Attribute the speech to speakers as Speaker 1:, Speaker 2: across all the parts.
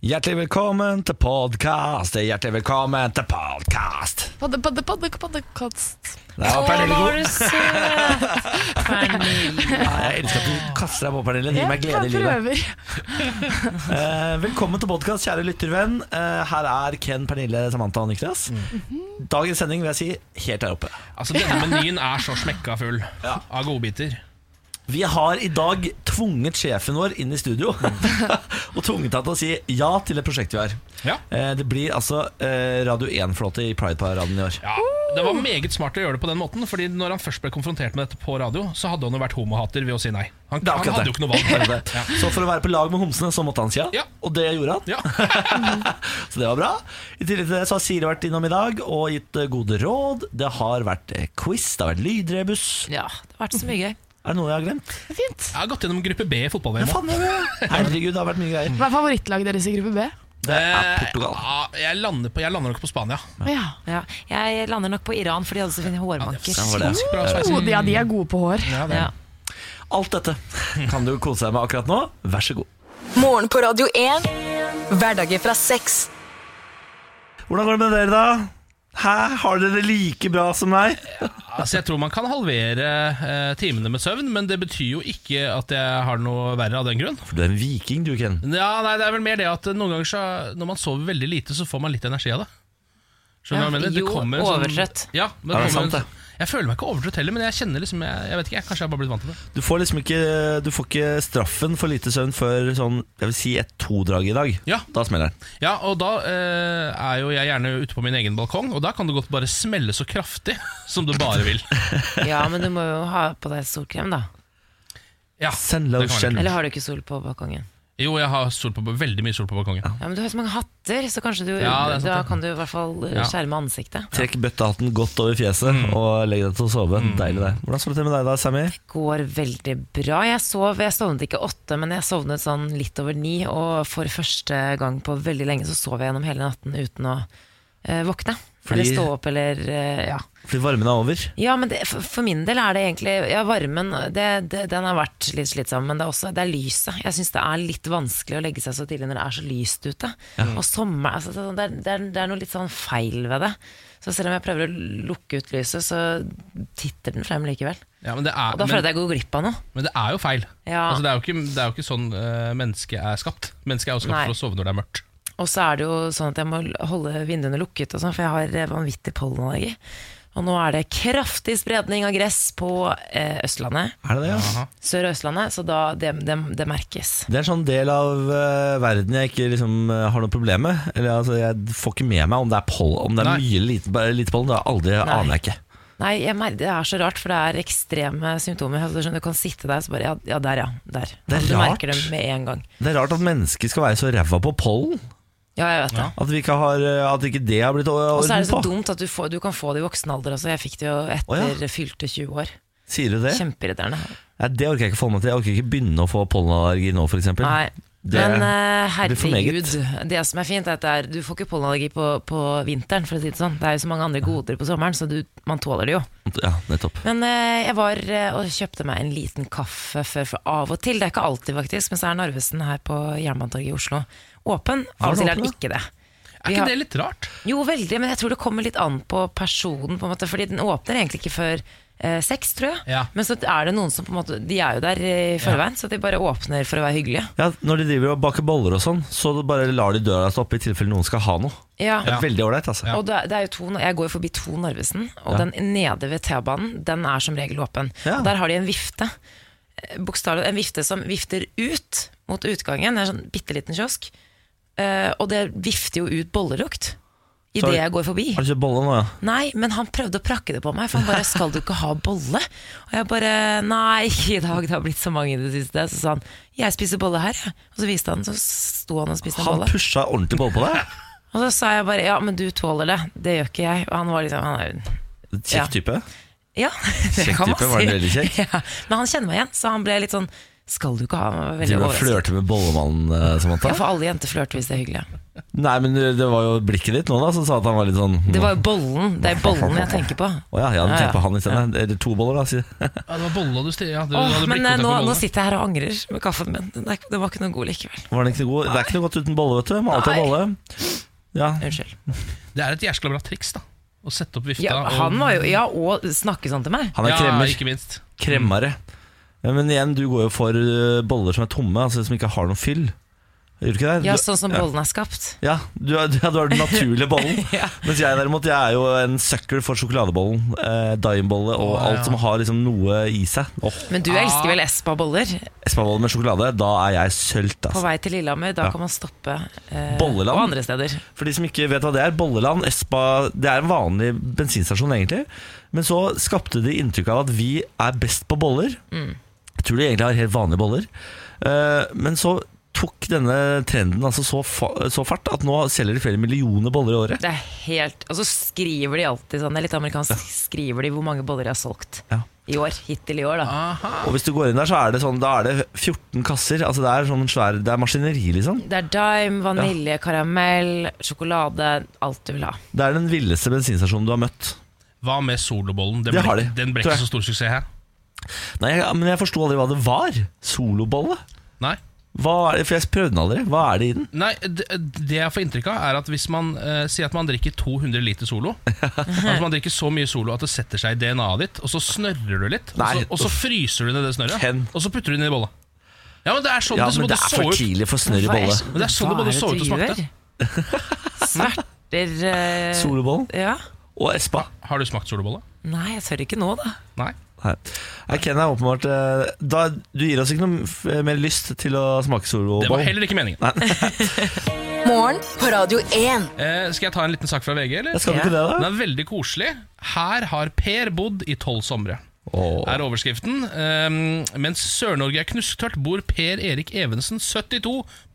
Speaker 1: Hjertelig velkommen til podkast. Hjertelig velkommen til podkast.
Speaker 2: Padde, padde, padde, padde, kast.
Speaker 1: Det var Pernille
Speaker 3: Å,
Speaker 1: god.
Speaker 3: var du søt! Pernille.
Speaker 1: Ja, jeg elsker at du kaster deg på, Pernille. Gi meg glede i livet.
Speaker 2: prøver.
Speaker 1: Eh, velkommen til podkast, kjære lyttervenn. Eh, her er Ken, Pernille, Samantha og Niklas. Dagens sending vil jeg si helt der oppe.
Speaker 4: Altså Denne menyen er så smekka full av godbiter.
Speaker 1: Vi har i dag tvunget sjefen vår inn i studio. og tvunget han til å si ja til det prosjektet vi har.
Speaker 4: Ja.
Speaker 1: Eh, det blir altså eh, Radio 1-flåte i Pride-paraden i år.
Speaker 4: Ja, Det var meget smart å gjøre det på den måten, Fordi når han først ble konfrontert med dette på radio, så hadde han jo vært homohater ved å si nei. Han,
Speaker 1: Det er
Speaker 4: han
Speaker 1: akkurat
Speaker 4: hadde jo
Speaker 1: det.
Speaker 4: ikke noe
Speaker 1: Det er
Speaker 4: valg.
Speaker 1: det. Så for å være på lag med homsene, så måtte han si ja.
Speaker 4: Ja.
Speaker 1: Og det gjorde han.
Speaker 4: Ja.
Speaker 1: Så det var bra. I tillegg til det så har Siri vært innom i dag og gitt eh, gode råd. Det har vært eh, quiz, det har vært lydrebus.
Speaker 3: Ja, det har vært så mye gøy.
Speaker 1: Er det noe jeg har glemt?
Speaker 2: Fint.
Speaker 4: Jeg har gått gjennom gruppe B i
Speaker 1: Ja,
Speaker 4: fotball-VM.
Speaker 1: faen, det er det. Herregud, det har vært mye greier.
Speaker 2: Hva er favorittlaget deres i gruppe B?
Speaker 1: Det er
Speaker 4: Eh,
Speaker 1: Portugal.
Speaker 4: ja, jeg, lander på, jeg lander nok på Spania.
Speaker 2: Ja.
Speaker 3: Ja, jeg lander nok på Iran, for de hadde så fine hårmanker.
Speaker 1: var det.
Speaker 4: Sinnssykt bra sveis.
Speaker 2: Oh, de- ja, de er gode på hår.
Speaker 4: Ja, det
Speaker 3: Ja.
Speaker 4: er-
Speaker 1: Alt dette kan du kose deg med akkurat nå. Vær så god.
Speaker 5: Morgen på Radio 1. Hverdager fra seks.
Speaker 1: Hvordan går det med dere, da? Hæ? Har dere det like bra som meg?
Speaker 4: Altså, jeg tror man kan halvere eh, timene med søvn, men det betyr jo ikke at jeg har noe verre av den grunn.
Speaker 1: For du er en viking, du, Ken.
Speaker 4: Ja, nei, det er vel mer det at noen ganger så, når man sover veldig lite, så får man litt energi av det. Skjønner du hva jeg mener? Det
Speaker 3: jo,
Speaker 4: kommer en sånn-
Speaker 3: overtrøtt.
Speaker 4: Ja, men
Speaker 1: Ja, det er
Speaker 4: kommer en
Speaker 1: sant, det.
Speaker 4: sånn- Jeg føler meg ikke overtrøtt heller, men jeg kjenner liksom Jeg, jeg vet ikke, jeg, kanskje jeg har bare blitt vant til det.
Speaker 1: Du får liksom ikke, du får ikke straffen for lite søvn før sånn, jeg vil si et to-drag i dag.
Speaker 4: Ja.
Speaker 1: Da smeller den.
Speaker 4: Ja, og da eh, er jo jeg gjerne ute på min egen balkong, og da kan det godt bare smelle så kraftig som du bare vil.
Speaker 3: ja, men du må jo ha på deg solkrem, da.
Speaker 4: Ja,
Speaker 3: Ah,
Speaker 1: Send
Speaker 4: det kan
Speaker 1: lotion.
Speaker 4: være lurt.
Speaker 3: Eller har du ikke sol på balkongen?
Speaker 4: Jo, jeg har sol på, veldig mye sol på balkongen.
Speaker 3: Ja, men Du har så mange hatter, så kanskje du,
Speaker 4: Ja, det er sant,
Speaker 3: da
Speaker 4: det.
Speaker 3: kan du i hvert fall eh,
Speaker 4: Ja.
Speaker 3: skjerme ansiktet.
Speaker 1: Trekk bøttehatten godt over fjeset
Speaker 3: Mm.
Speaker 1: og legg deg til å sove. Deilig det. Hvordan står det til med deg da, Sammy?
Speaker 3: Går veldig bra. Jeg sov, jeg sovnet ikke åtte, men jeg sovnet sånn litt over ni. Og for første gang på veldig lenge så sov jeg gjennom hele natten uten å eh, våkne.
Speaker 1: Fordi-
Speaker 3: Eller stå opp, eller eh, ja.
Speaker 1: Fordi varmen er over.
Speaker 3: Ja, men det, for, for min del er det egentlig Ja, varmen det, det, den har vært litt slitsom, men det er også det er lyset. Jeg syns det er litt vanskelig å legge seg så tidlig når det er så lyst ute. Og sommer altså, det, er- det, er, det er noe litt sånn feil ved det. Så selv om jeg prøver å lukke ut lyset, så titter den frem likevel.
Speaker 4: Ja, men, det er,
Speaker 3: Og da
Speaker 4: men,
Speaker 3: føler jeg at jeg går glipp av noe.
Speaker 4: men det er jo feil.
Speaker 3: Ja.
Speaker 4: Altså, det, er jo ikke, det er jo ikke sånn eh, mennesket er skapt. Mennesket er jo skapt
Speaker 3: Nei.
Speaker 4: for å sove når det er mørkt.
Speaker 3: Og så er det jo sånn at jeg må holde vinduene lukket, og sånn, for jeg har eh, vanvittig pollenallergi. Og nå er det kraftig spredning av gress på eh, Østlandet,
Speaker 1: Er det det, ja?
Speaker 4: Aha.
Speaker 3: Sør- og Østlandet, så da, det, det, det merkes.
Speaker 1: Det er en sånn del av eh, verden jeg ikke liksom, eh, har noe problem med. Eller, altså, jeg får ikke med meg om det er, poll, om det er
Speaker 4: Nei.
Speaker 1: mye eller lite, bare lite pollen. Det aner jeg
Speaker 3: Nei.
Speaker 1: aner jeg ikke.
Speaker 3: Nei, jeg mer, det er så rart, for det er ekstreme symptomer. Altså, sånn, du kan sitte der, så bare Ja, ja der, ja. Der.
Speaker 1: Det er
Speaker 3: du
Speaker 1: rart.
Speaker 3: merker det med en gang.
Speaker 1: Det er rart at mennesker skal være så ræva på pollen.
Speaker 3: Ja, jeg vet det.
Speaker 4: Ja.
Speaker 1: At, vi ikke, har, eh, at ikke det har blitt å-
Speaker 3: Og så er det
Speaker 1: orden
Speaker 3: så
Speaker 1: på.
Speaker 3: dumt at du, får, du kan få det i voksen alder også. Jeg fikk det jo etter
Speaker 1: Å,
Speaker 3: fylte 20 år.
Speaker 1: Sier du det?
Speaker 3: Kjempeirriterende.
Speaker 1: Nei, det orker jeg ikke å få meg til. Jeg orker ikke begynne å få pollenallergi nå, f.eks.
Speaker 3: Nei.
Speaker 1: Det
Speaker 3: Men eh,
Speaker 1: blir for meget.
Speaker 3: herregud, det som er fint, er at det er, du får ikke pollenallergi på, på vinteren, for å si det sånn. Det er jo så mange andre goder på sommeren, så du, man tåler det jo.
Speaker 1: Ja, nettopp.
Speaker 3: Men eh, jeg var eh, og kjøpte meg en liten kaffe før, for av og til, det er ikke alltid faktisk, men så er Narvesen her på Jernbanetorget i Oslo åpen. Av og
Speaker 1: den
Speaker 3: til er den
Speaker 1: åpen,
Speaker 3: ikke det.
Speaker 4: Er
Speaker 3: Vi
Speaker 4: ikke
Speaker 3: har-
Speaker 4: det litt rart?
Speaker 3: Jo, veldig, men jeg tror det kommer litt an på personen, på en måte, fordi den åpner egentlig ikke før eh, seks, tror jeg.
Speaker 4: Ja.
Speaker 3: Men så er det noen som på en måte, de er jo der eh, i forveien, så de bare åpner for å være hyggelige.
Speaker 1: Ja, Når de driver og baker boller og sånn, så bare lar de døra stå oppe i tilfelle noen skal ha noe.
Speaker 3: Ja.
Speaker 1: Det er veldig ålreit, altså.
Speaker 3: Og det, er- det er jo to, jeg går jo forbi to Narvesen, og den nede ved T-banen, den er som regel åpen.
Speaker 1: Ja.
Speaker 3: Og der har de en vifte, eh, bokstavelig en vifte som vifter ut mot utgangen, det er en sånn bitte liten kiosk, eh, og det vifter jo ut bollelukt i
Speaker 1: Så har
Speaker 3: det
Speaker 1: du-
Speaker 3: jeg går forbi.
Speaker 1: Har du kjøpt bolle nå, ja?
Speaker 3: Nei, men han prøvde å prakke det på meg, for han bare 'skal du ikke ha bolle?' Og jeg bare 'nei, ikke i dag, det har blitt så mange i det siste'. Så sa han 'jeg spiser bolle her', jeg. Og så viste han, så sto han og spiste en
Speaker 1: Han
Speaker 3: bolle.
Speaker 1: pusha ordentlig bolle på deg?
Speaker 3: Og så sa jeg bare 'ja, men du tåler det', det gjør ikke jeg. Og han var liksom han er, Ja.
Speaker 1: Kjekk type.
Speaker 3: Ja, det
Speaker 1: Kjekk
Speaker 3: kan man
Speaker 1: type, var han veldig
Speaker 3: si.
Speaker 1: kjekk?
Speaker 3: Ja, men han kjenner meg igjen, så han ble litt sånn Skal du ikke ha
Speaker 1: Driver
Speaker 3: meg?
Speaker 1: du og
Speaker 3: overrasket.
Speaker 1: flørter med bollemannen, eh,
Speaker 3: Ja,
Speaker 1: Samantha?
Speaker 3: for alle jenter flørter hvis det er hyggelig.
Speaker 1: Nei, men det var jo blikket ditt nå da som sa at han var litt sånn
Speaker 3: Det var jo bollen. Det er bollen jeg tenker på.
Speaker 1: Å ja, jeg hadde
Speaker 3: Ja, ja.
Speaker 1: tenkt på han i stedet. Eller to boller, da. sier jeg.
Speaker 4: Ja, det var bolla du stirret ja, du,
Speaker 3: Åh,
Speaker 4: hadde
Speaker 3: men
Speaker 4: blikkontakt
Speaker 3: eh,
Speaker 4: med
Speaker 3: nå, nå
Speaker 4: bolla.
Speaker 3: sitter jeg her og angrer med kaffen min. Den, er ikke- den var ikke noe god likevel.
Speaker 1: Var den ikke noe god? Det er ikke noe godt uten bolle, vet du. Må alltid ha
Speaker 3: Nei.
Speaker 1: bolle. Ja.
Speaker 3: Unnskyld.
Speaker 4: Det er et jæskla bra triks, da. Å sette opp vifta.
Speaker 3: Ja,
Speaker 4: og-
Speaker 3: han var jo Ja, og snakke sånn til meg.
Speaker 1: Han er
Speaker 4: Ja,
Speaker 1: kremmer.
Speaker 4: ikke minst.
Speaker 1: Kremmere. Ja, Men igjen, du går jo for øh, boller som er tomme, altså som ikke har noe fyll. Gjør du ikke det?
Speaker 3: Ja,
Speaker 1: Du-
Speaker 3: sånn som bollen er skapt.
Speaker 1: Ja, du er, du, ja, du er den naturlige bollen.
Speaker 3: Ja.
Speaker 1: Mens jeg derimot, jeg er jo en sucker for sjokoladebollen, eh, daimbolle og
Speaker 4: Å, ja.
Speaker 1: alt som har liksom noe i seg. Åh,
Speaker 3: Men du
Speaker 4: Ah.
Speaker 3: elsker vel Espa-boller?
Speaker 1: Espabolle med sjokolade, da er jeg sølt.
Speaker 3: På
Speaker 1: Altså.
Speaker 3: vei til Lillehammer, da
Speaker 1: Ja.
Speaker 3: kan man stoppe eh,
Speaker 1: Bolleland?
Speaker 3: og andre steder.
Speaker 1: For de som ikke vet hva det er, Bolleland, Espa Det er en vanlig bensinstasjon, egentlig. Men så skapte de inntrykk av at vi er best på boller. Jeg tror de egentlig har helt vanlige boller. Eh, men så tok denne trenden altså så, fa så fart at nå selger de flere millioner boller i året.
Speaker 3: Det er helt, Og så skriver de alltid sånn, det er litt amerikansk, skriver de hvor mange boller de har solgt
Speaker 1: Ja.
Speaker 3: i år. Hittil i år, da.
Speaker 4: Aha.
Speaker 1: Og hvis du går inn der, så er det sånn Da er det 14 kasser. Altså Det er sånn svær Det er maskineri, liksom.
Speaker 3: Det er dime, vanilje, karamell, sjokolade. Alt du vil ha.
Speaker 1: Det er den villeste bensinstasjonen du har møtt.
Speaker 4: Hva med solobollen? Den
Speaker 1: Det har
Speaker 4: ble,
Speaker 1: de,
Speaker 4: den ble
Speaker 1: tror
Speaker 4: ikke
Speaker 1: jeg.
Speaker 4: så stor suksess her.
Speaker 1: Nei, jeg, Men jeg forsto aldri hva det var. Solobolle.
Speaker 4: Nei.
Speaker 1: Hva er det, for jeg prøvde den aldri. Hva er det i den?
Speaker 4: Nei, det, det jeg får inntrykk av, er at hvis man eh, sier at man drikker 200 liter solo altså At man drikker så mye solo at det setter seg i DNA-et ditt, og så snørrer du litt, og så,
Speaker 1: Nei.
Speaker 4: og så fryser du ned det snørret,
Speaker 1: Ken.
Speaker 4: og så putter du det inn i bolla. Ja, men det er sånn
Speaker 1: Ja,
Speaker 4: det, så
Speaker 1: men det
Speaker 4: det
Speaker 1: er
Speaker 4: så
Speaker 1: for
Speaker 4: ut.
Speaker 1: tidlig for snørr i
Speaker 3: Hva er-
Speaker 1: bolle.
Speaker 4: Men det er sånn det
Speaker 3: hva
Speaker 4: både
Speaker 3: er
Speaker 4: så ut
Speaker 3: du
Speaker 4: og smakte.
Speaker 3: gjør? Sverter eh,
Speaker 1: Solobollen
Speaker 3: Ja.
Speaker 1: og Espa.
Speaker 4: Har du smakt solobolle?
Speaker 3: Nei, jeg tør ikke nå, da.
Speaker 4: Nei.
Speaker 1: Nei. Nei, Ken er åpenbart eh, da, Du gir oss ikke noe f- eh, mer lyst til å smake
Speaker 4: Det var
Speaker 1: soloboll.
Speaker 4: heller ikke meningen.
Speaker 5: Morgen på Radio 1.
Speaker 4: Eh, skal jeg ta en liten sak fra VG, eller?
Speaker 1: Ja, Skal du ikke det,
Speaker 4: Den
Speaker 1: da?
Speaker 4: er veldig koselig. Her har Per bodd i tolv somre.
Speaker 1: Åh.
Speaker 4: er overskriften. Ehm, mens Sør-Norge er knusktørt, bor Per Erik Evensen, 72,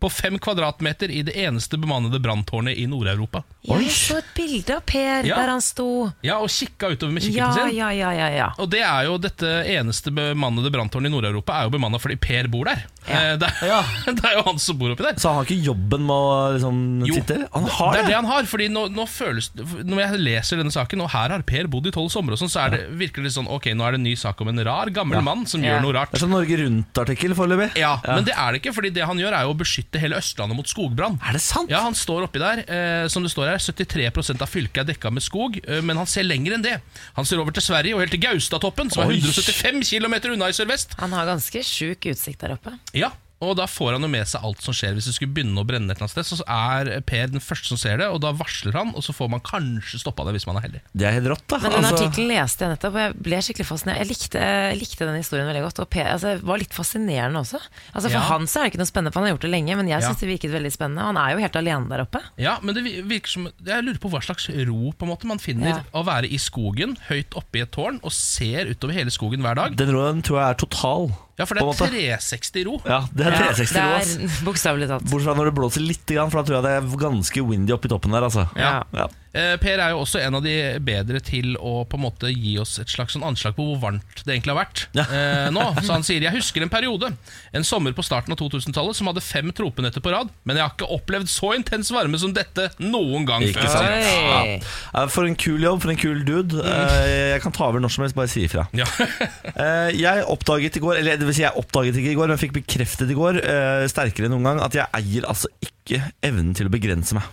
Speaker 4: på fem kvadratmeter i det eneste bemannede branntårnet i Nord-Europa.
Speaker 3: Ja,
Speaker 1: Oi.
Speaker 3: jeg så et bilde av Per
Speaker 4: Ja.
Speaker 3: der han sto.
Speaker 4: Ja, og kikka utover med
Speaker 3: Ja,
Speaker 4: kikkerten sin.
Speaker 3: ja, ja, ja, ja.
Speaker 4: Og det er jo dette eneste bemannede branntårnet i Nord-Europa er jo bemanna fordi Per bor der. Eh, det, er, det er jo han som bor oppi der.
Speaker 1: Så han har ikke jobben med å liksom,
Speaker 4: Jo.
Speaker 1: sitte Han har
Speaker 4: det er det
Speaker 1: det!
Speaker 4: han har. Fordi nå, nå føles Når jeg leser denne saken, og her har Per bodd i tolv somre, og sånn, så er det, virker det litt sånn Ok, nå er det en ny sak om en rar, gammel mann som
Speaker 3: Ja.
Speaker 4: gjør noe rart.
Speaker 1: Det er sånn Norge Rundt-artikkel foreløpig.
Speaker 4: Ja, Men det er det ikke, fordi det han gjør er jo å beskytte hele Østlandet mot skogbrann.
Speaker 1: Er det sant?
Speaker 4: Ja, Han står oppi der. Eh, som det står her, 73 av fylket er dekka med skog, eh, men han ser lenger enn det. Han ser over til Sverige og helt til Gaustatoppen, som
Speaker 1: Oi.
Speaker 4: er 175 km unna i sørvest.
Speaker 3: Han har ganske sjuk utsikt der oppe.
Speaker 4: Ja, og da får han jo med seg alt som skjer. Hvis det skulle begynne å brenne et eller annet sted, så er Per den første som ser det, og da varsler han, og så får man kanskje stoppa det hvis man er heldig.
Speaker 1: Det er helt rått, da.
Speaker 3: Men den
Speaker 1: Altså-
Speaker 3: artikkelen leste jeg nettopp, og jeg ble skikkelig fascinert. Jeg likte, jeg likte den historien veldig godt, og Per, altså, det var litt fascinerende også. Altså, for
Speaker 4: Ja.
Speaker 3: han så er det ikke noe spennende, for han har gjort det lenge, men jeg
Speaker 4: Ja.
Speaker 3: synes det virket veldig spennende. Han er jo helt alene der oppe.
Speaker 4: Ja, men det vi- virker som Jeg lurer på hva slags ro på en måte man finner
Speaker 3: Ja.
Speaker 4: å være i skogen, høyt oppe i et tårn, og ser utover hele skogen hver dag.
Speaker 1: Den roen tror jeg er total.
Speaker 4: Ja, for det
Speaker 1: på en måte.
Speaker 4: er 360 ro.
Speaker 1: Ja, det er 360
Speaker 3: det
Speaker 1: ro.
Speaker 3: er
Speaker 1: ass.
Speaker 3: bokstavelig talt.
Speaker 1: Bortsett fra når det blåser litt, for da tror jeg det er ganske windy oppi toppen der. altså
Speaker 3: Ja.
Speaker 1: ja.
Speaker 4: Eh, Per er jo også en av de bedre til å på en måte gi oss et slags sånn anslag på hvor varmt det egentlig har vært eh, nå. Så han sier jeg husker en periode, en sommer på starten av 2000-tallet, som hadde fem tropenetter på rad, men jeg har ikke opplevd så intens varme som dette noen gang
Speaker 1: Ikke
Speaker 4: før.
Speaker 1: sant?
Speaker 3: Oi.
Speaker 1: Eh, For en kul jobb, for en kul dude.
Speaker 3: Mm.
Speaker 1: Eh, Jeg kan ta over når som helst, bare si ifra.
Speaker 4: Ja.
Speaker 1: Eh, Jeg oppdaget i går, eller det vil si jeg oppdaget ikke i går, men jeg fikk bekreftet i går, eh, sterkere enn noen gang, at jeg eier altså ikke evnen til å begrense meg.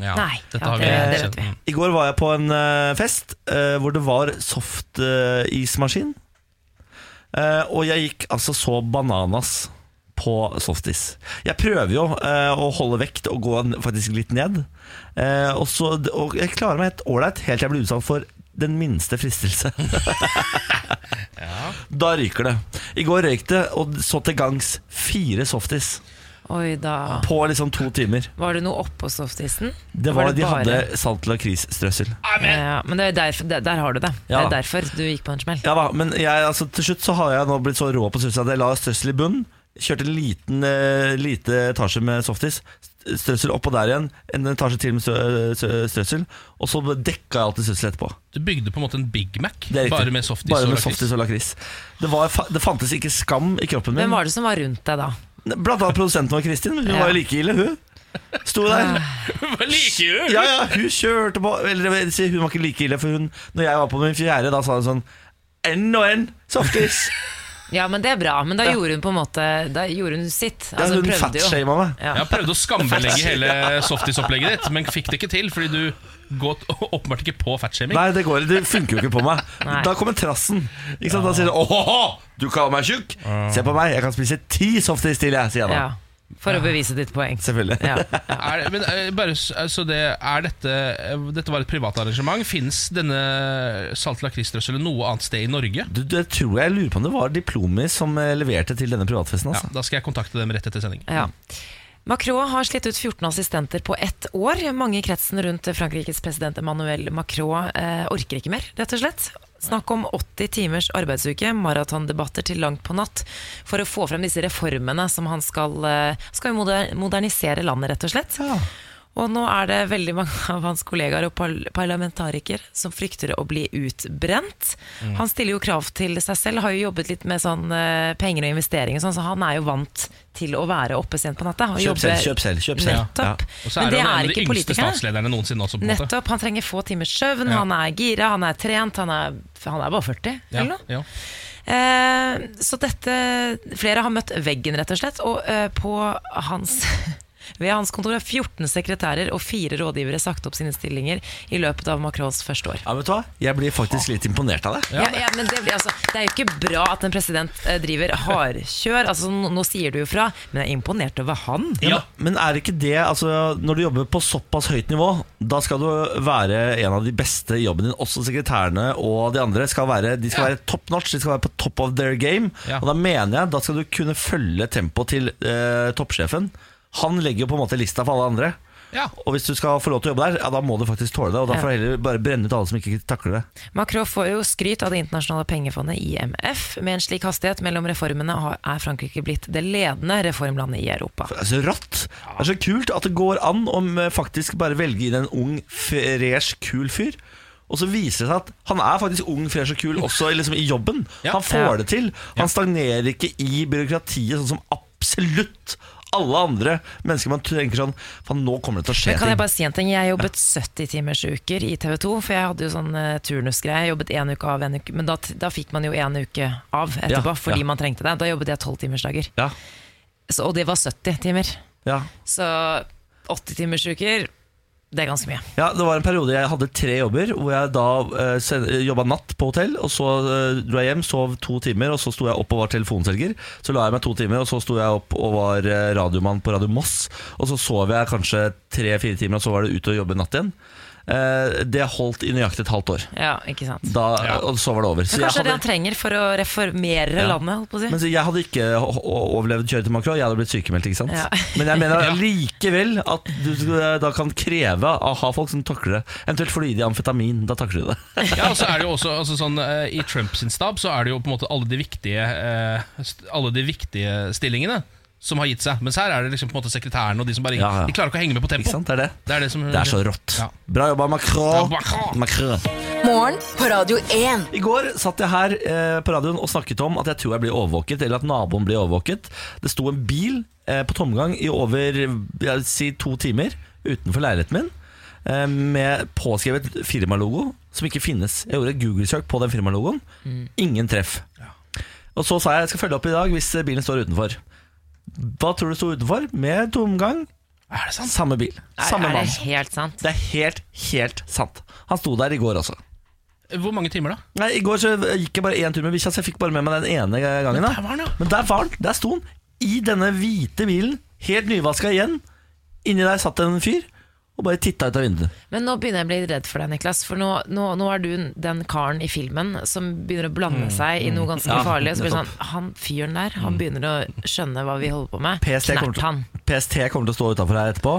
Speaker 4: ja,
Speaker 3: Nei,
Speaker 4: dette
Speaker 3: ja,
Speaker 4: har vi
Speaker 3: det- det vet
Speaker 4: kjent.
Speaker 3: vi.
Speaker 1: I går var jeg på en eh, fest eh, hvor det var softismaskin. Eh, og jeg gikk altså så bananas på softis. Jeg prøver jo eh, å holde vekt og gå n- faktisk litt ned. Eh, og, så, og jeg klarer meg helt ålreit helt til jeg blir utsatt for den minste fristelse. Da ryker det. I går røyk det, og så til gangs fire softis
Speaker 3: Oi da.
Speaker 1: på liksom to timer.
Speaker 3: Var det noe oppå softisen?
Speaker 1: Det var, De
Speaker 3: bare-
Speaker 1: hadde salt lakrisstrøssel.
Speaker 3: Ja, men det er derfor, der, der har du det.
Speaker 1: Ja.
Speaker 3: Det er derfor du gikk på en smell.
Speaker 1: Ja da, men jeg, altså, til slutt så har jeg nå blitt så rå på strøssel at jeg la strøssel i bunnen. Kjørte en liten eh, lite etasje med softis. st- Strøssel opp og der igjen. En etasje til med strø- strø- strøssel. Og så dekka jeg alltid strøssel etterpå.
Speaker 4: Du bygde på en måte en Big Mac,
Speaker 1: Det er riktig.
Speaker 4: bare med softis
Speaker 1: Bare
Speaker 4: og
Speaker 1: med
Speaker 4: lakris.
Speaker 1: softis og lakris. Det, var, fa- det fantes ikke skam i kroppen min.
Speaker 3: Hvem var det som var rundt deg da?
Speaker 1: Blant annet produsenten vår, Kristin. Hun
Speaker 3: Ja. Ah.
Speaker 1: var jo like ille, hun. Sto der.
Speaker 4: Hva liker du?
Speaker 1: Ja, ja, hun kjørte på Eller jeg vil si, hun var ikke like ille, for hun Når jeg var på min fjerde, da sa hun sånn N og N, softis.
Speaker 3: Ja, men det er bra. Men da gjorde hun på en måte Da gjorde hun sitt.
Speaker 1: Ja,
Speaker 3: Altså,
Speaker 1: hun
Speaker 3: prøvde jo.
Speaker 1: fatshama meg.
Speaker 4: Jeg har prøvd å skambelegge hele softisopplegget ditt, men fikk det ikke til fordi du går åpenbart ikke på fatshaming.
Speaker 1: Nei, det går Det funker jo ikke på meg.
Speaker 3: Nei.
Speaker 1: Da kommer trassen. Ikke sant? Da sier hun åhåhå, du kaller meg tjukk. Se på meg, jeg kan spise ti softis til, jeg, sier jeg da.
Speaker 3: Ja, for å bevise ditt poeng.
Speaker 1: Selvfølgelig.
Speaker 3: Ja.
Speaker 4: Er, men eh, bare, s- altså det, er dette, eh, dette var et privat arrangement. Fins denne salt lakrisdrøsselen noe annet sted i Norge?
Speaker 1: Du, det tror jeg, jeg lurer på om det var Diplomis som eh, leverte til denne privatfesten.
Speaker 4: Ja,
Speaker 1: Altså.
Speaker 4: da skal jeg kontakte dem rett etter sending.
Speaker 3: Ja. Macron har slitt ut 14 assistenter på ett år. Mange i kretsen rundt Frankrikes president Emmanuel Macron eh, orker ikke mer, rett og slett. Snakk om 80 timers arbeidsuke, maratondebatter til langt på natt, for å få frem disse reformene som han skal, eh, skal jo moder- modernisere landet, rett og slett. Og nå er det veldig mange av hans kollegaer og par parlamentarikere som frykter å bli utbrent.
Speaker 1: Mm.
Speaker 3: Han stiller jo krav til seg selv, har jo jobbet litt med sånn eh, penger og investeringer, og sånn, så han er jo vant til å være oppe sent på natta. og
Speaker 1: Kjøp
Speaker 3: jobbe-
Speaker 1: selv, kjøp selv, kjøp selv. Ja.
Speaker 3: Nettopp.
Speaker 4: Og så
Speaker 3: Men
Speaker 4: er
Speaker 3: det
Speaker 4: han en av
Speaker 3: er
Speaker 4: de
Speaker 3: ikke
Speaker 4: yngste
Speaker 3: politikerne.
Speaker 4: statslederne noensinne også. på en måte.
Speaker 3: Nettopp. Han trenger få timers søvn,
Speaker 4: Ja.
Speaker 3: han er gira, han er trent, han er, han er bare 40
Speaker 4: Ja,
Speaker 3: eller noe.
Speaker 4: ja.
Speaker 3: Eh, så dette Flere har møtt veggen, rett og slett. Og eh, på hans ved hans kontor har 14 sekretærer og fire rådgivere sagt opp sine stillinger i løpet av Macrons første år.
Speaker 1: ja, vet du hva? Jeg blir faktisk litt imponert av det.
Speaker 3: Ja, ja, men det, blir, altså, det er jo ikke bra at en president eh, driver hardkjør. Altså, nå, nå sier du jo fra, men jeg er imponert over han.
Speaker 1: Ja,
Speaker 4: Ja.
Speaker 1: Men men er ikke det altså, Når du jobber på såpass høyt nivå, da skal du være en av de beste i jobben din. Også sekretærene og de andre skal være, de skal
Speaker 4: Ja.
Speaker 1: være top notch. De skal være på top of their game.
Speaker 4: Ja.
Speaker 1: Og da mener jeg da skal du kunne følge tempoet til eh, toppsjefen. Han legger jo på en måte lista for alle andre.
Speaker 4: Ja.
Speaker 1: Og hvis du skal få lov til å jobbe der, ja, da må du faktisk tåle det. Og da
Speaker 3: Ja.
Speaker 1: får du heller bare brenne ut alle som ikke takler det.
Speaker 3: Macron får jo skryt av det internasjonale pengefondet IMF. Med en slik hastighet mellom reformene har- er Frankrike blitt det ledende reformlandet i Europa.
Speaker 1: Det er så Altså, rått. Det er så kult at det går an å eh, faktisk bare velge inn en ung, fresh, kul fyr. Og så viser det seg at han er faktisk ung, fresh og kul også i- liksom, i jobben.
Speaker 4: Ja.
Speaker 1: Han får
Speaker 3: Ja.
Speaker 1: det til. Han stagnerer ikke i byråkratiet, sånn som absolutt alle andre mennesker man tenker sånn Faen, nå kommer det til å skje
Speaker 3: Men kan jeg
Speaker 1: ting.
Speaker 3: bare si en ting? Jeg jobbet 70 timers uker i TV 2, for jeg hadde jo sånn eh, turnusgreie. Jeg jobbet en uke av en uke, men da, da fikk man jo en uke av etterpå,
Speaker 1: Ja,
Speaker 3: fordi
Speaker 1: ja.
Speaker 3: man trengte det. Da jobbet jeg 12 timersdager.
Speaker 1: Ja,
Speaker 3: Så- Og det var 70 timer.
Speaker 1: ja.
Speaker 3: Så 80 timers uker, det er ganske mye.
Speaker 1: ja, det var en periode jeg hadde tre jobber, hvor jeg da uh, jobba natt på hotell, og så eh, dro jeg hjem, sov to timer, og så sto jeg opp og var telefonselger. Så la jeg meg to timer, og så sto jeg opp og var eh, radiomann på Radio Moss. Og så sov jeg kanskje tre-fire timer, og så var det ut og jobbe natt igjen. Eh, det holdt i nøyaktig et halvt år.
Speaker 3: Ja, ikke sant?
Speaker 1: Da,
Speaker 4: Ja.
Speaker 1: Og så var det over. Så
Speaker 3: Men
Speaker 1: jeg
Speaker 3: kanskje det er
Speaker 1: hadde-
Speaker 3: det han trenger for å reformere
Speaker 1: Ja.
Speaker 3: landet, holdt på å si.
Speaker 1: Men så jeg hadde ikke o- o- overlevd kjøret til Macron, jeg hadde blitt sykemeldt. ikke sant?
Speaker 3: Ja.
Speaker 1: Men jeg mener likevel at du skal- da kan kreve å ha folk som takler det. Eventuelt får du i deg amfetamin, da takler du det.
Speaker 4: Ja, og så er det jo også altså sånn, eh, I Trump sin stab så er det jo på en måte alle de viktige, eh, st- alle de viktige stillingene som har gitt seg. Mens her er det liksom på en måte sekretæren og de som bare
Speaker 1: Ja, ja.
Speaker 4: De klarer ikke å henge med på
Speaker 1: Ikke
Speaker 4: tempo.
Speaker 1: sant? Det er det.
Speaker 4: Det er det som
Speaker 1: Mm. Det er så rått.
Speaker 4: Ja.
Speaker 1: Bra jobba, Macron.
Speaker 4: Ja, Macron.
Speaker 5: Morgen på Radio 1.
Speaker 1: I går satt jeg her eh, på radioen og snakket om at jeg tror jeg blir overvåket, eller at naboen blir overvåket. Det sto en bil eh, på tomgang i over jeg vil si, to timer utenfor leiligheten min. eh, Med påskrevet firmalogo som ikke finnes. Jeg gjorde et Google-søk på den firmalogoen.
Speaker 4: Mm.
Speaker 1: Ingen treff. Og så sa jeg jeg skal følge opp i dag hvis bilen står utenfor. Hva tror du sto utenfor? Med tomgang,
Speaker 4: Er det sant?
Speaker 1: samme bil.
Speaker 3: Er,
Speaker 1: Samme
Speaker 3: er det
Speaker 1: mann.
Speaker 3: helt sant?
Speaker 1: Det er helt, helt sant. Han sto der i går også.
Speaker 4: Hvor mange timer, da?
Speaker 1: Nei, I går så gikk jeg bare én tur med bikkja, så jeg fikk bare med meg den ene gangen.
Speaker 4: Der
Speaker 1: Da.
Speaker 4: var den, ja.
Speaker 1: Men der var den, der sto den, i denne hvite bilen, helt nyvaska igjen. Inni der satt en fyr og bare titta ut av vinduet.
Speaker 3: Men nå begynner jeg å bli redd for deg, Niklas. For nå, nå, nå er du den karen i filmen som begynner å blande seg i noe ganske
Speaker 1: Mm, Ja,
Speaker 3: farlig. Og så blir det
Speaker 1: nettopp. Mm.
Speaker 3: sånn, Han fyren der, han begynner å skjønne hva vi holder på med.
Speaker 1: PST kommer,
Speaker 3: Knert han.
Speaker 1: til, PST kommer til å stå utafor her etterpå.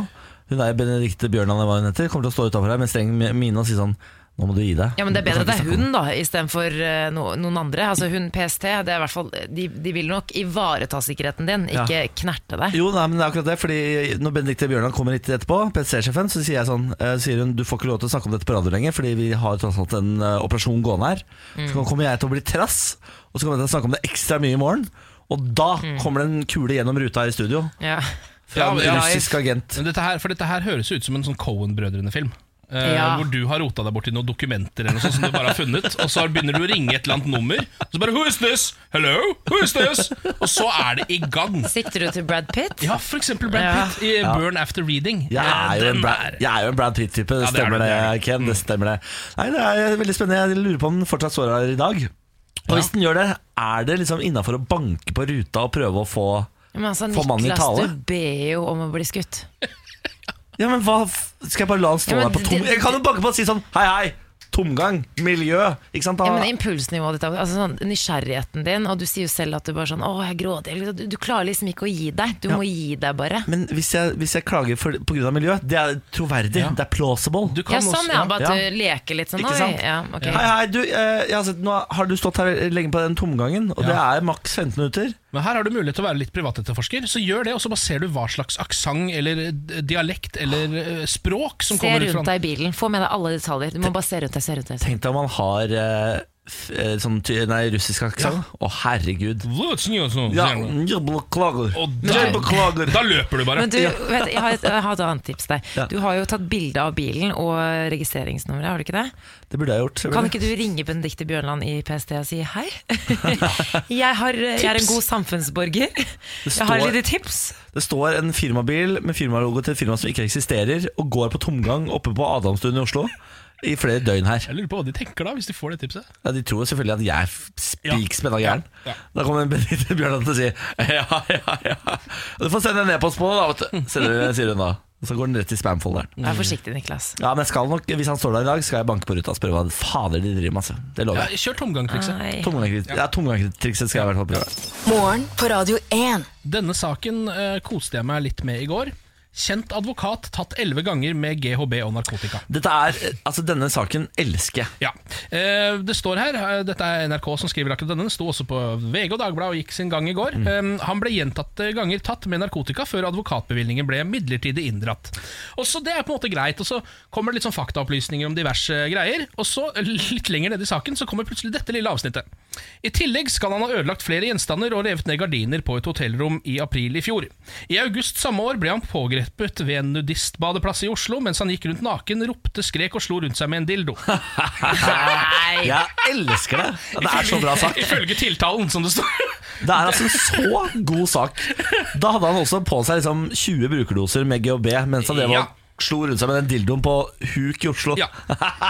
Speaker 1: Hun der Benedicte Bjørnan hva hun heter, kommer til å stå utafor her med streng mine og si sånn Nå må du gi deg.
Speaker 3: Ja, men Det er
Speaker 1: Du
Speaker 3: bedre
Speaker 1: kan
Speaker 3: at det
Speaker 1: ikke
Speaker 3: er
Speaker 1: snakke om
Speaker 3: hun da, istedenfor uh, no, noen andre. Altså Hun PST, det er i hvert fall, de, de vil nok ivareta sikkerheten din,
Speaker 1: Ja.
Speaker 3: ikke knerte deg.
Speaker 1: Jo, nei, men det er akkurat det. Fordi Når Benedicte Bjørnan kommer hit etterpå, PST-sjefen, så sier jeg sånn eh, sier hun, Du får ikke lov til å snakke om dette på radio lenger, fordi vi har tross alt en eh, operasjon gående her.
Speaker 4: Mm.
Speaker 1: Så kommer jeg til å bli trass, og så kommer jeg til å snakke om det ekstra mye i morgen. Og da kommer det en kule gjennom ruta her i studio.
Speaker 3: Ja.
Speaker 1: fra
Speaker 4: Mm. Ja,
Speaker 1: en
Speaker 4: ja.
Speaker 1: russisk agent.
Speaker 4: Men dette her, for dette her høres jo ut som en sånn Cohen-brødrene-film. Eh,
Speaker 3: Ja.
Speaker 4: Hvor du har rota deg borti noen dokumenter eller noe sånt som du bare har funnet. Og så begynner du å ringe et eller annet nummer, og så bare 'Who is this?' 'Hello? Who is this?' Og så er det i gang.
Speaker 3: Sikter du til Brad Pitt?
Speaker 4: Ja, for eksempel Brad
Speaker 3: Ja.
Speaker 4: Pitt i 'Burn After Reading'.
Speaker 1: Jeg er,
Speaker 4: Eh,
Speaker 1: jo en
Speaker 4: den
Speaker 1: Brad,
Speaker 4: er-
Speaker 1: jeg er jo en Brad Pitt-type, det
Speaker 4: Ja, det er
Speaker 1: stemmer
Speaker 4: du,
Speaker 1: det,
Speaker 4: det er du. Mm.
Speaker 1: Ken. Det stemmer det. Nei, det er veldig spennende. Jeg lurer på om den fortsatt står her i dag. Og hvis den gjør det, er det liksom innafor å banke på ruta og prøve å få
Speaker 3: Men altså,
Speaker 1: Får mannen i
Speaker 3: Niklas,
Speaker 1: tale?
Speaker 3: du ber jo om å bli skutt.
Speaker 1: Ja, men hva f- Skal jeg bare la han stå
Speaker 3: Ja, men
Speaker 1: der på tom
Speaker 3: det-
Speaker 1: Jeg kan jo banke på og si sånn Hei, hei! Tomgang! Miljø! Ikke sant?
Speaker 3: Ja,
Speaker 1: Da,
Speaker 3: men Impulsnivået ditt, altså sånn, nysgjerrigheten din, og du sier jo selv at du bare sånn 'Å, jeg er grådig'. eller Du, du klarer liksom ikke å gi deg. Du må gi deg, bare.
Speaker 1: men hvis jeg, hvis jeg klager for, på grunn av miljø, det er troverdig. Det er plausible.
Speaker 4: Du kan
Speaker 3: Ja,
Speaker 4: også,
Speaker 3: sånn, ja. Bare at
Speaker 1: Ja.
Speaker 3: du leker litt sånn.
Speaker 1: Ikke
Speaker 3: Oi.
Speaker 1: sant?
Speaker 3: Ja, ok.
Speaker 1: Hei, hei, du, eh, jeg har sett, nå har du stått her lenge på den tomgangen, og det er maks 15 minutter.
Speaker 4: Men her har du mulighet til å være litt privatetterforsker, så gjør det, og så bare ser du hva slags aksent eller d- dialekt eller eh, språk som
Speaker 3: Se
Speaker 4: kommer ut
Speaker 3: rundt
Speaker 4: fra
Speaker 3: deg i bilen. Få med deg alle detaljer. Du må bare se rundt deg. se rundt deg
Speaker 1: Tenk deg om han har eh, f, eh, sånn ty- nei, russisk aksent. Å, herregud. Ja, mm, jeg beklager.
Speaker 4: sånn? Og
Speaker 1: Jeg
Speaker 4: da-
Speaker 1: beklager.
Speaker 4: Da løper du bare.
Speaker 3: Men du, vet, jeg, har et, jeg har et annet tips der.
Speaker 1: Ja.
Speaker 3: Du har jo tatt bilde av bilen og registreringsnummeret, har du ikke det?
Speaker 1: Det burde jeg gjort.
Speaker 3: Kan ikke du ringe Benedicte Bjørnland i PST og si hei? jeg, har, jeg er en god samfunnsborger. Jeg har
Speaker 1: står-
Speaker 3: litt tips.
Speaker 1: Det står en firmabil med firmalogo til et firma som ikke eksisterer, og går på tomgang oppe på Adamstuen i Oslo i flere døgn her.
Speaker 4: Jeg lurer på hva de tenker da, hvis de får det tipset.
Speaker 1: Ja, de tror selvfølgelig at jeg er f- spikspenna gæren.
Speaker 4: Ja.
Speaker 1: Da kommer Benedicte Bjørnland til å si ja, ja, ja. Du får sende en e-post på det, da, vet du. Sender- Sier hun da. Og så går den rett i spam-folderen.
Speaker 3: Vær forsiktig, Niklas.
Speaker 1: Ja, men jeg skal nok, Hvis han står der i dag, skal jeg banke på ruta og spørre hva fader de driver med. Altså. Det lover
Speaker 4: Ja,
Speaker 1: jeg.
Speaker 4: kjør tomgangtrikset.
Speaker 3: Nei.
Speaker 1: Tomgangstrikset ja, tomgangstrikset skal jeg i hvert fall prøve.
Speaker 5: Morgen på Radio 1.
Speaker 4: Denne saken eh, koste jeg meg litt med i går. Kjent advokat tatt elleve ganger med GHB og narkotika.
Speaker 1: Dette er, altså Denne saken elsker jeg.
Speaker 4: Ja, eh, Det står her, eh, dette er NRK som skriver akkurat denne, den sto også på VG og Dagbladet og gikk sin gang i går. Eh, han ble gjentatte ganger tatt med narkotika før advokatbevilgningen ble midlertidig inndratt. Og så Det er på en måte greit, og så kommer det litt sånn faktaopplysninger om diverse greier. Og så, eh, litt lenger nede i saken, så kommer plutselig dette lille avsnittet. I tillegg skal han ha ødelagt flere gjenstander og revet ned gardiner på et hotellrom i april i fjor. I august samme år ble han pågrepet ved en nudistbadeplass i Oslo mens han gikk rundt naken, ropte, skrek og slo rundt seg med en dildo.
Speaker 1: Jeg elsker det! Ja, Det er så bra sak.
Speaker 4: Ifølge tiltalen, som det står.
Speaker 1: Det er altså en så god sak. Da hadde han også på seg liksom 20 brukerdoser med GHB mens han drev
Speaker 4: Ja.
Speaker 1: og slo rundt seg med den dildoen på huk i Oslo.
Speaker 4: Ja.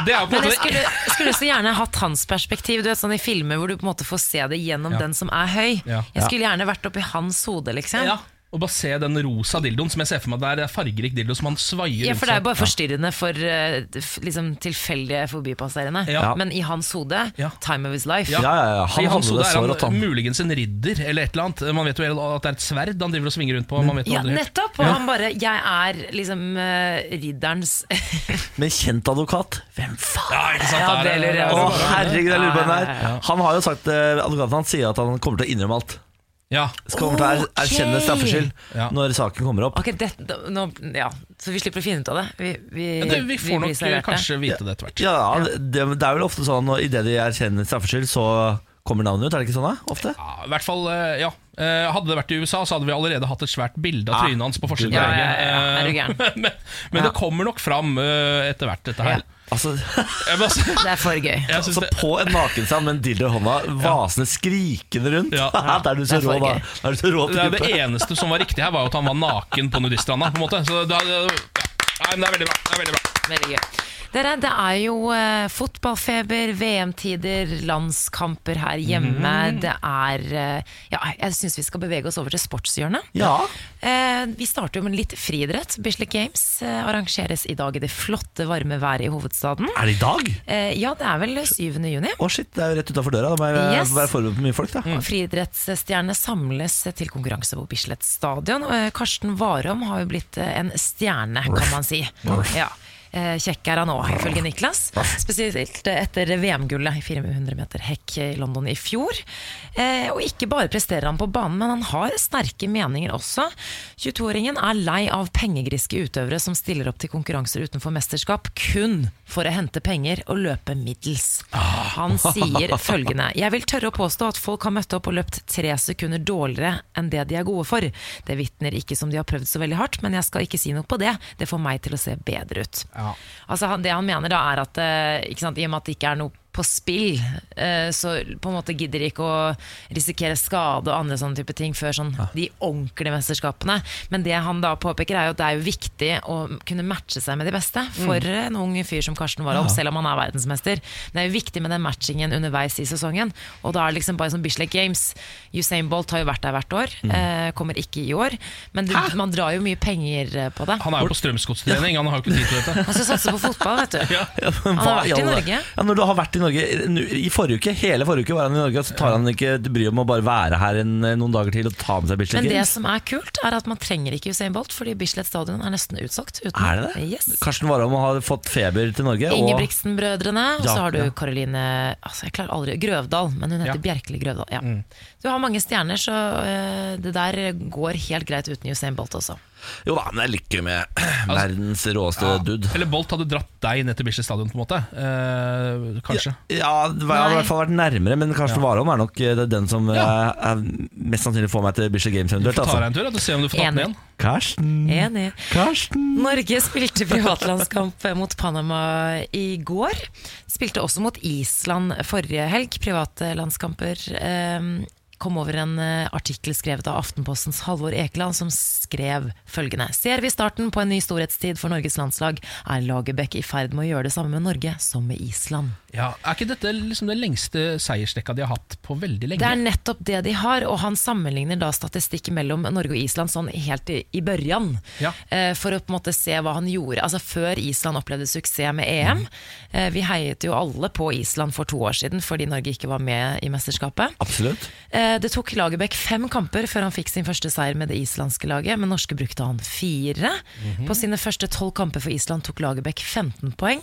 Speaker 4: Det er på en
Speaker 3: Men jeg
Speaker 4: måte
Speaker 3: skulle, skulle så gjerne hatt hans perspektiv. Du vet sånn I filmer hvor du på en måte får se det gjennom den som er høy.
Speaker 4: Ja.
Speaker 3: Jeg skulle gjerne vært oppi hans hode, liksom.
Speaker 4: ja.
Speaker 3: Ja.
Speaker 4: Og bare se den rosa dildoen som jeg ser for meg der. Det er fargerik dildo som han svaier
Speaker 3: for Det er jo bare forstyrrende for eh, f- liksom, tilfeldige forbipasserende.
Speaker 4: Ja.
Speaker 3: Men i hans hode
Speaker 4: Ja.
Speaker 3: time of his life.
Speaker 1: Ja, ja, ja. Han
Speaker 4: I hans
Speaker 1: hadde
Speaker 4: hode
Speaker 1: det
Speaker 4: er
Speaker 1: så
Speaker 4: han
Speaker 1: rått, han.
Speaker 4: muligens en ridder eller et eller annet. Man vet jo at det er et sverd han driver og svinger rundt på. Man vet jo
Speaker 3: Ja,
Speaker 4: aldri.
Speaker 3: nettopp! Og han bare Jeg er liksom eh, ridderens
Speaker 1: Men kjent advokat, hvem faen?
Speaker 4: Ja, ikke sant?
Speaker 3: Ja,
Speaker 4: Der er-
Speaker 3: det lurer jeg
Speaker 1: Å,
Speaker 3: også
Speaker 4: Ja,
Speaker 1: herregud, jeg lurer på den
Speaker 3: Ja,
Speaker 1: der. Han har jo sagt, eh, advokaten hans sier at han kommer til å innrømme alt.
Speaker 4: Ja.
Speaker 1: Kommer til å er- erkjenne
Speaker 3: Ok.
Speaker 1: straffskyld
Speaker 4: Ja.
Speaker 1: når saken kommer opp.
Speaker 3: Ok, det, da- nå, ja. Så vi slipper å finne ut av det. Vi, vi,
Speaker 4: Ja, det, vi får
Speaker 3: blir
Speaker 4: nok eh,
Speaker 3: servert det.
Speaker 4: kanskje vite det etter hvert.
Speaker 1: Ja, det, det er vel ofte sånn at idet de erkjenner straffskyld, så kommer navnet ut. Er det ikke sånn, da? Ofte?
Speaker 4: Ja, i hvert fall, eh, ja Eh, Hadde det vært i USA, så hadde vi allerede hatt et svært bilde av
Speaker 1: Ah,
Speaker 4: trynet hans på forsiden.
Speaker 3: Ja,
Speaker 4: av
Speaker 3: ja,
Speaker 4: VG.
Speaker 3: ja, ja. Er du
Speaker 4: Eh,
Speaker 3: gæren?
Speaker 4: Men, men det kommer nok fram eh, etter hvert, dette her.
Speaker 1: Altså,
Speaker 4: Jeg, bare,
Speaker 3: Det er for gøy.
Speaker 4: jeg synes
Speaker 1: altså
Speaker 4: det,
Speaker 1: På en nakenstrand med en dildo i hånda, vasende skrikende rundt.
Speaker 4: Ja.
Speaker 1: Da er du så
Speaker 3: Det er
Speaker 1: rå,
Speaker 3: for
Speaker 1: da.
Speaker 3: gøy.
Speaker 1: Da er du så rå
Speaker 4: det,
Speaker 1: til
Speaker 4: er det
Speaker 1: gruppe.
Speaker 4: eneste som var riktig her, var jo at han var naken på nudiststranda. På en måte. Så det, det, ja. Nei, men det er veldig bra. Det er veldig bra.
Speaker 3: Veldig gøy. Dere, det er jo eh, fotballfeber, VM-tider, landskamper her hjemme. Det er eh, Ja, jeg syns vi skal bevege oss over til sportshjørnet.
Speaker 1: Ja.
Speaker 3: Eh, vi starter jo med litt friidrett. Bislett Games eh, arrangeres i dag i det flotte, varme været i hovedstaden.
Speaker 1: Er det i dag?
Speaker 3: Eh, ja, det er vel 7. juni.
Speaker 1: Å shit, det er jo rett utafor døra. Da må jeg
Speaker 3: Yes.
Speaker 1: være forberedt på mye folk.
Speaker 4: Mm.
Speaker 1: da
Speaker 3: Og Friidrettsstjernene samles til konkurranse på Bislett stadion. Og, eh, Karsten Warholm har jo blitt eh, en stjerne, kan man si. Ja. eh, kjekk er han òg, ifølge Niklas. Spesielt etter VM-gullet i 400 meter hekk i London i fjor. Eh, og ikke bare presterer han på banen, men han har sterke meninger også. 22-åringen er lei av pengegriske utøvere som stiller opp til konkurranser utenfor mesterskap kun for å hente penger og løpe middels. Han sier følgende Jeg vil tørre å påstå at folk har møtt opp og løpt tre sekunder dårligere enn det de er gode for. Det vitner ikke som de har prøvd så veldig hardt, men jeg skal ikke si noe på det. Det får meg til å se bedre ut. Altså, han, det han mener da er at eh, ikke sant, i og med at det ikke er noe på spill, eh, så på en måte gidder de ikke å risikere skade og andre sånne type ting før sånn de ordentlige mesterskapene. Men det han da påpeker er jo at det er jo viktig å kunne matche seg med de beste for en ung fyr som Karsten Warholm, selv om han er verdensmester. Det er jo viktig med den matchingen underveis i sesongen. Og da er det liksom bare sånn Bislett Games. Usain Bolt har jo vært der hvert år, eh, kommer ikke i år. Men du, man drar jo mye penger eh, på det.
Speaker 4: Han er jo på strømsgodstrening, han har jo ikke tid til dette.
Speaker 3: Han skal satse på fotball, vet du.
Speaker 1: Ja, men
Speaker 3: Han har
Speaker 1: hva
Speaker 3: vært i
Speaker 1: alle-
Speaker 3: Norge.
Speaker 1: Ja, når du har vært i Norge nu- I forrige uke, hele forrige uke var han i Norge, og så tar han ikke bryet om å bare være her en, noen dager til og ta med seg Bislett
Speaker 3: Men det
Speaker 1: Games.
Speaker 3: som er kult, er at man trenger ikke Usain Bolt, fordi Bislett stadion er nesten utsolgt. uten-
Speaker 1: Er det det?
Speaker 3: Yes.
Speaker 1: Karsten Warholm har fått feber til Norge. Og
Speaker 3: Ingebrigtsen-brødrene, og
Speaker 1: Ja,
Speaker 3: så har du
Speaker 1: ja.
Speaker 3: Karoline altså jeg klarer aldri, Grøvdal, men hun heter
Speaker 4: Ja.
Speaker 3: Bjerkeli Grøvdal. Ja.
Speaker 1: Mm.
Speaker 3: Du har mange stjerner, så eh, det der går helt greit uten Usain Bolt også.
Speaker 1: jo da, men det er lykke med
Speaker 4: Altså-
Speaker 1: verdens råeste dude.
Speaker 4: Eller Bolt hadde dratt deg ned til Bislett stadion, på en måte. Eh, kanskje.
Speaker 1: Ja, det var- jeg har i
Speaker 3: Nei.
Speaker 1: hvert fall vært nærmere, men Karsten Warholm er nok eh, den som
Speaker 4: Ja.
Speaker 1: eh, er, mest sannsynlig får meg til Bislett Games
Speaker 4: Du
Speaker 1: eventuelt.
Speaker 4: får ta
Speaker 1: Altså.
Speaker 4: deg en tur da, og se om du får tatt den
Speaker 3: Enig.
Speaker 4: igjen.
Speaker 1: Karsten,
Speaker 3: Enig.
Speaker 1: Karsten
Speaker 3: Norge spilte privatlandskamp mot Panama i går. Spilte også mot Island forrige helg. Private landskamper. eh, Kom over en eh, artikkel skrevet av Aftenpostens Halvor Ekeland, som skrev følgende Ser vi starten på en ny storhetstid for Norges landslag, er Lagerbäck i ferd med å gjøre det samme med Norge som med Island.
Speaker 4: Ja, er ikke dette liksom den lengste seiersrekka de har hatt på veldig lenge?
Speaker 3: Det er nettopp det de har, og han sammenligner da statistikk mellom Norge og Island sånn helt i, i børjan,
Speaker 4: Ja.
Speaker 3: eh, for å på en måte se hva han gjorde. Altså Før Island opplevde suksess med EM. Eh, vi heiet jo alle på Island for to år siden fordi Norge ikke var med i mesterskapet.
Speaker 1: Absolutt.
Speaker 3: Eh, Det tok Lagerbäck fem kamper før han fikk sin første seier med det islandske laget, men norske brukte han fire. På sine første tolv kamper for Island tok Lagerbäck 15 poeng,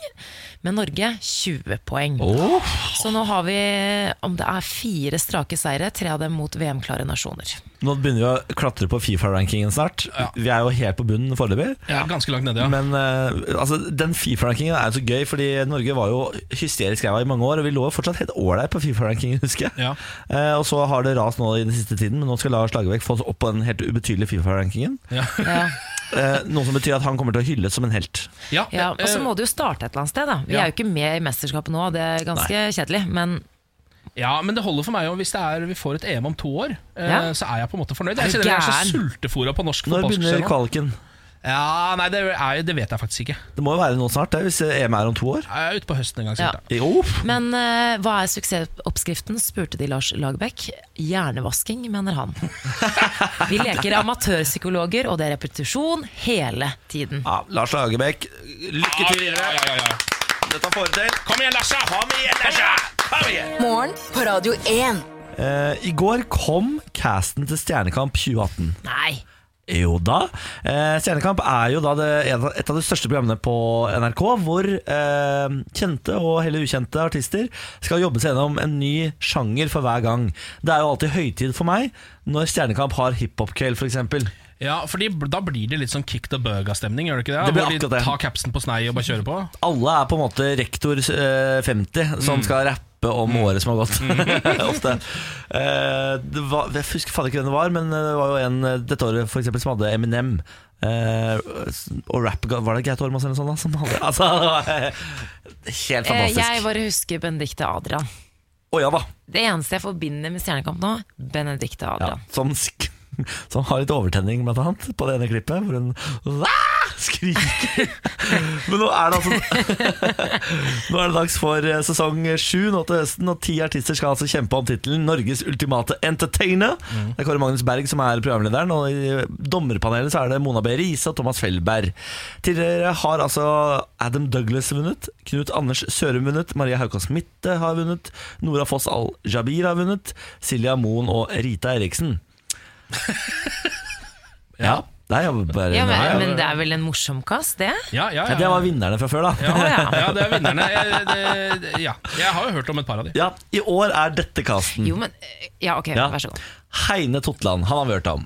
Speaker 3: men Norge 20 poeng. Så nå har vi, om det er fire strake seire, tre av dem mot VM-klare nasjoner.
Speaker 1: Nå begynner vi å klatre på Fifa-rankingen snart. Vi er jo helt på bunnen foreløpig.
Speaker 4: Ja, ganske langt nede, ja.
Speaker 1: Men eh, altså, den Fifa-rankingen er jo så gøy, fordi Norge var jo hysterisk ræva i mange år, og vi lå jo fortsatt helt ålreit på Fifa-rankingen, husker jeg.
Speaker 4: Ja.
Speaker 1: Eh, og så har det rast nå i den siste tiden, men nå skal Lars Lagerbäck få oss opp på den helt ubetydelige Fifa-rankingen.
Speaker 4: Ja.
Speaker 3: Ja.
Speaker 1: Eh, noe som betyr at han kommer til å hylles som en helt.
Speaker 4: Ja,
Speaker 3: Ja,
Speaker 4: eh,
Speaker 3: og så må du jo starte et eller annet sted, da. Vi
Speaker 4: Ja.
Speaker 3: er jo ikke med i mesterskapet nå, det er ganske kjedelig, men
Speaker 4: ja, men det holder for meg. Og hvis det er, vi får et EM om to år, eh,
Speaker 3: Ja.
Speaker 4: så er jeg på en måte fornøyd.
Speaker 3: Er
Speaker 4: Jeg
Speaker 3: du
Speaker 4: kjenner jeg er så
Speaker 3: gæren?
Speaker 4: sultefòra på norsk
Speaker 1: Når begynner
Speaker 4: fotballskjell.
Speaker 1: kvaliken?
Speaker 4: Ja, nei, det, er, det vet jeg faktisk ikke.
Speaker 1: Det må jo være nå snart, det, hvis EM er om to år.
Speaker 4: Jeg er ute på høsten en gang.
Speaker 3: Ja.
Speaker 4: sikkert, da.
Speaker 1: Jo,
Speaker 3: Men eh, hva er suksessoppskriften, spurte de Lars Lagerbäck. Hjernevasking, mener han. Vi leker amatørpsykologer, og det er repetisjon hele tiden.
Speaker 1: ja, Lars Lagerbäck, lykke til
Speaker 4: Ja,
Speaker 1: videre.
Speaker 4: ja, ja, ja.
Speaker 1: Dette får du til.
Speaker 4: Kom igjen, Lasse! Ha med igjen, Lasse! Kom igjen!
Speaker 5: Morgen på Radio 1.
Speaker 1: Eh, I går kom casten til Stjernekamp 2018.
Speaker 3: Nei!
Speaker 1: Jo da. Eh, Stjernekamp er jo da det, et av de største programmene på NRK, hvor eh, kjente og heller ukjente artister skal jobbe seg gjennom en ny sjanger for hver gang. Det er jo alltid høytid for meg når Stjernekamp har hiphop-kveld, f.eks.
Speaker 4: Ja, fordi bl- Da blir det litt sånn kick the burger-stemning. gjør det ikke det?
Speaker 1: Det blir
Speaker 4: Hvor de
Speaker 1: akkurat det.
Speaker 4: tar capsen på snei og bare kjører på.
Speaker 1: Alle er på en måte rektor eh, 50 som skal rappe om året som har gått. Ofte. Eh, det var, jeg husker faen ikke hvem det var, men det var jo en eh, dette året for eksempel, som hadde Eminem. eh, og rap Var det Gaute Ormås eller noe sånt? da, Som hadde, altså, det var, eh, helt
Speaker 3: Eh,
Speaker 1: fantastisk.
Speaker 3: jeg bare husker Benedicte Adrian.
Speaker 1: Å ja da.
Speaker 3: Det eneste jeg forbinder med Stjernekamp nå, Benedicte
Speaker 1: Ja,
Speaker 3: Adrian.
Speaker 1: som, sk som har litt overtenning, blant annet, på det ene klippet, hvor hun "Ah!" skriker. Men nå er det altså Nå er det dags for eh, sesong sju nå til høsten, og ti artister skal altså kjempe om tittelen 'Norges ultimate entertainer'. Det er Kåre Magnus Berg som er programlederen, og i dommerpanelet så er det Mona B. Riise og Thomas Felberg. Tidligere har altså Adam Douglas vunnet, Knut Anders Sørum vunnet, Maria Haukås Mitte har vunnet, Nora Foss Al-Jabir har vunnet, Silja Moen og Rita Eriksen. Ja, Nei, jeg bare,
Speaker 3: Ja,
Speaker 1: nei,
Speaker 3: men,
Speaker 1: jeg-
Speaker 3: men det er vel en morsom kast, det?
Speaker 4: Ja, ja,
Speaker 1: ja,
Speaker 4: ja.
Speaker 1: det var vinnerne fra før, da.
Speaker 4: ja,
Speaker 3: Å, ja.
Speaker 4: ja, det er vinnerne. Eh, det- det- Ja. Jeg har jo hørt om et par av de.
Speaker 1: Ja, I år er dette casten.
Speaker 3: Jo, men eh, Ja, ok,
Speaker 1: Ja.
Speaker 3: vær så god.
Speaker 1: Heine Totland, han har vi hørt om.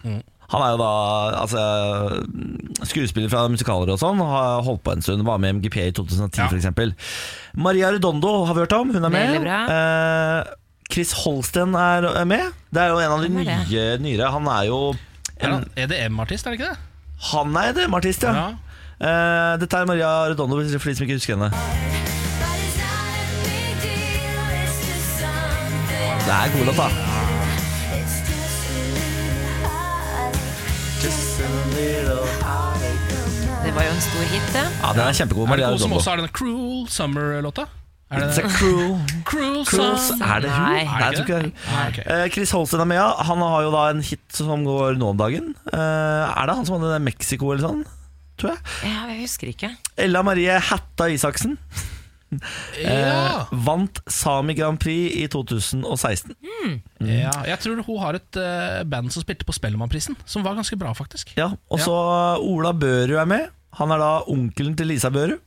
Speaker 1: Han er jo da altså, skuespiller fra musikaler og sånn. Har holdt på en stund, var med i MGP i 2010
Speaker 4: Ja.
Speaker 1: for f.eks. Maria Redondo har vi hørt om, hun er med.
Speaker 3: Veldig bra.
Speaker 1: Eh, Chris Holsten er er med. Det er jo en av de
Speaker 3: Hvem er det?
Speaker 1: nye, nyere. Han er jo
Speaker 4: Er han EDM-artist, er det ikke det?
Speaker 1: Han er EDM-artist, ja.
Speaker 4: Ja.
Speaker 1: Eh, dette er Maria Redondo, hvis- for de som ikke husker henne.
Speaker 6: But it's not a big deal, it's just
Speaker 1: Det
Speaker 6: something.
Speaker 1: er god låt, da.
Speaker 6: It's just a little heartache. Just a little heartache of mine.
Speaker 3: Det var jo en stor hit, det.
Speaker 1: Ja, den er kjempegod.
Speaker 4: Er det
Speaker 1: Maria
Speaker 4: hun som
Speaker 1: Redondo.
Speaker 4: også har denne Cruel Summer-låta? Er det
Speaker 1: It's a cruel
Speaker 4: Cruel
Speaker 1: cruel-
Speaker 4: Summer?
Speaker 1: Er det hun?
Speaker 3: Nei.
Speaker 1: Nei, jeg tror ikke det er hun.
Speaker 4: Ah, ok.
Speaker 1: Eh, Chris Holsten er med, ja. Han har jo da en hit som går nå om dagen. Eh, er det han som hadde den Mexico eller sånn? Tror jeg.
Speaker 3: Ja, jeg husker ikke.
Speaker 1: Ella Marie Hatta Isaksen Eh,
Speaker 4: Ja.
Speaker 1: vant Sami Grand Prix i 2016. mm.
Speaker 4: ja, jeg tror hun har et eh, band som spilte på Spellemannprisen, som var ganske bra, faktisk.
Speaker 1: Ja, Og så Ola Børud er med. Han er da onkelen til Lisa Børud.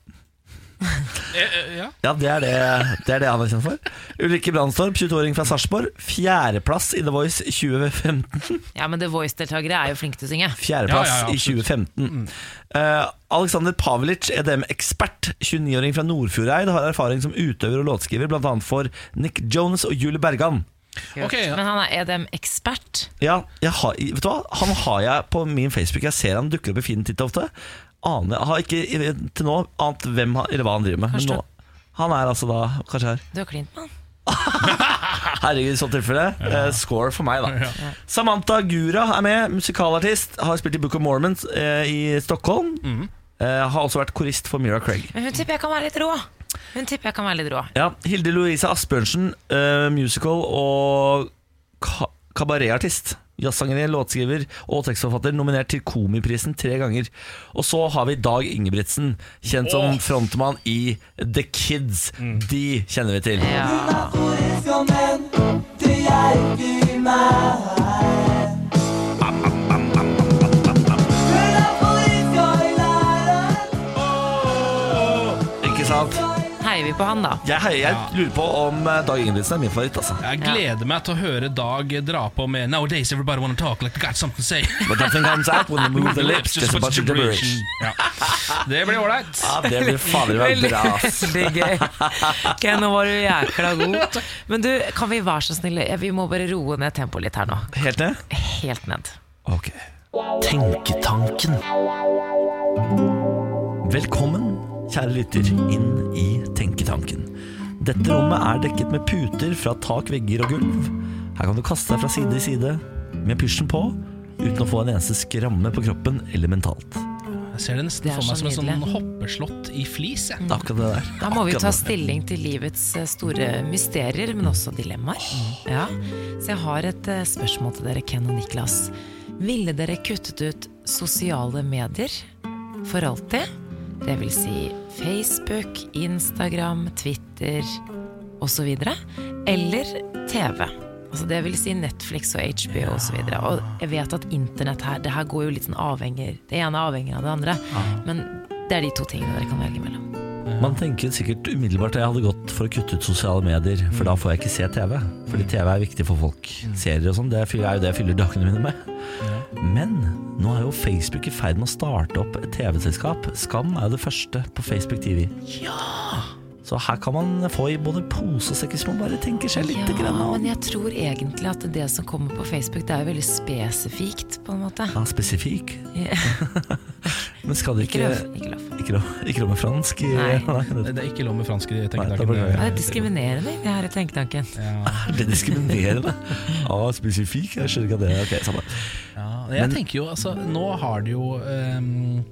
Speaker 4: Eh, ja.
Speaker 1: Ja, det er det, det er det han er kjent for. Ulrikke Brandstorp, 22-åring fra Sarpsborg. Fjerdeplass i The Voice 2015.
Speaker 3: Ja, men The Voice-deltakere er jo flinke til å synge.
Speaker 1: Fjerdeplass
Speaker 4: Ja, ja, ja,
Speaker 1: i
Speaker 4: absolutt. Mm.
Speaker 1: 2015. Eh, Alexander Pavelic, EDM-ekspert, 29-åring fra Nordfjordeid, har erfaring som utøver og låtskriver, bl.a. for Nick Jones og Julie Bergan.
Speaker 3: Kult.
Speaker 4: Ok, ja.
Speaker 3: Men han er EDM-ekspert.
Speaker 1: Ja, jeg har, vet du hva? Han har jeg på min Facebook. Jeg ser han dukker opp i feeden titt og ofte. Aner, jeg har ikke til nå ant hvem han, eller hva han driver med. Men
Speaker 3: Kanskje.
Speaker 1: nå, han er altså da kanskje her.
Speaker 3: Du har klint med han.
Speaker 1: Herregud, i så tilfelle. eh, score for meg, da. Samantha Gura er med, musikalartist. Har spilt i Book of Mormons eh, i Stockholm. Eh, har også vært korist for Mira Craig.
Speaker 3: Men hun tipper jeg kan være litt rå. Hun tipper jeg kan være litt rå.
Speaker 1: Ja, Hilde Louise Asbjørnsen, eh, musical og ka kabaretartist. Jazzsanger, låtskriver og tekstforfatter, nominert til Komiprisen tre ganger. Og så har vi Dag Ingebrigtsen, kjent som frontmann i The Kids. De kjenner vi til. Ikke sant?
Speaker 3: Heier vi på han, da?
Speaker 1: Jeg, heier- jeg lurer på om eh, Dag Ingebrigtsen er min favoritt, altså.
Speaker 4: Jeg gleder meg til å høre Dag dra på med Nowadays everybody wanna talk like they got something to say.
Speaker 1: But nothing comes out when you move the lips, just a bunch of gibberish.
Speaker 4: Ja. Det blir ålreit.
Speaker 1: Ja, det blir fader meg
Speaker 3: Veldig-
Speaker 1: bra. ass.
Speaker 3: Veldig gøy. Ok, nå var du jækla god. Men du, kan vi være så snille? Ja, Vi må bare roe ned tempoet litt her nå.
Speaker 1: Helt ned?
Speaker 3: Helt ned.
Speaker 1: Ok. Tenketanken. Velkommen, kjære lytter, inn i Tenketanken. Dette rommet er dekket med puter fra tak, vegger og gulv. Her kan du kaste deg fra side til side med pysjen på, uten å få en eneste skramme på kroppen eller mentalt.
Speaker 4: Jeg ser det nesten
Speaker 3: Det er
Speaker 4: for meg
Speaker 3: så
Speaker 4: som en sånn
Speaker 3: nydelig.
Speaker 4: hoppeslott i flis. Jeg.
Speaker 1: Det er akkurat det der.
Speaker 3: Da må vi jo
Speaker 1: Akkurat
Speaker 3: ta
Speaker 1: det.
Speaker 3: stilling til livets eh, store mysterier, men også dilemmaer. Ja. Så jeg har et eh, spørsmål til dere, Ken og Niklas. Ville dere kuttet ut sosiale medier for alltid? Det vil si Facebook, Instagram, Twitter osv. Eller TV. Altså det vil si Netflix og HBO og osv. Og jeg vet at internett her, det her går jo litt sånn avhenger Det ene er avhengig av det andre. Men det er de to tingene dere kan velge mellom.
Speaker 1: Man tenker sikkert umiddelbart at jeg hadde gått for å kutte ut sosiale medier, for da får jeg ikke se TV.
Speaker 3: Mm.
Speaker 1: Fordi TV er viktig for folk. Serier og sånn, det fyller- er jo det jeg fyller dagene mine med. Men nå er jo Facebook i ferd med å starte opp et TV-selskap. Skam er jo det første på Facebook TV. Så her kan man få i både pose og sekk hvis man bare tenker seg litt
Speaker 3: Ja,
Speaker 1: grann om.
Speaker 3: men jeg tror egentlig at det som kommer på Facebook, det er jo veldig spesifikt, på en måte.
Speaker 1: Ja, spesifikk.
Speaker 3: Ja.
Speaker 1: Men skal det
Speaker 3: Ikke
Speaker 1: ikke
Speaker 3: lov. Ikke lov.
Speaker 1: Ikke lov ikke lov med fransk? i-
Speaker 3: Nei.
Speaker 1: Nei,
Speaker 4: Det er ikke lov med fransk i
Speaker 1: Nei, da blir det-
Speaker 4: tenkedagen.
Speaker 3: Ja, Det er diskriminerende, det her i tenketanken.
Speaker 1: Er det diskriminerende? Ja, spesifikk? Jeg skjønner ikke at det er ok. Samme.
Speaker 4: Ja, jeg tenker jo, altså, nå har det jo ehm,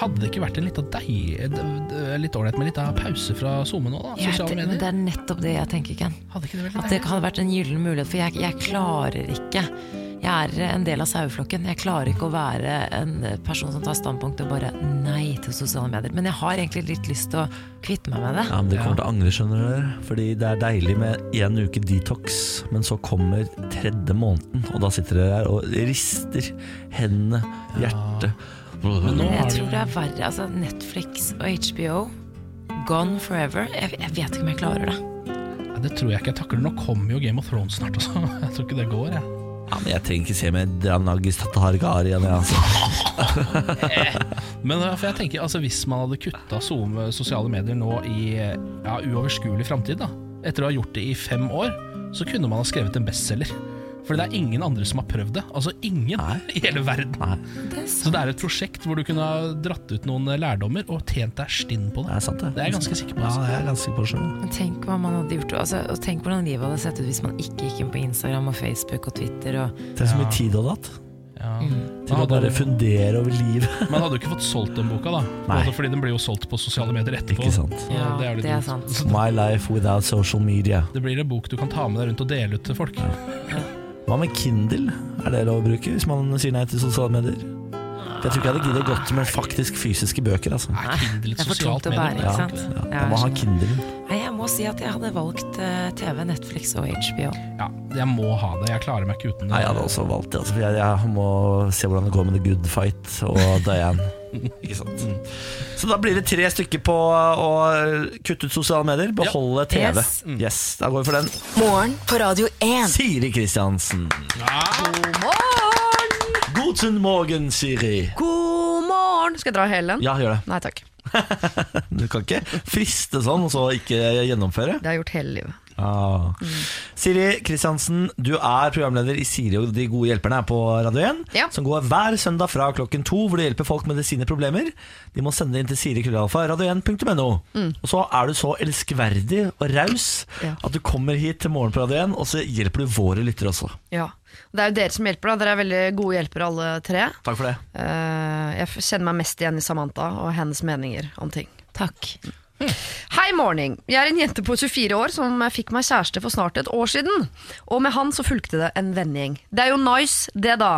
Speaker 4: Hadde det ikke vært en lita deig d- d- Litt ålreit med litt av pause fra SoMe nå, da?
Speaker 3: Jeg,
Speaker 4: Sosiale
Speaker 3: men det
Speaker 4: medier?
Speaker 3: er nettopp det jeg tenker, Ken.
Speaker 4: Hadde ikke det vært
Speaker 3: At
Speaker 4: litt
Speaker 3: det
Speaker 4: deilig?
Speaker 3: hadde vært en gyllen mulighet, for jeg, jeg klarer ikke Jeg er en del av saueflokken. Jeg klarer ikke å være en person som tar standpunkt og bare nei til sosiale medier. Men jeg har egentlig litt lyst til å kvitte meg med det.
Speaker 1: Ja, men Dere kommer til å angre, skjønner dere. Fordi det er deilig med én uke detox, men så kommer tredje måneden, og da sitter dere her og rister hendene, hjertet
Speaker 4: nå-
Speaker 3: Jeg
Speaker 4: har
Speaker 3: tror
Speaker 4: du-
Speaker 3: det er verre. Altså, Netflix og HBO, gone forever. Jeg, jeg vet ikke om jeg klarer det.
Speaker 4: Nei, det tror jeg ikke jeg takler. Nå kommer jo Game of Thrones snart, altså. Jeg tror ikke det går, jeg.
Speaker 1: Ja, men Jeg trenger ikke se mer Dranagis Tatargari igjen. jeg, Altså.
Speaker 4: Men eh, for jeg tenker, altså, hvis man hadde kutta SoMe- sosiale medier nå i eh, ja, uoverskuelig framtid, da, etter å ha gjort det i fem år, så kunne man ha skrevet en bestselger. For det er ingen andre som har prøvd det. Altså ingen i hele verden.
Speaker 3: Det er
Speaker 4: Så
Speaker 3: sant.
Speaker 4: det er et prosjekt hvor du kunne ha dratt ut noen eh, lærdommer og tjent deg stinn på
Speaker 1: Det
Speaker 4: det.
Speaker 1: er sant, det.
Speaker 4: Det er jeg ganske sikker på.
Speaker 1: Ja,
Speaker 4: Altså.
Speaker 1: det er jeg ganske sikker på selv.
Speaker 3: Men tenk hva man hadde gjort altså, Og tenk hvordan livet hadde sett ut hvis man ikke gikk inn på Instagram og Facebook og Twitter. Og,
Speaker 1: Det er så mye tid du hadde hatt
Speaker 4: Ja.
Speaker 3: Mm.
Speaker 1: til å
Speaker 4: Man
Speaker 1: bare
Speaker 4: hadde-
Speaker 1: fundere over livet.
Speaker 4: Man hadde jo ikke fått solgt den boka, da.
Speaker 1: Nei.
Speaker 4: Altså, Fordi den blir jo solgt på sosiale medier etterpå.
Speaker 1: Ikke sant?
Speaker 4: Så det er jo litt dumt.
Speaker 3: sant.
Speaker 1: My life without social media.
Speaker 4: Det blir en bok du kan ta med deg rundt og dele ut til folk.
Speaker 1: Hva med Kindle? Er det lov å bruke hvis man sier nei til sosiale medier? Jeg tror ikke jeg hadde giddet godt med faktisk fysiske bøker. Altså.
Speaker 4: Er Kindle et
Speaker 3: Det er for tungt
Speaker 4: sosialt
Speaker 3: å bære,
Speaker 4: medium?
Speaker 1: Ja,
Speaker 3: ikke sant?
Speaker 1: ja.
Speaker 3: Ja,
Speaker 1: Man må ha
Speaker 3: jeg skjønner.
Speaker 1: Kindle.
Speaker 3: Nei, jeg må si at jeg hadde valgt eh, TV, Netflix og HBO.
Speaker 4: Ja, jeg må ha det. Jeg klarer meg ikke uten det.
Speaker 1: Nei, jeg hadde også valgt det. Altså, for jeg, jeg må se hvordan det går med The Good Fight og Diane. Ikke sant? Så da blir det tre stykker på å kutte ut sosiale medier, beholde TV.
Speaker 3: Yes.
Speaker 1: Yes, Da går vi for den.
Speaker 5: Morgen på Radio 1.
Speaker 1: Siri Kristiansen. Guten morgen, Siri.
Speaker 7: God morgen! Skal jeg dra hele den?
Speaker 1: Ja, gjør det.
Speaker 7: Nei takk.
Speaker 1: Du kan ikke friste sånn og så ikke gjennomføre.
Speaker 7: Det har jeg gjort hele livet. Mm.
Speaker 1: Ah. Siri Kristiansen, du er programleder i Siri og de gode hjelperne her på Radio 1,
Speaker 7: Ja.
Speaker 1: som går hver søndag fra klokken to, hvor du hjelper folk med sine problemer. De må sende det inn til sirikrøllalfa, radio1.no. Og så er du så elskverdig og raus
Speaker 7: Mm. Ja.
Speaker 1: at du kommer hit til morgen på Radio 1, og så hjelper du våre lyttere også.
Speaker 7: Ja. Og Det er jo dere som hjelper, da. Dere er veldig gode hjelpere, alle tre.
Speaker 1: Takk for det.
Speaker 7: Eh, jeg f- kjenner meg mest igjen i Samantha og hennes meninger om ting.
Speaker 3: Takk.
Speaker 7: Hei, morning. Jeg er en jente på 24 år som fikk meg kjæreste for snart et år siden. Og med han så fulgte det en vennegjeng. Det er jo nice, det da.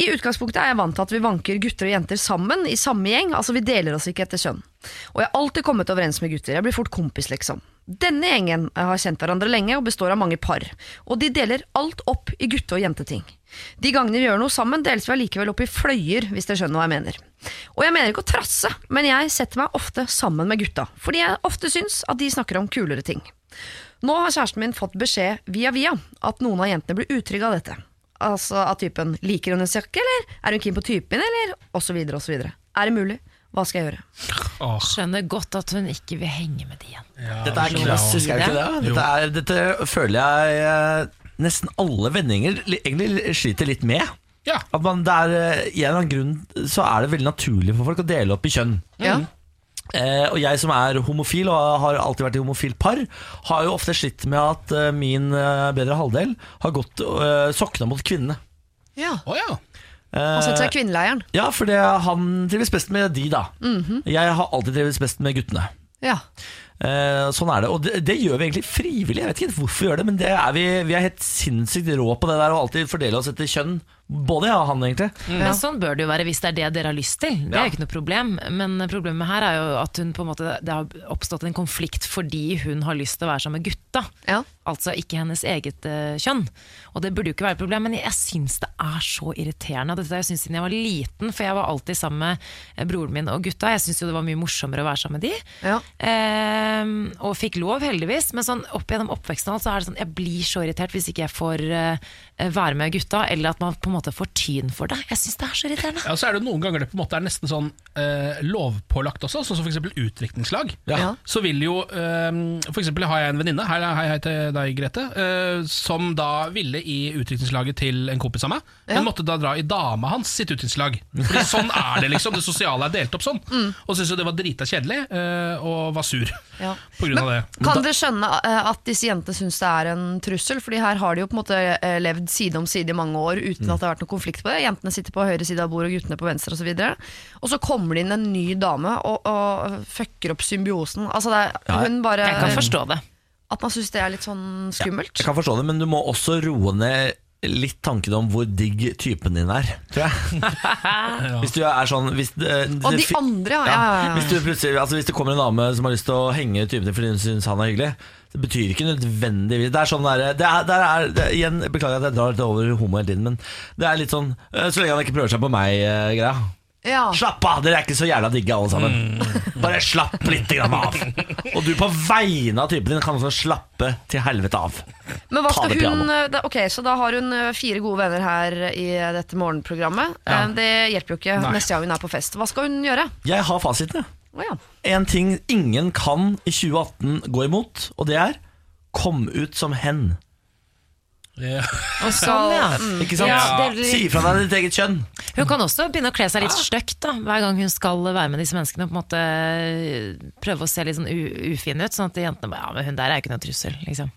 Speaker 7: I utgangspunktet er jeg vant til at vi vanker gutter og jenter sammen i samme gjeng. Altså vi deler oss ikke etter kjønn. Og jeg har alltid kommet overens med gutter. Jeg blir fort kompis, liksom. Denne gjengen har kjent hverandre lenge og består av mange par. Og de deler alt opp i gutte- og jenteting. De gangene vi gjør noe sammen, deles vi allikevel opp i fløyer, hvis dere skjønner hva jeg mener. Og jeg mener ikke å trasse, men jeg setter meg ofte sammen med gutta, fordi jeg ofte syns at de snakker om kulere ting. Nå har kjæresten min fått beskjed via via at noen av jentene blir utrygge av dette. Altså av typen 'liker hun en jakke', eller 'er hun keen på typen', eller osv. osv. Er det mulig? Hva skal jeg gjøre?
Speaker 3: Skjønner godt at hun ikke vil henge med de igjen.
Speaker 1: Dette er klassisk, er det ikke det? Dette, er, dette føler jeg eh, nesten alle vendinger li- egentlig sliter litt med.
Speaker 4: Ja.
Speaker 1: At man, det er, eh, i en eller annen grunn så er det veldig naturlig for folk å dele opp i kjønn.
Speaker 7: Ja.
Speaker 1: Eh, og jeg som er homofil, og har alltid vært i homofilt par, har jo ofte slitt med at eh, min eh, bedre halvdel har gått eh, sokna mot kvinnene. Eh,
Speaker 4: Å ja.
Speaker 7: Han setter seg i kvinneleiren.
Speaker 1: Ja, for det, han trives best med de, da. Jeg har alltid trivdes best med guttene.
Speaker 7: Ja.
Speaker 1: Eh, sånn er det, og det, det gjør vi egentlig frivillig. Jeg vet ikke helt hvorfor vi gjør det, men det er vi, vi er helt sinnssykt rå på det der å alltid fordele oss etter kjønn. Både jeg og han, egentlig.
Speaker 3: Men sånn bør det jo være hvis det er det dere har lyst til. Det er jo ikke noe problem. Men problemet her er jo at hun på en måte, det har oppstått en konflikt fordi hun har lyst til å være sammen med gutta.
Speaker 7: Ja.
Speaker 3: Altså ikke hennes eget eh, kjønn. Og det burde jo ikke være et problem, men jeg syns det er så irriterende. Dette har jeg syntes siden jeg var liten, for jeg var alltid sammen med eh, broren min og gutta. Jeg syns jo det var mye morsommere å være sammen med de.
Speaker 7: Ja.
Speaker 3: Ehm, og fikk lov, heldigvis. Men sånn, opp gjennom oppveksten og alt, så er det sånn, jeg blir så irritert hvis ikke jeg får eh, være med gutta, eller at man på en måte får tyn for det. Jeg syns det er så irriterende.
Speaker 4: Ja, så er det noen ganger det på en måte er nesten sånn eh, lovpålagt også, sånn som f.eks. utdrikningslag.
Speaker 1: Ja.
Speaker 4: Så vil jo eh, F.eks. har jeg en venninne, hei, hei, hei til deg, Grete, eh, som da ville i utdrikningslaget til en kompis av meg, men måtte da dra i dama hans sitt utdrikningslag. Fordi sånn er det, liksom. Det sosiale er delt opp sånn.
Speaker 1: Mm.
Speaker 4: Og syntes jo det var drita kjedelig, eh, og var sur
Speaker 7: Ja.
Speaker 4: på grunn av det.
Speaker 7: Kan dere skjønne eh, at disse jentene syns det er en trussel? Fordi her har de jo på en måte eh, levd side om side i mange år
Speaker 1: Mm.
Speaker 7: uten at det har vært noen konflikt på det. Jentene sitter på høyre side av bordet og guttene på venstre osv. Og så kommer det inn en ny dame og, og fucker opp symbiosen. Altså det er, hun bare
Speaker 3: Jeg kan forstå det.
Speaker 7: At man syns det er litt sånn skummelt.
Speaker 1: Jeg kan forstå det, men du må også roe ned litt tanken om hvor digg typen din er, tror jeg. Hvis du er sånn hvis, eh,
Speaker 7: Og
Speaker 1: det
Speaker 7: de
Speaker 1: fi-
Speaker 7: andre, ja. ja,
Speaker 1: ja.
Speaker 7: ja,
Speaker 1: Hvis,
Speaker 7: ja.
Speaker 1: du plutselig- altså hvis det kommer en dame som har lyst til å henge typen din fordi hun syns han er hyggelig, det betyr ikke nødvendigvis Det er sånn der, det er, der er, det, Igjen, beklager at jeg drar litt over homo hele tiden, men det er litt sånn eh, Så lenge han ikke prøver seg på eh, meg-greia.
Speaker 7: ja.
Speaker 1: Slapp av, dere er ikke så jævla digge alle sammen. Bare slapp litt grann av. Og du på vegne av typen din kan også slappe til helvete av.
Speaker 7: Men hva
Speaker 1: Ta
Speaker 7: skal
Speaker 1: det
Speaker 7: hun
Speaker 1: piano.
Speaker 7: eh, da, Ok, så da har hun eh, fire gode venner her i eh, dette morgenprogrammet. Eh, Det hjelper jo ikke neste gang hun er på fest. Hva skal hun gjøre?
Speaker 1: Jeg har fasiten, jeg.
Speaker 7: Å ja.
Speaker 1: En ting ingen kan i 2018 gå imot, og det er kom ut som hen.
Speaker 4: Ja.
Speaker 3: Sånn, ja.
Speaker 1: Ikke sant?
Speaker 3: Ja, det er-
Speaker 1: Si ifra deg ditt eget kjønn.
Speaker 3: Hun kan også begynne å kle seg litt stygt da, hver gang hun skal være med disse menneskene. og På en måte Prøve å se litt sånn u ufin ut, sånn at jentene bare Ja, men hun der er jo ikke noe trussel, liksom.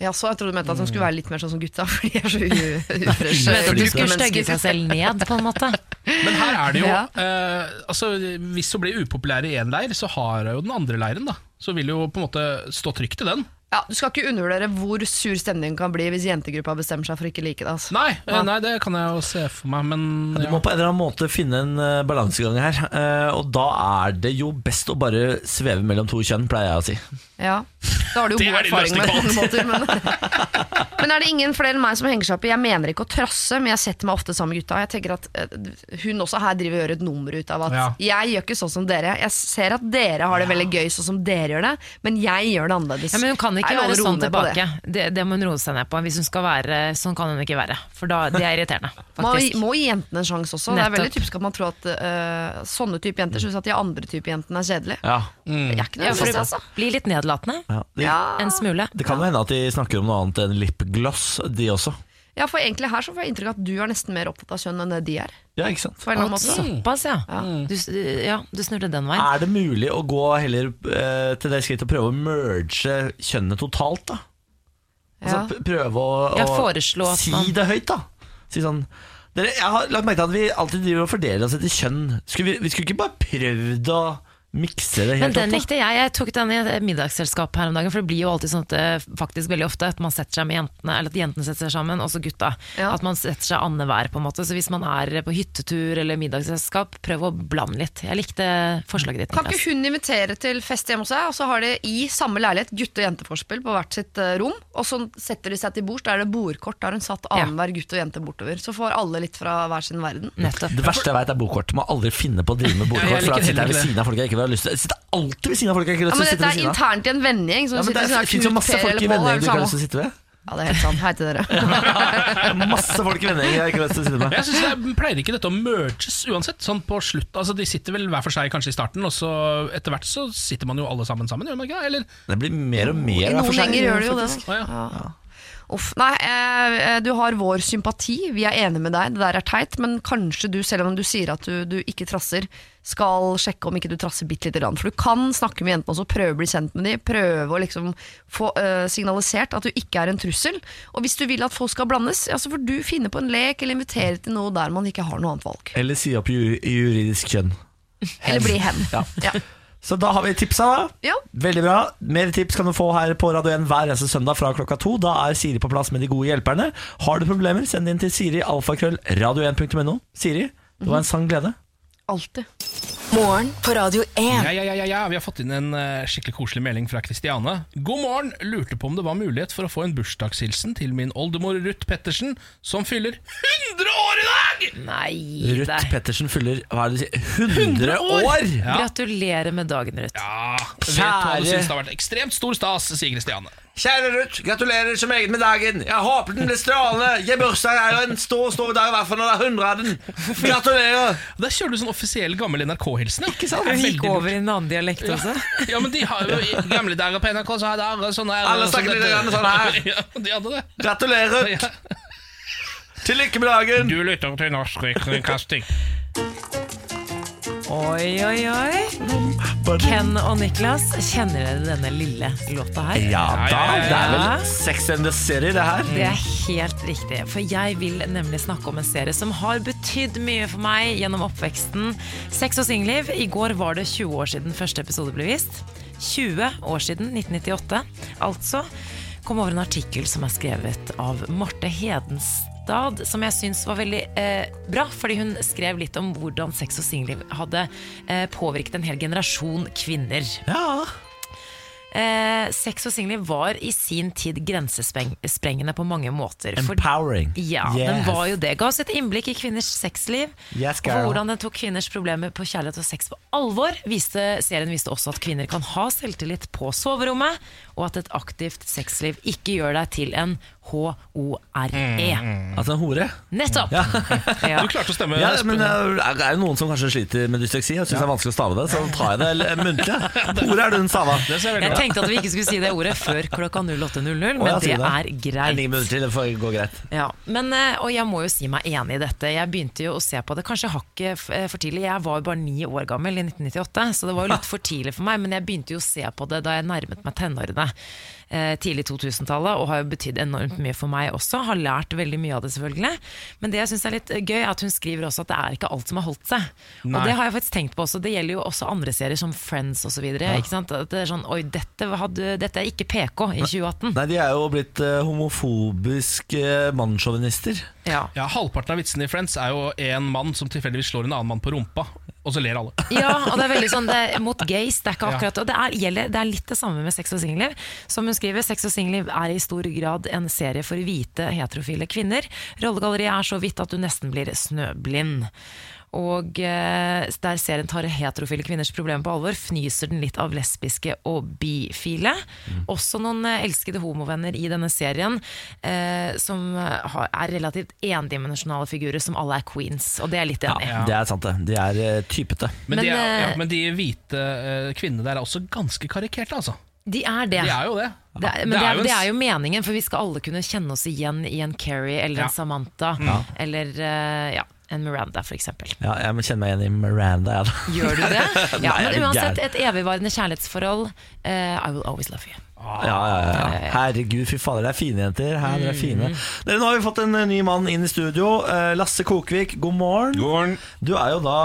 Speaker 7: ja, så jeg trodde du mente at hun skulle være litt mer sånn som gutta, for de er så u- ufreshe.
Speaker 3: Mente at du skulle
Speaker 7: mennesker.
Speaker 3: stygge seg selv ned, på en måte.
Speaker 4: Men her er det jo
Speaker 7: Ja.
Speaker 4: eh, altså, Hvis hun blir upopulær i én leir, så har hun jo den andre leiren. da Så vil jo på en måte stå trygt i den.
Speaker 7: Ja, Du skal ikke undervurdere hvor sur stemningen kan bli hvis jentegruppa bestemmer seg for å ikke like det. Altså.
Speaker 4: Nei, eh, nei, det kan jeg jo se for meg, men
Speaker 1: Du må
Speaker 4: ja.
Speaker 1: på en eller annen måte finne en eh, balansegang her. eh, Og da er det jo best å bare sveve mellom to kjønn, pleier jeg å si.
Speaker 7: Ja. Da har du jo
Speaker 4: Det
Speaker 7: god
Speaker 4: er din
Speaker 7: erfaring
Speaker 4: løsning
Speaker 7: med
Speaker 4: på
Speaker 7: sånne måter. Men, men er det ingen flere enn meg som henger seg opp i Jeg mener ikke å trasse, men jeg setter meg ofte sammen med gutta. Jeg tenker at eh, Hun også her driver og gjør et nummer ut av at
Speaker 4: Ja.
Speaker 7: jeg gjør ikke sånn som dere. Jeg ser at dere har det veldig gøy sånn som dere gjør det, men jeg gjør det annerledes.
Speaker 3: Ja, men hun kan ikke
Speaker 7: Jeg lover
Speaker 3: være
Speaker 7: å roe
Speaker 3: sånn
Speaker 7: ned på det.
Speaker 3: tilbake. Det. Det, må hun roe seg ned på. Hvis hun skal være Sånn kan hun ikke være. For da, det er irriterende,
Speaker 7: Man
Speaker 3: faktisk.
Speaker 7: må gi jentene en sjanse også. Det er
Speaker 3: Nettopp.
Speaker 7: veldig typisk at man tror at eh, sånne type jenter syns at de andre type jentene er kjedelige.
Speaker 1: Ja,
Speaker 7: Det er ikke
Speaker 3: Ja, for
Speaker 7: nødvendigvis, altså.
Speaker 3: det blir litt nedlatende.
Speaker 1: ja. Det,
Speaker 3: En smule.
Speaker 1: det kan jo hende at de snakker om noe annet enn lipgloss, de også.
Speaker 7: Ja, for egentlig her så får jeg inntrykk av at du er nesten mer opptatt av kjønn enn det de er.
Speaker 1: Ja, ikke sant?
Speaker 7: På en eller annen måte.
Speaker 3: Såpass, ja. Du, s- ja. Du snurrer den
Speaker 7: Ah,
Speaker 3: veien.
Speaker 1: Er det mulig å gå heller eh, til det skrittet å prøve å merge kjønnet totalt, da?
Speaker 7: Ja.
Speaker 1: Altså p- prøve å,
Speaker 3: Jeg
Speaker 1: å
Speaker 3: foreslår at
Speaker 1: si
Speaker 3: man-
Speaker 1: det høyt, da. Si sånn dere, Jeg har lagt merke til at vi alltid driver og fordeler oss etter kjønn. Skulle vi, vi skulle ikke bare prøvd å mikse det
Speaker 3: Men
Speaker 1: helt
Speaker 3: den
Speaker 1: opp? da?
Speaker 3: likte jeg. Jeg tok den i et middagsselskap her om dagen. For det blir jo alltid sånn at det faktisk veldig ofte at man setter seg med jentene, eller at jentene setter seg sammen, også gutta.
Speaker 7: Ja.
Speaker 3: At man setter seg annenhver, på en måte. Så hvis man er på hyttetur eller middagsselskap, prøv å blande litt. Jeg likte forslaget ditt.
Speaker 7: Kan
Speaker 3: Niklas.
Speaker 7: ikke hun invitere til fest hjemme hos seg, og så har de i samme leilighet gutte- og jenteforspill på hvert sitt eh, rom, og så setter de seg til bords, da er det bordkort, da har hun satt annenhver gutt og jente bortover. Så får alle litt fra hver sin verden.
Speaker 3: Nettopp.
Speaker 1: Det verste jeg vet er bokkort. Må aldri finne på å drive med bokkort.
Speaker 4: Ja, jeg
Speaker 1: For da
Speaker 4: liker
Speaker 1: sitter jeg
Speaker 4: heller
Speaker 1: ved
Speaker 4: ikke
Speaker 1: siden av folk jeg ikke vil ha lyst til. Jeg sitter alltid ved siden av folk jeg ikke har
Speaker 7: Ja,
Speaker 1: lyst til
Speaker 7: men
Speaker 1: å sitte ved
Speaker 7: dette er
Speaker 1: siden av.
Speaker 7: internt i en vennegjeng. som
Speaker 1: Ja, men det
Speaker 7: sitter ved siden av
Speaker 1: fins jo
Speaker 7: Knut,
Speaker 1: masse
Speaker 7: Per
Speaker 1: folk
Speaker 7: eller
Speaker 1: i
Speaker 7: Pål, er
Speaker 1: vennegjeng
Speaker 7: det
Speaker 1: du ikke har
Speaker 7: samme?
Speaker 1: lyst til å sitte ved.
Speaker 7: Ja, det er helt sant. Hei til dere.
Speaker 1: Masse folk i vennegjeng jeg ikke har lyst til å sitte
Speaker 4: Men
Speaker 1: med.
Speaker 4: jeg synes det er- pleier ikke dette å merges uansett. Sånn på slutt Altså De sitter vel hver for seg kanskje i starten, og så etter hvert så sitter man jo alle sammen sammen, gjør man ikke det? Eller?
Speaker 1: Det blir mer og mer
Speaker 7: I
Speaker 1: hver for seg,
Speaker 7: noen gjenger gjør det jo det.
Speaker 1: faktisk.
Speaker 7: da.
Speaker 4: Å, ja.
Speaker 7: Uff, nei, eh, eh, du har vår sympati, vi er enige med deg, det der er teit, men kanskje du, selv om du sier at du, du ikke trasser, skal sjekke om ikke du trasser bitte lite grann. For du kan snakke med jentene også, prøve å bli kjent med dem, prøve å liksom få eh, signalisert at du ikke er en trussel. Og hvis du vil at folk skal blandes, ja, så får du finne på en lek eller invitere til noe der man ikke har noe annet valg.
Speaker 1: Eller si opp ju- juridisk kjønn.
Speaker 7: Eller bli hen.
Speaker 1: Ja.
Speaker 7: Ja.
Speaker 1: Så da har vi tipsa.
Speaker 7: Ja.
Speaker 1: Veldig bra. Mer tips kan du få her på Radio 1 hver eneste søndag fra klokka to. Da er Siri på plass med de gode hjelperne. Har du problemer, send det inn til Siri alfakrøll radio1.no. Siri, det
Speaker 7: Mhm.
Speaker 1: var en sann glede.
Speaker 7: Alltid.
Speaker 5: Morgen på Radio 1.
Speaker 4: Ja, ja, ja, ja, ja, vi har fått inn en eh, skikkelig koselig melding fra Kristiane. God morgen! Lurte på om det var mulighet for å få en bursdagshilsen til min oldemor Ruth Pettersen, som fyller 100 år i dag!
Speaker 3: Nei, det
Speaker 1: Ruth
Speaker 3: er-
Speaker 1: Pettersen fyller hva er det du sier, 100 år!
Speaker 3: Gratulerer med dagen, Ruth.
Speaker 4: Ja, Ah, vet
Speaker 1: Kjære-
Speaker 4: hva du synes det har vært ekstremt stor stas, sier Kristiane.
Speaker 1: Kjære Ruth, gratulerer så meget med dagen. Jeg håper den blir strålende. Jeg bursdag er jo en stor, stor dag, i hvert fall når det er 100 av den. Gratulerer!
Speaker 4: Der kjører du sånn offisiell gammel NRK-hilsen. ja.
Speaker 1: Ikke sant?
Speaker 3: Hun gikk over i en annen dialekt også.
Speaker 4: Ja, men de har jo i gamle dager på NRK, så hadde alle sånne
Speaker 1: Alle snakker litt grann sånn her.
Speaker 4: Ja, de hadde det.
Speaker 1: Gratulerer, Ruth. Til lykke med dagen.
Speaker 4: Du lytter til Norsk Rikskringkasting.
Speaker 3: Oi, oi, oi. Ken og Niklas, kjenner dere denne lille låta her?
Speaker 1: Ja da,
Speaker 4: ja, ja,
Speaker 1: det er
Speaker 3: ja.
Speaker 1: vel Sex and the City, det her.
Speaker 3: Det er helt riktig, for jeg vil nemlig snakke om en serie som har betydd mye for meg gjennom oppveksten. Sex og singelliv. I går var det 20 år siden første episode ble vist. 20 år siden 1998. Altså kom over en artikkel som er skrevet av Marte Hedenstad. Stad, som jeg syns var veldig eh, bra. Fordi hun skrev litt om hvordan sex og singelliv hadde eh, påvirket en hel generasjon kvinner.
Speaker 1: Ja.
Speaker 3: Eh, sex og singelliv var i sin tid grensesprengende på mange måter. fordi-
Speaker 1: Empowering.
Speaker 3: ja, den
Speaker 1: Yes.
Speaker 3: var jo det. Ga oss et innblikk i kvinners sexliv.
Speaker 1: Yes,
Speaker 3: og
Speaker 1: girl.
Speaker 3: hvordan den tok kvinners problemer på kjærlighet og sex på alvor. Viste, serien viste også at kvinner kan ha selvtillit på soverommet, og at et aktivt sexliv ikke gjør deg til en H-O-R-E.
Speaker 1: Altså en hore.
Speaker 3: E. Nettopp!
Speaker 1: Ja.
Speaker 3: Ja. eh,
Speaker 4: Du klarte å stemme.
Speaker 1: Ja,
Speaker 4: Espen.
Speaker 1: men det er det jo noen som kanskje sliter med dysleksi og syns det er vanskelig å stave det, så tar jeg det eller, eh, muntlig. Hore er det hun stava.
Speaker 4: Det ser veldig
Speaker 3: Jeg
Speaker 4: bra.
Speaker 3: tenkte at vi ikke skulle si det ordet før klokka 08.00, men
Speaker 1: Å, ja,
Speaker 3: det
Speaker 1: sier
Speaker 3: er
Speaker 1: du Jeg
Speaker 3: greit.
Speaker 1: ligger muntlig, det får gå greit.
Speaker 3: Ja, men, eh, og jeg må jo si meg enig i dette. Jeg begynte jo å se på det kanskje hakket f- eh, for tidlig. Jeg var jo bare ni år gammel i 1998, så det var jo litt for tidlig for meg. Men jeg begynte jo å se på det da jeg nærmet meg tenårene eh, tidlig 2000-tallet, og har jo betydd enormt mye for meg også. Har lært veldig mye av det, selvfølgelig. Men det jeg syns er litt eh, gøy, er at hun skriver også at det er ikke alt som har holdt seg. Og det har jeg faktisk tenkt på også. Det gjelder jo også andre serier, som Friends osv. Det er sånn Oi, dette, hadde, dette er ikke PK i 2018.
Speaker 1: Nei, de er jo blitt eh, homofobiske eh, mannssjåvinister.
Speaker 3: Ja.
Speaker 4: Ja, Halvparten av vitsene i Friends er jo en mann som tilfeldigvis slår en annen mann på rumpa, og så ler alle.
Speaker 3: Ja, og det er veldig sånn det, er mot gays. Det er ikke akkurat Og det er, gjelder, det er litt det samme med sex og singelliv. Som hun skriver, sex og singelliv er i stor grad en serie for hvite, heterofile kvinner. Rollegalleriet er så vidt at du nesten blir snøblind. Og eh, der serien tar heterofile kvinners problemer på alvor, fnyser den litt av lesbiske og bifile. Også noen eh, elskede homovenner i denne serien eh, som eh, har- er relativt endimensjonale figurer, som alle er queens. Og det er jeg litt
Speaker 1: Ja,
Speaker 3: enig i.
Speaker 1: Det er sant, det. De er eh, typete.
Speaker 4: Men,
Speaker 3: Men,
Speaker 4: de, er, ja,
Speaker 3: eh,
Speaker 4: men de hvite eh, kvinnene der er også ganske karikerte, altså.
Speaker 3: De er det.
Speaker 4: De er jo det.
Speaker 3: Det er, men det er,
Speaker 4: en
Speaker 3: det er jo meningen, for vi skal alle kunne kjenne oss igjen i en Carrie eller
Speaker 4: Ja.
Speaker 3: en Samantha eller eh, ja, en Miranda, for eksempel.
Speaker 1: Ja, jeg må kjenne meg igjen i Miranda. Ja. da.
Speaker 3: Gjør du det? Ja,
Speaker 1: Nei, er du
Speaker 3: men uansett,
Speaker 1: gæren?
Speaker 3: et evigvarende kjærlighetsforhold. eh, I will always love you.
Speaker 1: Ja, ja, ja. Mm. Herregud, fy fader, det er fine jenter. Her, dere er fine. Dere, nå har vi fått en eh, ny mann inn i studio. Eh, Lasse Kokvik, god morgen.
Speaker 8: God morgen.
Speaker 1: Du er jo da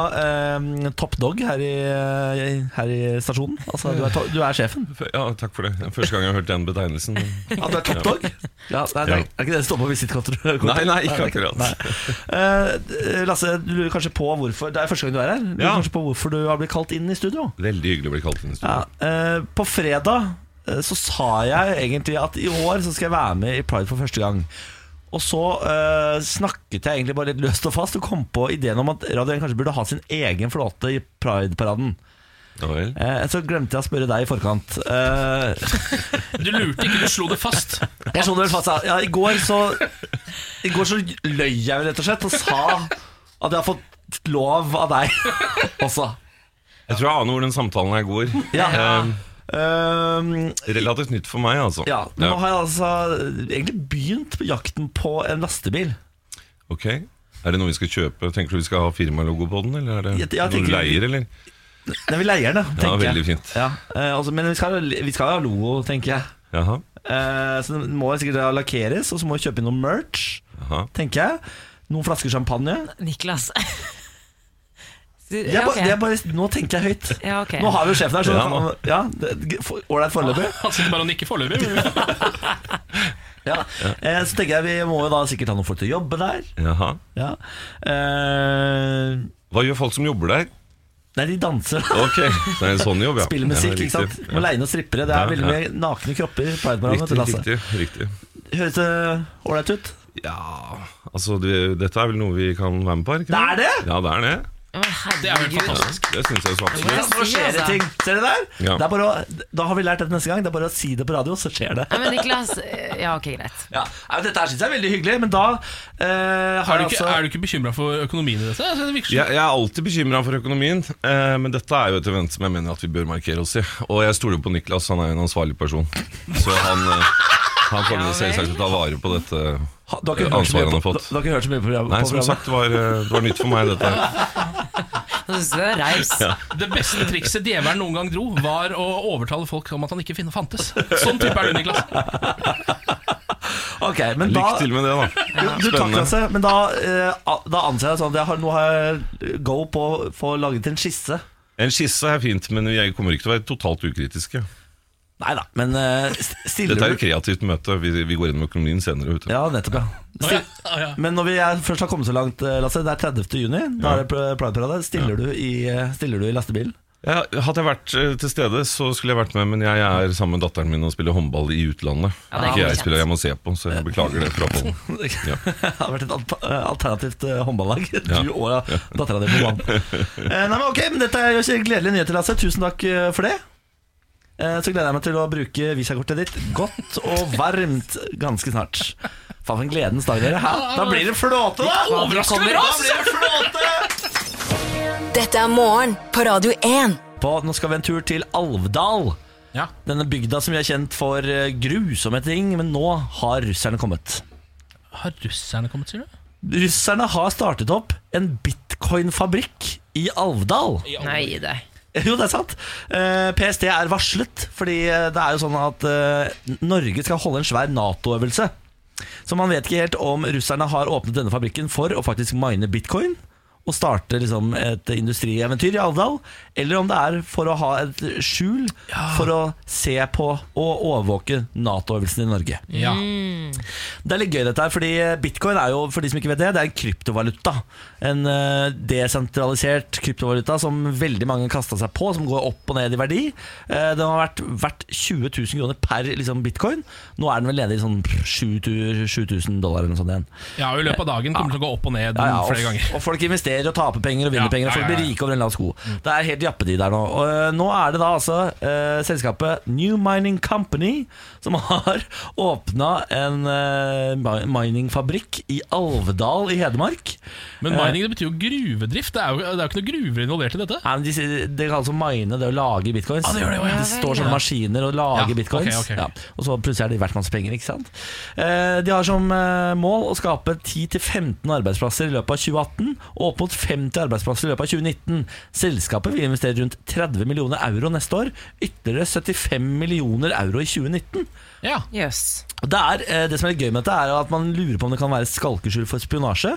Speaker 1: eh, top dog her i, eh, her i stasjonen. Altså, du er, to du er sjefen.
Speaker 8: F- Ja, takk for det. Det er Første gang jeg har hørt den betegnelsen.
Speaker 1: Ja, du er top dog? Ja, nei, nei, Er
Speaker 8: Ja.
Speaker 1: ikke det det står på visittkontoret?
Speaker 8: Nei, nei, ikke akkurat.
Speaker 1: Eh, Lasse, du lurer kanskje på hvorfor Det er første gang du er her. Du lurer
Speaker 8: Ja.
Speaker 1: kanskje på hvorfor du har blitt kalt inn i studio.
Speaker 8: Veldig hyggelig å bli kalt inn i
Speaker 1: Ja,
Speaker 8: studio.
Speaker 1: eh, på fredag eh, så sa jeg egentlig at i år så skal jeg være med i Pride for første gang. Og så eh, snakket jeg egentlig bare litt løst og fast og kom på ideen om at Radio 1 kanskje burde ha sin egen flåte i Pride-paraden.
Speaker 8: Ja vel.
Speaker 1: Eh, så glemte jeg å spørre deg i forkant. Eh,
Speaker 4: Du lurte ikke, du slo det fast.
Speaker 1: jeg slo det vel fast. Ja, i går så I går så løy jeg vel rett og slett og sa at jeg har fått lov av deg også.
Speaker 8: Jeg tror jeg aner hvor den samtalen her går.
Speaker 1: Ja.
Speaker 8: Eh,
Speaker 1: Eh,
Speaker 8: relativt nytt for meg, altså.
Speaker 1: ja, nå har jeg altså egentlig begynt på jakten på en lastebil.
Speaker 8: Ok. Er det noe vi skal kjøpe? Tenker du vi skal ha firmalogo på den, eller er
Speaker 1: Jeg-
Speaker 8: det
Speaker 1: jeg
Speaker 8: noe
Speaker 1: tenker-
Speaker 8: du leier, eller?
Speaker 1: Nei, vi leier den, ja, tenker jeg.
Speaker 8: veldig fint.
Speaker 1: Ja, eh, altså, men vi skal, vi skal jo ha logo, tenker jeg.
Speaker 8: Jaha.
Speaker 1: Eh, så den må sikkert lakkeres, og så må vi kjøpe inn noe merch,
Speaker 8: Jaha.
Speaker 1: tenker jeg. Noen flasker champagne.
Speaker 3: Niklas.
Speaker 1: Jeg
Speaker 3: ja,
Speaker 1: ba,
Speaker 3: ok.
Speaker 1: det er bare, nå tenker jeg høyt.
Speaker 3: Ja, ok.
Speaker 1: Nå har vi jo sjefen her, så
Speaker 8: Ja,
Speaker 1: kan- ja, det- for- ålreit foreløpig.
Speaker 4: Han sitter bare og nikker foreløpig. men-
Speaker 1: Ja. Eh, så tenker jeg vi må jo da sikkert ha noen folk til å jobbe der.
Speaker 8: Jaha.
Speaker 1: Ja. Eh,
Speaker 8: Hva gjør folk som jobber der?
Speaker 1: nei, de danser.
Speaker 8: Ok, så er det en sånn jobb, ja.
Speaker 1: Spiller musikk, ikke sant. Må leie noen strippere. Det er
Speaker 8: Ja,
Speaker 1: veldig mye nakne kropper i Pride-programmet til
Speaker 8: Riktig,
Speaker 1: Lasse.
Speaker 8: riktig, riktig.
Speaker 1: Høres det ålreit ut?
Speaker 8: Ja, altså det, dette er vel noe vi kan være med på?
Speaker 1: Det er det!
Speaker 8: Ja, det er det.
Speaker 3: Å,
Speaker 4: Det er helt
Speaker 3: Herregud.
Speaker 4: fantastisk.
Speaker 8: Det syns jeg så absolutt.
Speaker 3: Ja.
Speaker 1: Ja, nå skjer
Speaker 4: altså.
Speaker 1: det ting. Ser dere der?
Speaker 8: Ja.
Speaker 1: Det er bare å, da har vi lært dette neste gang. Det er bare å si det på radio, så skjer det.
Speaker 3: Nei, men Niklas eh, Ja, ok, greit.
Speaker 1: Ja, nei, men Dette her syns jeg er veldig hyggelig, men da eh,
Speaker 4: Er
Speaker 1: har
Speaker 4: du
Speaker 1: jeg
Speaker 4: ikke,
Speaker 1: altså
Speaker 4: er du ikke bekymra for økonomien i dette? Altså, det virker som-
Speaker 8: Jeg, jeg er alltid bekymra for økonomien, eh, men dette er jo et event som jeg mener at vi bør markere oss i. Og jeg stoler på Niklas, han er jo en ansvarlig person. Så han, eh, han kommer selvsagt til å ta vare på dette
Speaker 1: ha, du, har ikke hørt så
Speaker 8: ansvaret
Speaker 1: mye
Speaker 8: han
Speaker 1: på,
Speaker 8: har fått.
Speaker 1: du har ikke hørt så mye på program-
Speaker 8: Nei,
Speaker 1: på
Speaker 8: som
Speaker 1: programmet?
Speaker 8: sagt, det var, eh, det var nytt for meg, dette. her.
Speaker 3: Nå synes jeg du er raus.
Speaker 4: Det beste trikset djevelen noen gang dro, var å overtale folk om at han ikke finne- fantes. Sånn type er du, Niklas.
Speaker 1: Ok, men da,
Speaker 8: Lykke til med det, da.
Speaker 1: jo, du, takk,
Speaker 8: Spennende.
Speaker 1: Lasse. Men da, eh, a- da anser jeg det sånn at jeg har, nå har jeg eh, go på å få laget en skisse.
Speaker 8: En skisse er fint, men jeg kommer ikke til å være totalt ukritiske.
Speaker 1: Nei da, men eh, st- stiller
Speaker 8: Dette er
Speaker 1: du
Speaker 8: jo kreativt møte. Vi, vi går inn med økonomien senere. Vet du.
Speaker 1: Ja, nettopp, ja.
Speaker 4: Å, ja. Å, ja.
Speaker 1: Men når vi er, først har kommet så langt, eh, Lasse, det er 30. juni, da er det pl- Prideparade. Stiller, du i, eh, stiller du i lastebil?
Speaker 8: Ja, hadde jeg vært eh, til stede, så skulle jeg vært med, men jeg er sammen med datteren min og spiller håndball i utlandet.
Speaker 3: Ja, det er
Speaker 8: ikke jeg
Speaker 3: kjent.
Speaker 8: spiller, jeg må se på, så jeg beklager det for oppholdet.
Speaker 1: Det
Speaker 8: Ja.
Speaker 1: hadde vært et alt- eh, alternativt eh, håndballag.
Speaker 8: Ja.
Speaker 1: Du og dattera di på banen. Eh, Nei, men ok, men dette er jo ikke gledelige nyheter, Lasse. Tusen takk eh, for det. Eh, Så gleder jeg meg til å bruke visakortet ditt godt og varmt ganske snart. Faen, for en gledens dag, dere. Hæ? Da blir det flåte, da! Overraskende bra! Da blir det flåte!
Speaker 5: Dette er morgen på Radio 1.
Speaker 1: på Nå skal vi en tur til Alvdal
Speaker 4: Ja.
Speaker 1: Denne bygda som vi er kjent for eh, grusomme ting Men nå har russerne kommet
Speaker 4: Har russerne kommet, sier du?
Speaker 1: Russerne har startet opp en bitcoin-fabrikk i Alvdal
Speaker 3: Nei, det er-
Speaker 1: Jo, det er sant Eh, PST er varslet Fordi eh, det er jo sånn at eh, Norge skal holde en svær NATO-øvelse Så man vet ikke helt om russerne har åpnet denne fabrikken For å faktisk mine bitcoin og starte liksom et industrieventyr i Alvdal, eller om det er for å ha et skjul for å se på og overvåke Nato-øvelsen i Norge.
Speaker 4: Ja.
Speaker 1: Det er litt gøy dette her, fordi eh, bitcoin er jo, for de som ikke vet det, det er en kryptovaluta. En eh, desentralisert kryptovaluta som veldig mange kasta seg på, som går opp og ned i verdi. Eh, Den har vært verdt 20 000 kroner per liksom, bitcoin. Nå er den vel nede i sånn 7000 dollar eller noe sånt igjen.
Speaker 4: ja, og I løpet av dagen kommer det til å gå opp og ned
Speaker 1: Ja, ja, og,
Speaker 4: flere ganger.
Speaker 1: og folk investerer og taper penger og vinner
Speaker 4: Ja,
Speaker 1: penger. Og
Speaker 4: ja,
Speaker 1: folk
Speaker 4: ja, ja. Mm.
Speaker 1: blir rike over en lav sko. Det er helt jappetid der nå. Og øh, nå er det da altså øh, selskapet New Mining Company som har åpna en øh, mi- miningfabrikk i Alvdal i Hedmark.
Speaker 4: Men
Speaker 1: Eh.
Speaker 4: mining det betyr jo gruvedrift. Det er jo, det er jo ikke noe gruver involvert i dette.
Speaker 1: Nei, men de, sier- det kalles å mine, det å lage bitcoins.
Speaker 4: Ah, det gjør det, ja, ja,
Speaker 1: står sånne maskiner og lager
Speaker 4: Ja,
Speaker 1: bitcoins.
Speaker 4: ok, ok.
Speaker 1: Ja. Og så plutselig er de verdt masse penger, ikke sant. Eh, de har som eh, mål å skape 10-15 arbeidsplasser i løpet av 2018, og opp mot 50 arbeidsplasser i løpet av 2019. Selskapet vil investere rundt 30 millioner euro neste år, ytterligere 75 millioner euro i 2019.
Speaker 4: Ja.
Speaker 3: Jøss.
Speaker 1: Og Det, er, eh, det som er litt gøy med dette, er at man lurer på om det kan være et skalkeskjul for spionasje.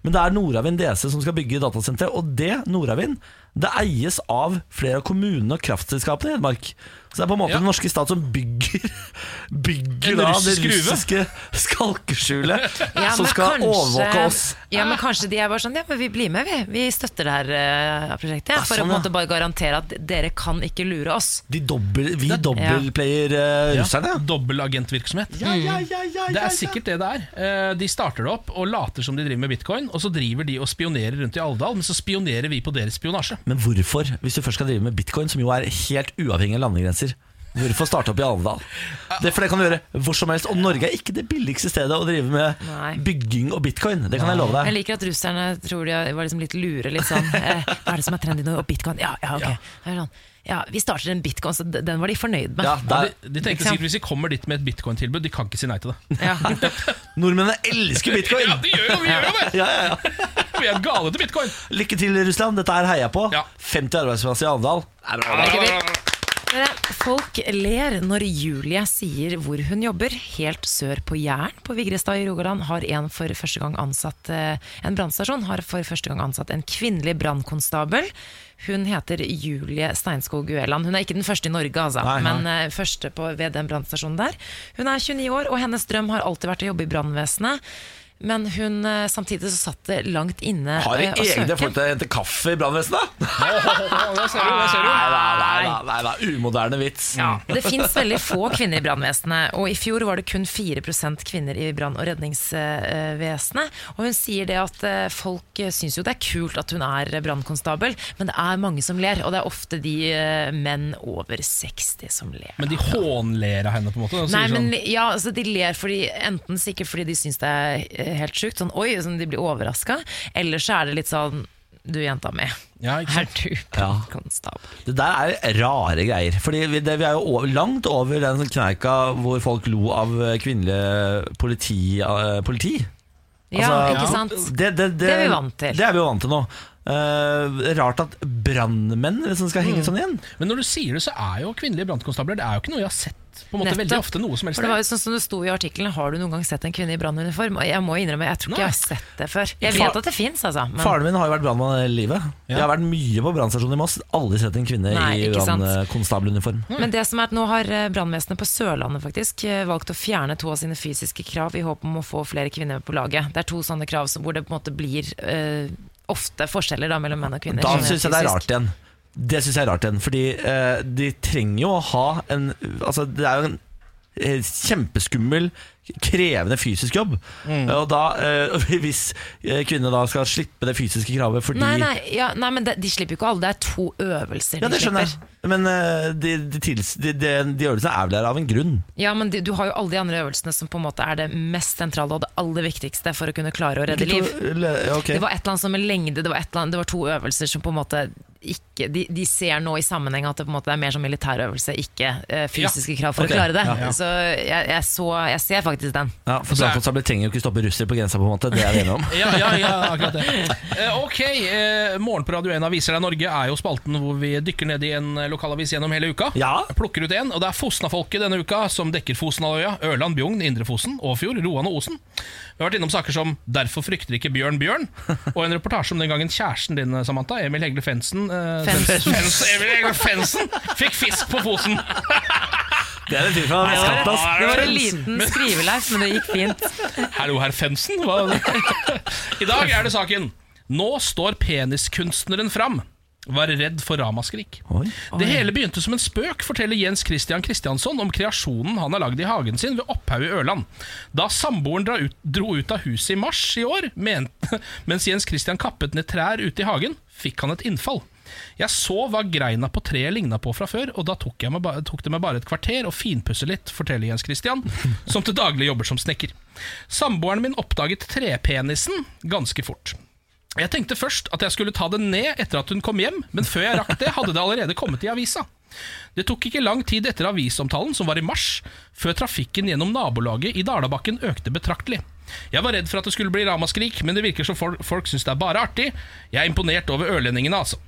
Speaker 1: Men det er Nordavind DC som skal bygge datasenteret, og det Nordavind det eies av flere av kommunene og kraftselskapene i Hedmark. Så det er på en måte
Speaker 4: Ja.
Speaker 1: den norske stat som bygger,
Speaker 4: En
Speaker 1: bygger da, det
Speaker 4: russisk gruve.
Speaker 1: russiske skalkeskjulet
Speaker 3: Ja,
Speaker 1: som
Speaker 3: men
Speaker 1: skal
Speaker 3: kanskje-
Speaker 1: overvåke oss.
Speaker 3: Ja, men kanskje de er bare sånn Ja, men vi blir med, vi. Vi støtter det her eh, prosjektet.
Speaker 1: Ja,
Speaker 3: for å
Speaker 1: sånn,
Speaker 3: på en
Speaker 1: ja.
Speaker 3: måte bare garantere at dere kan ikke lure oss.
Speaker 1: De dobbel, vi dobbeltplayer eh, russerne. Mm.
Speaker 4: Dobbel agentvirksomhet.
Speaker 1: Ja, ja, ja, ja,
Speaker 4: Det
Speaker 1: ja,
Speaker 4: er sikkert det det er. Eh, De starter det opp og later som de driver med bitcoin, og så driver de og spionerer rundt i Alvdal, men så spionerer vi på deres spionasje.
Speaker 1: Men hvorfor, hvis du først skal drive med bitcoin, som jo er helt uavhengig av landegrenser, hvorfor starte opp i Alvdal? Det, for det kan du gjøre hvor som helst, og Norge er ikke det billigste stedet å drive med
Speaker 3: Nei.
Speaker 1: bygging og bitcoin. Det kan jeg love
Speaker 3: Jeg
Speaker 1: deg.
Speaker 3: liker at russerne tror de var liksom litt lure. Litt sånn, eh, hva er det som er trendy nå? Og bitcoin? Ja, ja, ok. Det er sånn, ja, vi starter en bitcoin, så d- den var de fornøyd med.
Speaker 1: Ja, der,
Speaker 4: De, de tenkte
Speaker 3: Ikke sant?
Speaker 4: sikkert hvis vi kommer dit med et bitcoin-tilbud, de kan ikke si nei til det.
Speaker 3: Ja.
Speaker 1: nordmennene elsker bitcoin!
Speaker 4: Ja, de gjør jo, vi gjør jo det!
Speaker 1: Ja, ja, ja.
Speaker 4: Vi er gale til bitcoin!
Speaker 1: Lykke til, Russland. Dette her heier jeg på.
Speaker 4: Ja.
Speaker 1: 50 arbeidsplasser i Alvdal. Det er bra, det.
Speaker 3: Dere, Folk ler når Julie sier hvor hun jobber. Helt sør på Jæren på Vigrestad i Rogaland har en for første gang ansatt eh, En brannstasjon har for første gang ansatt en kvinnelig brannkonstabel. Hun heter Julie Steinskog Ueland. Hun er ikke den første i Norge, altså,
Speaker 1: Nei, nei.
Speaker 3: men eh, første på, ved den brannstasjonen der. Hun er 29 år, og hennes drøm har alltid vært å jobbe i brannvesenet. Men hun, eh, samtidig så satt det langt inne
Speaker 1: Har de
Speaker 3: eh, å
Speaker 1: egne
Speaker 3: søke.
Speaker 1: folk til å hente kaffe i brannvesenet? altså. Nei,
Speaker 4: Der ser du, der ser du.
Speaker 1: nei, nei, nei, nei, nei. Umoderne vits.
Speaker 3: Det finnes veldig få kvinner i brannvesenet, og i fjor var det kun 4 kvinner i brann- og redningsvesenet. Og hun sier det at eh, folk eh, syns jo det er kult at hun er brannkonstabel, men det er mange som ler, og det er ofte de eh, menn over 60 som ler.
Speaker 4: Men de hånler av henne, på en måte. Og
Speaker 3: Nei,
Speaker 4: sier
Speaker 3: men
Speaker 4: sånn,
Speaker 3: ja, altså De ler fordi, enten sikkert fordi de syns det er eh, helt sjukt, sånn oi, sånn, de blir overraska, eller så er det litt sånn du, jenta mi,
Speaker 4: ja, ikke
Speaker 3: er
Speaker 4: sant?
Speaker 3: du brannkonstabel?
Speaker 1: Det der er rare greier. Fordi vi, det, vi er jo over, langt over den kneika hvor folk lo av eh, kvinnelige politi. eh, politi.
Speaker 3: Ja,
Speaker 1: Altså,
Speaker 3: ikke sant?
Speaker 1: Det, det,
Speaker 3: Det er vi vant til.
Speaker 1: Det er vi jo vant til nå. Eh, rart at
Speaker 3: Mm.
Speaker 1: brannmenn liksom skal henge sånn igjen.
Speaker 4: Men når du sier det, så er jo kvinnelige brannkonstabler Det er jo ikke noe jeg har sett vet på en måte veldig
Speaker 3: Nettopp.
Speaker 4: ofte noe som helst.
Speaker 3: For det var jo sånn som det sto i artikkelen, har du noen gang sett en kvinne i brannuniform? Og Jeg må innrømme, jeg tror ikke jeg har sett det før. Jeg
Speaker 1: Far-
Speaker 3: vet at det fins, altså. men-
Speaker 1: Faren min har jo vært brannmann hele livet. Jeg har vært mye på brannstasjonen i Moss. Aldri sett en kvinne
Speaker 3: Nei,
Speaker 1: i
Speaker 3: ikke sant.
Speaker 1: brannkonstabeluniform.
Speaker 3: Mm. Men det som er at nå har eh, brannvesenet på Sørlandet faktisk eh, valgt å fjerne to av sine fysiske krav i håp om å få flere kvinner med på laget. Det er to sånne krav som, hvor det på en måte blir eh, ofte forskjeller da, mellom menn og kvinner.
Speaker 1: Da
Speaker 3: sånn
Speaker 1: syns jeg det er
Speaker 3: fysisk.
Speaker 1: rart igjen. Det syns jeg er rart igjen, fordi eh, de trenger jo å ha en Altså, det er jo en eh, kjempeskummel, krevende fysisk jobb.
Speaker 3: Mm.
Speaker 1: Og da, eh, hvis eh, kvinnene da skal slippe det fysiske kravet fordi
Speaker 3: Nei, nei, ja, nei men de, de slipper jo ikke alle. Det er to øvelser
Speaker 1: Ja, det
Speaker 3: de
Speaker 1: skjønner
Speaker 3: slipper.
Speaker 1: jeg. Men eh, de, de, tils, de, de, de øvelsene er vel der av en grunn.
Speaker 3: Ja, men de, du har jo alle de andre øvelsene som på en måte er det mest sentrale og det aller viktigste for å kunne klare å redde liv.
Speaker 1: Ja, ok.
Speaker 3: Det var et eller annet som med lengde, det var, et eller annet, det var to øvelser som på en måte ikke, de, de ser nå i sammenheng at det på en måte er mer som militærøvelse, ikke eh, fysiske krav for
Speaker 1: Ok,
Speaker 3: å klare det.
Speaker 1: ja,
Speaker 3: Så jeg, jeg, så, jeg ser faktisk den.
Speaker 1: ja, for brannkonstabler trenger jo ikke stoppe russere på grensa, på en måte. Det er vi enige om.
Speaker 4: ja, ja, ja, akkurat det. Eh, ok, eh, Morgen på Radio 1 Aviser deg Norge er jo spalten hvor vi dykker ned i en eh, lokalavis gjennom hele uka.
Speaker 1: Ja.
Speaker 4: Plukker ut en, og det er Fosnafolket denne uka som dekker Fosnaløya, Ørland, Bjugn, Indre Fosen, Åfjord, Roan og Osen. Vi har vært innom saker som 'Derfor frykter ikke Bjørn Bjørn', og en reportasje om den gangen kjæresten din, eh, Samantha, Emil Hegle Fensen, eh,
Speaker 3: Fens.
Speaker 4: Fens, Emil Hegle Fensen fikk fisk på Fosen.
Speaker 1: Det er en fyr fra
Speaker 4: Vestkanten, ass.
Speaker 3: Det var en
Speaker 4: Fens.
Speaker 3: liten skriveleif, men det gikk fint.
Speaker 4: Hallo, herr Fensen. Hva er det? I dag er det saken. Nå står peniskunstneren fram. Var redd for ramaskrik. Det hele begynte som en spøk, forteller Jens Christian Kristiansson om kreasjonen han har lagd i hagen sin ved Opphaug i Ørland. Da samboeren dra ut, dro ut av huset i mars i år, mente, mens Jens Christian kappet ned trær ute i hagen, fikk han et innfall. Jeg så hva greina på treet ligna på fra før, og da tok, jeg meg, ba- tok det meg bare et kvarter å finpusse litt, forteller Jens Christian, som til daglig jobber som snekker. Samboeren min oppdaget trepenisen ganske fort. Jeg tenkte først at jeg skulle ta den ned etter at hun kom hjem, men før jeg rakk det, hadde det allerede kommet i avisa. Det tok ikke lang tid etter avisomtalen, som var i mars, før trafikken gjennom nabolaget i Dalabakken økte betraktelig. Jeg var redd for at det skulle bli ramaskrik, men det virker som folk, folk syns det er bare artig. Jeg er imponert over ørlendingene, altså.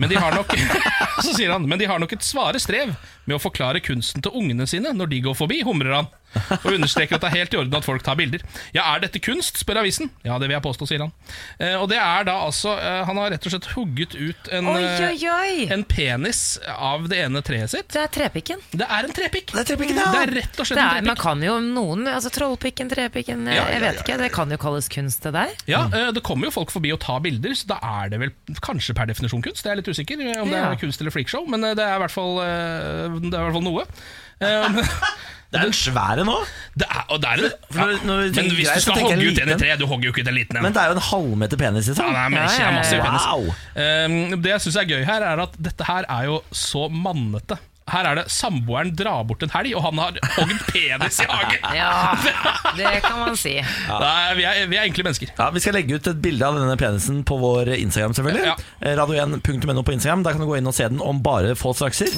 Speaker 4: Men de har nok Så sier han, men de har nok et svare strev med å forklare kunsten til ungene sine når de går forbi, humrer han. Og understreker at det er helt i orden at folk tar bilder. Ja, er dette kunst? spør avisen. Ja, det vil jeg påstå, sier han. Eh, og det er da altså eh, Han har rett og slett hugget ut en,
Speaker 3: Oi,
Speaker 4: eh,
Speaker 3: oi, oi!
Speaker 4: en penis av det ene treet sitt.
Speaker 3: Det er trepikken.
Speaker 4: Det er en trepikk!
Speaker 1: Det er trepikken, ja.
Speaker 4: Det er rett og
Speaker 3: Det
Speaker 4: slett
Speaker 3: er,
Speaker 4: en
Speaker 3: man
Speaker 4: trepikk.
Speaker 3: kan jo noen altså Trollpikken, trepikken, jeg,
Speaker 4: Ja, ja,
Speaker 3: jeg vet ikke. Det kan jo kalles kunst, det der.
Speaker 4: Ja, eh, Det kommer jo folk forbi og tar bilder, så da er det vel kanskje per definisjon kunst. Jeg er litt usikker eh, om det
Speaker 3: Ja.
Speaker 4: er kunst eller freakshow, men eh, det er i hvert fall, eh, det er i hvert fall noe. Eh, men-
Speaker 1: Det er en svær en òg.
Speaker 4: Det er, og det er,
Speaker 1: For når- når vi
Speaker 4: ja. Men
Speaker 1: tenker
Speaker 4: hvis
Speaker 1: greit,
Speaker 4: du
Speaker 1: så
Speaker 4: skal
Speaker 1: tenker jeg
Speaker 4: hogge ut en i
Speaker 1: liten.
Speaker 4: tre, du hogger jo ikke ut en liten en.
Speaker 1: Men det er jo en halvmeter penis, liksom.
Speaker 4: Ja, det er
Speaker 3: Ja,
Speaker 4: mye,
Speaker 3: ja, ja.
Speaker 4: massiv penis.
Speaker 1: Wow.
Speaker 4: Ehm, det jeg syns er gøy her, er at dette her er jo så mannete. Her er det samboeren drar bort en helg, og han har hogd penis i hagen!
Speaker 3: Ja, det kan man si.
Speaker 4: Nei, vi, er, vi er enkle mennesker.
Speaker 1: Ja, Vi skal legge ut et bilde av denne penisen på vår Instagram. selvfølgelig
Speaker 4: Ja.
Speaker 1: Eh, Radio1.no på Instagram. Der kan du gå inn og se den om bare få strakser.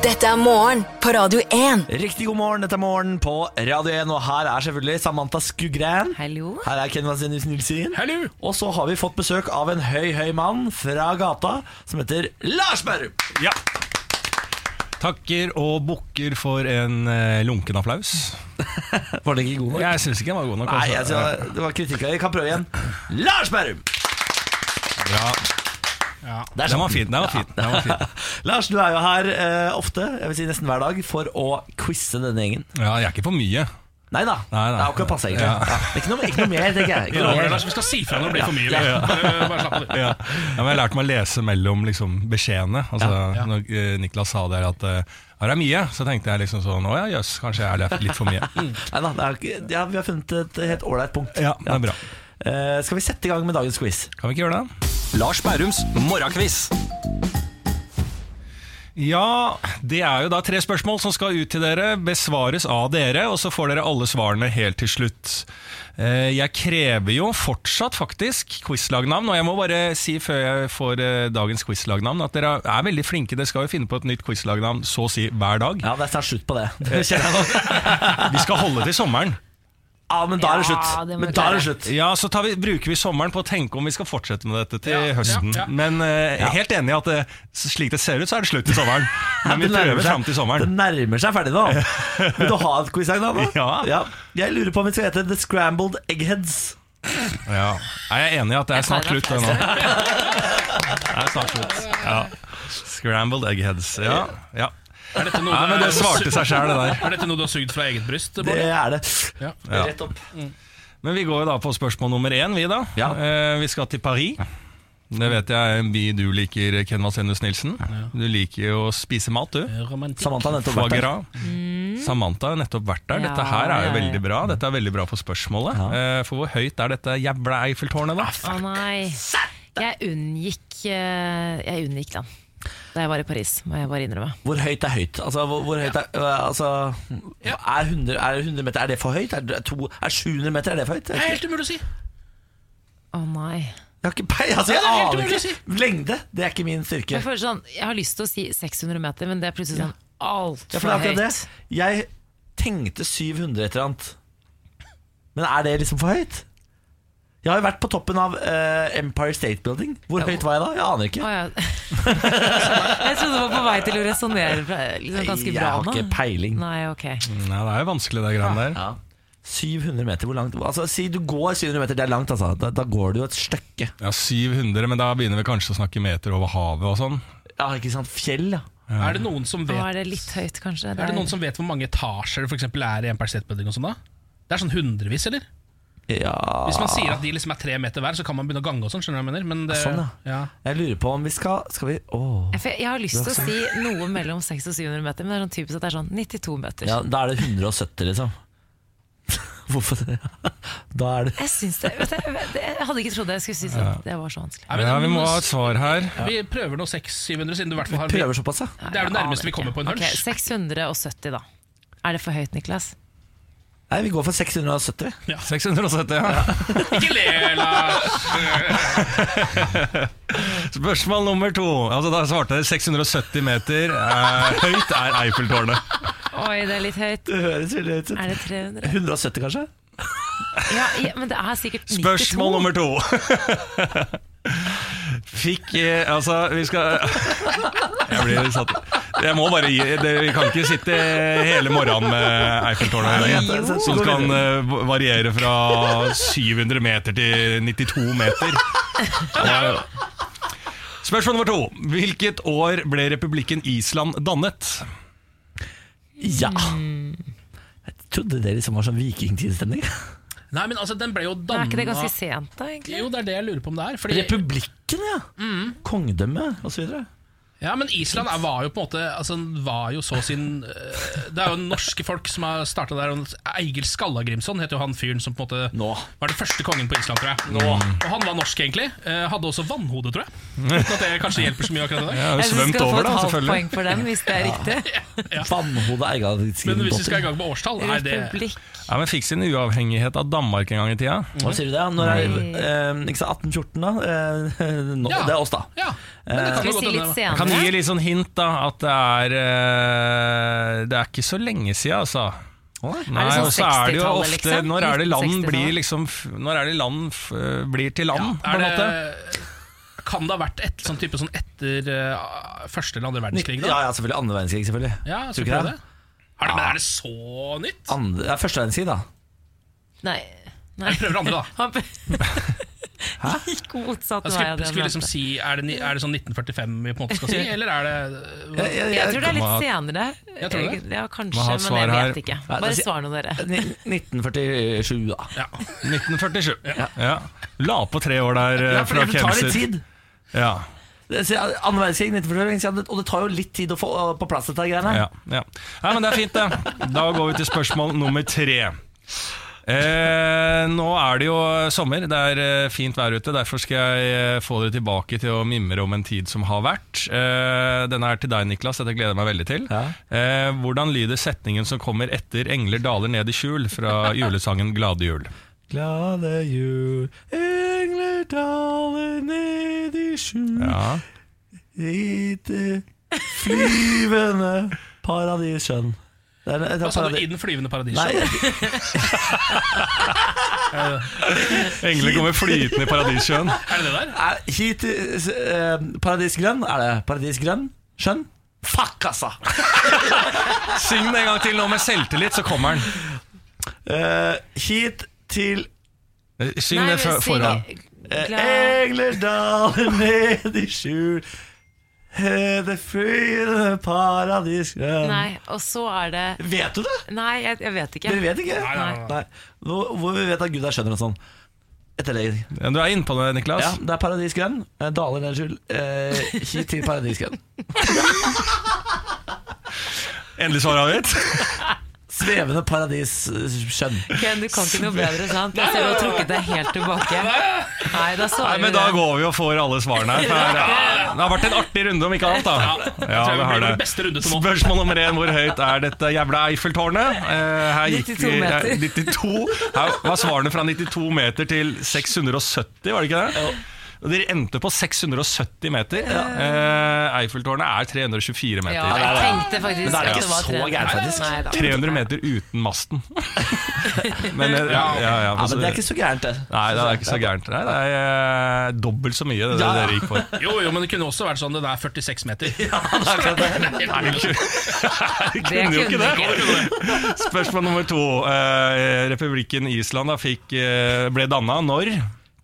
Speaker 5: Dette er morgen på Radio 1.
Speaker 1: Riktig god morgen, dette er morgen på Radio 1, og her er selvfølgelig Samantha Skugran.
Speaker 3: Hallo.
Speaker 1: Her er Ken Vasenius Nilsen.
Speaker 4: Hallo!
Speaker 1: Og så har vi fått besøk av en høy, høy mann fra gata som heter Lars Berrum.
Speaker 9: Ja. Takker og bukker for en eh, lunken applaus.
Speaker 1: Var det ikke god nok?
Speaker 9: Jeg syns ikke den var god nok.
Speaker 1: Nei, jeg
Speaker 9: altså.
Speaker 1: synes det var kritikk. Vi kan prøve igjen. Lars Berrum!
Speaker 9: Bra.
Speaker 1: Der satt
Speaker 9: Den var fin. Den var fin. Den var fin.
Speaker 1: Lars, du er jo her eh, ofte, jeg vil si nesten hver dag, for å quize denne gjengen.
Speaker 9: Ja, jeg er ikke for mye.
Speaker 1: Nei da.
Speaker 9: Nei, nei.
Speaker 1: Det er akkurat passe, egentlig.
Speaker 9: Ja.
Speaker 1: Ja. Ikke, noe, ikke noe mer, tenker jeg. Ikke noe mer.
Speaker 4: Lars, vi skal si fra når det blir for mye.
Speaker 1: Ja.
Speaker 4: vi. Bare slapp av, du.
Speaker 9: Ja. Ja, men jeg har lært meg å lese mellom liksom, beskjedene. Altså, Når eh, Niklas sa der at eh, her er mye, så tenkte jeg liksom sånn Å ja, jøss, kanskje jeg har lært litt for mye.
Speaker 1: Nei da, det er, ikke- ja, vi har funnet et helt ålreit punkt.
Speaker 9: Ja, det er bra.
Speaker 1: Eh, skal vi sette i gang med dagens quiz?
Speaker 9: Kan vi ikke gjøre det?
Speaker 10: Lars Bærums morgenkviss.
Speaker 9: Ja, det er jo da tre spørsmål som skal ut til dere, besvares av dere, og så får dere alle svarene helt til slutt. Eh, Jeg krever jo fortsatt faktisk quizlagnavn, og jeg må bare si før jeg får eh, dagens quizlagnavn at dere er veldig flinke, dere skal jo finne på et nytt quizlagnavn så å si hver dag.
Speaker 1: Ja, det er snart slutt på det.
Speaker 9: Vi skal holde til sommeren.
Speaker 1: Ja, men da er det
Speaker 9: Ja,
Speaker 1: slutt.
Speaker 9: det må
Speaker 1: men da er
Speaker 9: vi
Speaker 1: det
Speaker 9: klare.
Speaker 1: slutt.
Speaker 9: Ja, så tar vi, bruker vi sommeren på å tenke om vi skal fortsette med dette til høsten.
Speaker 1: ja, ja.
Speaker 9: Men eh, helt enig i at det, slik det ser ut, så er det slutt til sommeren. Men vi
Speaker 1: Det nærmer
Speaker 9: prøver
Speaker 1: seg-
Speaker 9: fram til sommeren.
Speaker 1: Det nærmer seg ferdig nå. Vil du ha et quizag da? da? Ja. Jeg lurer på om vi skal hete The Scrambled Eggheads.
Speaker 9: Ja. Er jeg enig i at det er snart
Speaker 1: Jeg
Speaker 9: slutt?
Speaker 1: tar det.
Speaker 9: det nå? Det er snart slutt. Ja. Scrambled eggheads. Ja. ja.
Speaker 4: Er dette noe
Speaker 9: Nei,
Speaker 4: du
Speaker 9: men
Speaker 4: er-
Speaker 9: det svarte seg sjæl, det der.
Speaker 4: Er dette noe du har sugd fra eget bryst?
Speaker 9: Det
Speaker 4: Bård?
Speaker 9: er det.
Speaker 4: Ja.
Speaker 9: Ja. Rett opp. Men vi går jo da på spørsmål nummer én, vi da. Eh, vi skal til Paris. Det vet jeg er en by du liker, Ken Vasenius Nilsen. Du liker jo å spise mat, du.
Speaker 4: Romantikk.
Speaker 1: Samantha har nettopp vært
Speaker 9: Foie
Speaker 1: der.
Speaker 9: gras. Mm. Samantha har nettopp vært der. Dette
Speaker 4: Ja,
Speaker 9: her er
Speaker 4: ja,
Speaker 9: jo
Speaker 4: ja.
Speaker 9: veldig bra. Dette er veldig bra for spørsmålet. Eh, for hvor høyt er dette jævla Eiffeltårnet, da?
Speaker 3: Å nei. Jeg unngikk eh, Jeg unngikk den da jeg var i Paris, må jeg bare innrømme.
Speaker 1: Hvor høyt er høyt? Altså, hvor, hvor høyt er, øh, altså, er, 100, er 100 meter Er det for høyt? Er, det to, er 700 meter er det for høyt?
Speaker 4: Det er helt umulig å si.
Speaker 3: Å nei.
Speaker 1: Jeg har ikke peil, altså, jeg
Speaker 3: Ja, det er helt
Speaker 1: aner
Speaker 3: umulig å
Speaker 1: ikke. Lengde det er ikke min styrke.
Speaker 3: Jeg, føler sånn, jeg har lyst til å si 600 meter, men det er plutselig sånn
Speaker 1: Ja,
Speaker 3: altfor
Speaker 1: for det er
Speaker 3: høyt.
Speaker 1: akkurat det. Jeg tenkte 700 et eller annet. Men er det liksom for høyt? Jeg har jo vært på toppen av eh, Empire State Building. Hvor høyt var jeg da? Jeg aner ikke.
Speaker 3: Å, ja. jeg trodde du var på vei til å resonnere liksom, ganske
Speaker 1: Jeg
Speaker 3: bra
Speaker 1: har
Speaker 3: nå.
Speaker 1: ikke peiling.
Speaker 3: Nei, ok.
Speaker 9: Nei, Mm, det er jo vanskelig, det greiene der.
Speaker 1: 700 meter, hvor langt Altså, Si du går 700 meter, det er langt, altså. Da, da går du jo et stykke.
Speaker 9: Ja, 700, men da begynner vi kanskje å snakke meter over havet og sånn.
Speaker 1: Ja, ikke sant. Fjell, ja.
Speaker 4: Er det noen som
Speaker 3: Nå
Speaker 4: vet
Speaker 3: er det litt høyt, kanskje.
Speaker 4: Er det noen som vet hvor mange etasjer det for eksempel er i en persiettbuilding? og sånn da? Det er sånn hundrevis, eller? Hvis man sier at de liksom er tre meter hver, så kan man begynne å gange og sånn, skjønner du hva jeg mener? Men det,
Speaker 1: Sånn, ja. Jeg lurer på om vi skal Skal vi Åh.
Speaker 3: Jeg, for jeg har lyst til å si noe mellom 600 og 700 meter, men det er sånn typisk at det er sånn 92 meter.
Speaker 1: Ja, da er det 170, liksom. Hvorfor det? Da er det
Speaker 3: Jeg syns det, vet jeg, det Jeg hadde ikke trodd jeg skulle si sånn. Det var så vanskelig.
Speaker 4: Nei, men- Ja, vi må ha et
Speaker 9: svar her.
Speaker 4: Vi prøver nå 600-700, siden du i hvert fall har
Speaker 1: Prøver såpass, ja.
Speaker 4: Det er det nærmeste vi kommer på en
Speaker 3: Ok,
Speaker 4: hunch.
Speaker 3: 670, da. Er det for høyt, Niklas?
Speaker 1: Nei, vi går for 670.
Speaker 9: 670, ja.
Speaker 4: Ikke le,
Speaker 9: Spørsmål nummer to. Altså, da svarte dere 670 meter. Eh, høyt er Eiffeltårnet.
Speaker 3: Oi, det er litt høyt.
Speaker 1: Det høres veldig høyt ut.
Speaker 3: Er det 300?
Speaker 1: 170, kanskje?
Speaker 3: Ja, ja, men det er sikkert 92.
Speaker 9: Spørsmål nummer to. Fikk eh, Altså, vi skal Jeg blir satt Jeg må bare gi det, Vi kan ikke sitte hele morgenen med Eiffeltårnet her,
Speaker 1: Nei, jo.
Speaker 9: som kan eh, variere fra 700 meter til 92 meter. Og- Spørsmål nummer to. Hvilket år ble republikken Island dannet?
Speaker 1: Ja.
Speaker 3: Mm.
Speaker 1: Jeg trodde det liksom var sånn vikingtidsstemning.
Speaker 4: Nei, men altså, den ble jo
Speaker 3: Men
Speaker 4: danna
Speaker 3: Er ikke det ganske sent, da? egentlig?
Speaker 4: Jo, det er det jeg lurer på om det er. Fordi,
Speaker 1: Republikken, ja.
Speaker 4: Mm.
Speaker 1: Kongedømme osv.
Speaker 4: ja, men Island er, var jo på en måte altså, den var jo så sin øh, Det er jo norske folk som har starta der. og Egil Skallagrimson heter jo han fyren som på en måte var den første kongen på Island, tror jeg. Mm. Og han var norsk, egentlig. eh, Hadde også vannhode, tror jeg. Uten at det kanskje hjelper så mye akkurat i dag.
Speaker 9: Jeg har jo svømt over, da, selvfølgelig.
Speaker 3: poeng for den, hvis det er riktig.
Speaker 1: Vannhodet er
Speaker 4: Men hvis vi skal i
Speaker 1: egalitetsdotter.
Speaker 4: gang med årstall, er det
Speaker 3: Republikk.
Speaker 9: Ja, men Fikk sin uavhengighet av Danmark en gang i tida.
Speaker 1: Hva sier du det? Når er, eh, ikke sant, 1814, da? Eh, nå,
Speaker 4: Ja.
Speaker 1: Det er oss, da.
Speaker 4: Ja, men det kan jo
Speaker 3: Skal vi
Speaker 4: godt
Speaker 3: si
Speaker 4: hende
Speaker 3: litt
Speaker 4: det var-
Speaker 9: Jeg kan gi
Speaker 3: senere?
Speaker 9: litt sånn hint da At det er eh, Det er ikke så lenge siden altså Nei,
Speaker 3: sånn
Speaker 9: og så er det jo
Speaker 3: 60-tallet,
Speaker 9: ofte
Speaker 3: liksom?
Speaker 9: Når er det land
Speaker 3: 1960-tallet?
Speaker 9: blir liksom f- Når er det land f- blir til land på en måte
Speaker 4: Er det, kan det ha vært et sånn type sånn etter eh, første eller andre verdenskrig?
Speaker 1: Ja,
Speaker 4: da?
Speaker 1: ja, selvfølgelig. Andre verdenskrig, selvfølgelig.
Speaker 4: Ja,
Speaker 1: Tror
Speaker 4: så
Speaker 1: ikke
Speaker 4: prøv
Speaker 1: det?
Speaker 4: det. Er det, men er det så nytt?
Speaker 1: Andre, det er første verdenskrig, da.
Speaker 3: Nei. Nei.
Speaker 4: Jeg prøver andre, da.
Speaker 3: Han gikk motsatt
Speaker 4: Da
Speaker 3: vei
Speaker 4: Skal,
Speaker 3: av det
Speaker 4: skal vi
Speaker 3: han
Speaker 4: liksom
Speaker 3: mente.
Speaker 4: si er det, ni- er det sånn 1945 vi på en måte skal si, eller er det hva?
Speaker 1: Jeg, jeg,
Speaker 3: Jeg tror det er litt
Speaker 9: Hva-
Speaker 3: senere.
Speaker 4: Jeg tror det.
Speaker 3: Ja,
Speaker 9: Hva
Speaker 3: kanskje,
Speaker 9: har
Speaker 3: men jeg
Speaker 9: svar her?
Speaker 3: vet ikke.
Speaker 1: Nei,
Speaker 3: Bare
Speaker 1: det-
Speaker 3: svar nå, dere.
Speaker 1: Ni- 1947, da.
Speaker 4: ja.
Speaker 9: 1947 ja. La på tre år der eh,
Speaker 1: Ja, for
Speaker 9: fra
Speaker 1: det tar litt
Speaker 9: Kemser.
Speaker 1: tid.
Speaker 9: ja.
Speaker 1: Det- så, ja, Andre verdenskrig, 1945, ikke sant? og det tar jo litt tid å få øh, på plass dette greiene.
Speaker 9: Ja, ja. Nei, men det er fint det Da går vi til spørsmål nummer tre Eh, nå er det jo sommer, det er eh, fint vær ute Derfor skal jeg eh, få dere tilbake til å mimre om en tid som har vært eh, Denne er til deg Niklas, dette gleder jeg meg veldig til
Speaker 1: Ja.
Speaker 9: eh, Hvordan lyder setningen som kommer etter Engler daler ned i skjul Fra julesangen Glade jul
Speaker 1: Glade jul, engler daler ned i skjul
Speaker 9: ja.
Speaker 1: I det flyvende paradisskjønn. Det er, det
Speaker 4: Hva
Speaker 1: er
Speaker 4: sa du?
Speaker 1: paradi-
Speaker 4: I den flyvende paradis?
Speaker 1: Nei.
Speaker 9: Englene kommer flytende i paradissjøen.
Speaker 4: Er det det der?
Speaker 1: Er, hit til eh, Paradisgrønn? Er det Paradisgrønn? Skjønn? Fuck, altså!
Speaker 9: Syng den en gang til nå med selvtillit, så kommer den.
Speaker 1: Eh, hit til
Speaker 9: Eh, Syng det fra- foran.
Speaker 1: eh,
Speaker 3: Glad-
Speaker 1: Engler daler ned i skjul. Eh, Det fyller paradisgrønn
Speaker 3: Nei, og så er det
Speaker 1: Vet du det?
Speaker 3: Nei, jeg, jeg vet ikke.
Speaker 1: Dere vet ikke?
Speaker 4: Nei, nei, nei.
Speaker 1: Nei. Hvor, hvor vi vet at Gud er skjønner og sånn. Etter det.
Speaker 9: Ja, Du er inne på det,
Speaker 1: Ja,
Speaker 9: Niklas.
Speaker 1: det er paradisgrønn. Eh, Daler ned i skjul. Eh, hit til paradisgrønn.
Speaker 9: Endelig svar avgitt.
Speaker 1: Svevende paradisskjønn.
Speaker 3: Ken, du kan ikke noe bedre, sant? Jeg ser du har trukket deg helt tilbake. Nei, da
Speaker 9: Nei,
Speaker 3: svarer
Speaker 9: men
Speaker 3: vi
Speaker 9: da
Speaker 3: det.
Speaker 9: går vi og får alle svarene her. for Det er- det har vært en artig runde, om ikke annet. da Ja,
Speaker 4: tror jeg
Speaker 9: det
Speaker 4: blir vår
Speaker 9: har det.
Speaker 4: beste runde til nå.
Speaker 9: Spørsmål nummer én. Hvor høyt er dette jævla Eiffeltårnet? Eh, her gikk
Speaker 3: 92
Speaker 9: vi
Speaker 3: meter.
Speaker 9: eh, 92. Her var svarene fra 92 meter til 670, var det ikke det? Og Dere endte på 670 meter. Eh, Eiffeltårnet er 324 meter.
Speaker 3: Ja, jeg tenkte faktisk
Speaker 1: Men da er det
Speaker 3: at
Speaker 1: ikke
Speaker 3: var
Speaker 1: så
Speaker 3: tre-
Speaker 1: gærent, faktisk.
Speaker 3: Nei da.
Speaker 9: 300 meter uten masten. Men, eh, ja, ja, ja,
Speaker 1: Ja, men Altså, det er ikke så gærent, det.
Speaker 9: Nei, det er ikke så gærent. Nei, det er eh, dobbelt så mye det, det
Speaker 1: Ja, ja.
Speaker 9: dere gikk for.
Speaker 4: Jo, jo, men det kunne også vært sånn det der 46 meter.
Speaker 9: Nei, det
Speaker 3: Det
Speaker 9: kunne, jo ikke
Speaker 3: kunne
Speaker 9: det. Spørsmål nummer to. Eh, Republikken Island da fikk, eh, ble danna når?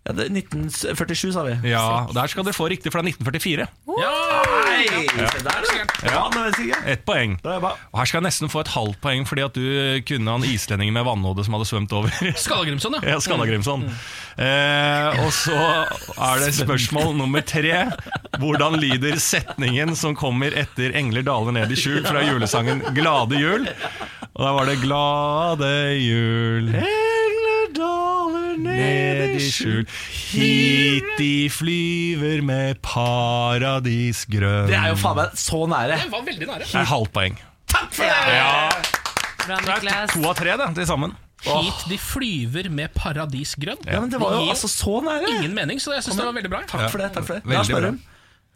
Speaker 1: Ja, det er 1947, sa vi.
Speaker 9: Ja, og Der skal dere få riktig fra 1944.
Speaker 4: Ja!
Speaker 1: Hei! Se der, du. Ja, men det er sikkert.
Speaker 9: Ett poeng.
Speaker 1: Da er jeg bare
Speaker 9: Og Her skal jeg nesten få et halvt poeng fordi at du kunne han islendingen med vannhode som hadde svømt over.
Speaker 4: Skallagrimson, ja.
Speaker 9: Ja, Skallagrimson. Eh, og så er det spørsmål nummer tre. Hvordan lyder setningen som kommer etter 'Engler daler ned i skjul' fra julesangen 'Glade jul'? Og da var det 'Glade jul'. Engler daler ned i skjul, hit de flyver med paradisgrønn.
Speaker 1: Det er jo faen meg så nære.
Speaker 4: Den var veldig nære.
Speaker 9: Det er halvt poeng.
Speaker 3: Bra,
Speaker 9: Det er
Speaker 3: Niklas.
Speaker 9: to av tre det, til sammen.
Speaker 4: Hit de flyver med paradisgrønn.
Speaker 1: Ja, men det var jo altså så nære.
Speaker 4: Ingen mening, så jeg syns det var veldig bra.
Speaker 1: Takk for det. takk for det
Speaker 9: Veldig
Speaker 1: Lars
Speaker 9: bra.
Speaker 1: Børum,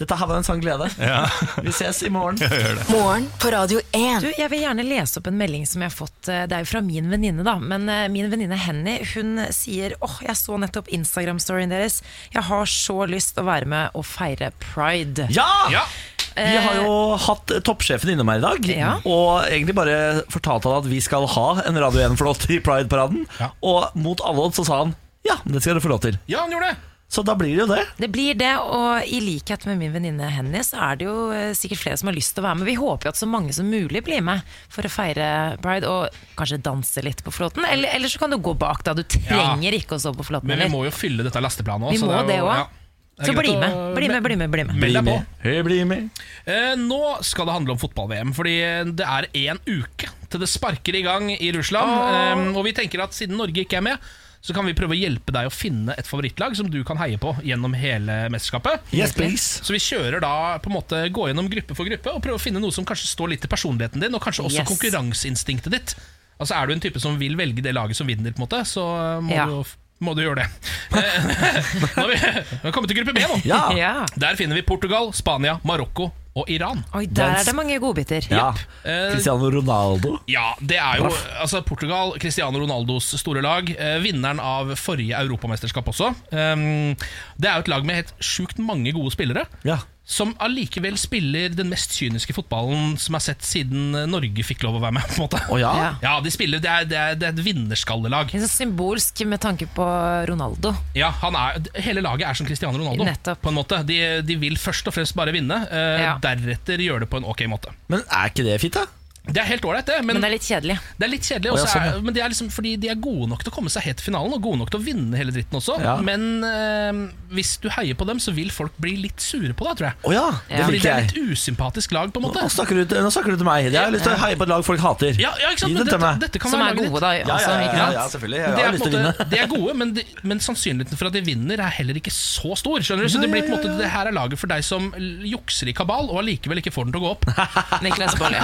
Speaker 1: dette her var en sann glede.
Speaker 9: Ja.
Speaker 1: Vi ses i morgen.
Speaker 5: Morgen på Radio 1.
Speaker 3: Du, jeg vil gjerne lese opp en melding som jeg har fått. eh, Det er jo fra min venninne, da. Men eh, min venninne Henny hun sier åh, jeg så nettopp Instagram-storyen deres. Jeg har så lyst til å være med og feire pride.
Speaker 1: Ja!
Speaker 4: Ja.
Speaker 1: Vi har jo hatt toppsjefen innom her i dag,
Speaker 3: Ja.
Speaker 1: og egentlig bare fortalte han at vi skal ha en Radio 1-flått i Pride-paraden.
Speaker 4: Ja.
Speaker 1: Og mot alle odds så sa han ja, det skal du få lov til.
Speaker 4: Ja, han gjorde det!
Speaker 1: Så da blir det jo det.
Speaker 3: Det blir det, og i likhet med min venninne Henny, så er det jo eh, sikkert flere som har lyst til å være med. Vi håper jo at så mange som mulig blir med for å feire pride, og kanskje danse litt på flåten. Eller, eller så kan du gå bak, da. Du trenger ikke å stå på flåten.
Speaker 4: Men vi
Speaker 3: eller?
Speaker 4: må jo fylle dette lasteplanet
Speaker 3: Vi
Speaker 4: også, så
Speaker 3: må
Speaker 4: er
Speaker 3: det
Speaker 4: jo-
Speaker 3: også.
Speaker 4: ja. Det er
Speaker 3: Så
Speaker 4: greit
Speaker 3: bli
Speaker 4: å-
Speaker 3: med, bli med, bli med. bli med.
Speaker 4: Meld deg på.
Speaker 1: Hei, bli med.
Speaker 4: Eh, nå skal det handle om fotball-VM, fordi eh, det er én uke til det sparker i gang i Russland. Eh, og vi tenker at siden Norge ikke er med, så kan vi prøve å hjelpe deg å finne et favorittlag som du kan heie på gjennom hele mesterskapet.
Speaker 1: Yes, please.
Speaker 4: Så vi kjører da på en måte gå gjennom gruppe for gruppe og prøve å finne noe som kanskje står litt til personligheten din, og kanskje også
Speaker 3: Yes.
Speaker 4: konkurranseinstinktet ditt. Altså Er du en type som vil velge det laget som vinner, på en måte, så må,
Speaker 3: Ja.
Speaker 4: du, må du gjøre det. Eh, nå har vi, vi har kommet til gruppe B nå.
Speaker 1: Ja.
Speaker 3: Ja.
Speaker 4: Der finner vi Portugal, Spania, Marokko og Iran.
Speaker 3: Oi, der er det mange godbiter.
Speaker 1: ja.
Speaker 4: Eh,
Speaker 1: Cristiano Ronaldo.
Speaker 4: Ja, det er jo altså, Portugal, Cristiano Ronaldos store lag. Eh, vinneren av forrige europamesterskap også. Um, det er jo et lag med helt sjukt mange gode spillere.
Speaker 1: Ja.
Speaker 4: Som allikevel spiller den mest kyniske fotballen som er sett siden eh, Norge fikk lov å være med. på en måte
Speaker 1: Å ja.
Speaker 3: Ja.
Speaker 4: Ja, de spiller, det, er, det, er, det er et vinnerskallelag.
Speaker 3: Litt sånn symbolsk med tanke på Ronaldo.
Speaker 4: Ja, han er, hele laget er som Cristiano Ronaldo.
Speaker 3: Nettopp.
Speaker 4: På en måte De, de vil først og fremst bare vinne, eh,
Speaker 3: Ja.
Speaker 4: deretter gjøre det på en ok måte.
Speaker 1: Men er ikke det fint, da?
Speaker 4: Det er helt ålreit, det. Men,
Speaker 3: Men det er litt kjedelig.
Speaker 4: Det er litt kjedelig,
Speaker 1: Å, ja,
Speaker 4: også,
Speaker 1: sånn, ja.
Speaker 4: er, men det er liksom fordi de er gode nok til å komme seg helt til finalen og gode nok til å vinne hele dritten også.
Speaker 1: Ja.
Speaker 4: Men eh, hvis du heier på dem, så vil folk bli litt sure på deg, tror jeg.
Speaker 1: Å ja, det
Speaker 4: Fordi
Speaker 3: Ja.
Speaker 4: det
Speaker 1: liker
Speaker 4: er
Speaker 1: jeg.
Speaker 4: et usympatisk lag, på en måte.
Speaker 1: Nå snakker, du, nå snakker du til meg. Jeg har lyst til å heie på et lag folk hater.
Speaker 4: Ja, ja, ikke sant?
Speaker 1: Gi
Speaker 4: Men
Speaker 1: det til
Speaker 4: dette,
Speaker 1: meg.
Speaker 4: dette kan
Speaker 3: Som
Speaker 4: være
Speaker 3: er
Speaker 4: laget
Speaker 3: gode,
Speaker 4: ditt.
Speaker 3: da.
Speaker 1: Ja, ja,
Speaker 3: Altså,
Speaker 1: ja,
Speaker 3: ikke
Speaker 1: ja,
Speaker 3: sant?
Speaker 1: ja, selvfølgelig.
Speaker 4: Men
Speaker 1: Jeg
Speaker 4: det
Speaker 1: har
Speaker 4: er, på
Speaker 1: lyst
Speaker 4: en
Speaker 1: til å
Speaker 4: måte,
Speaker 1: vinne.
Speaker 4: de er gode, men, de, men sannsynligheten for at de vinner er heller ikke så stor. Skjønner du? Så
Speaker 1: Ja,
Speaker 4: det blir
Speaker 1: ja,
Speaker 4: på en måte
Speaker 1: ja, ja.
Speaker 4: Det her er laget for deg som l- jukser i kabal og allikevel ikke får den til å gå opp.
Speaker 3: Niklas Baarli.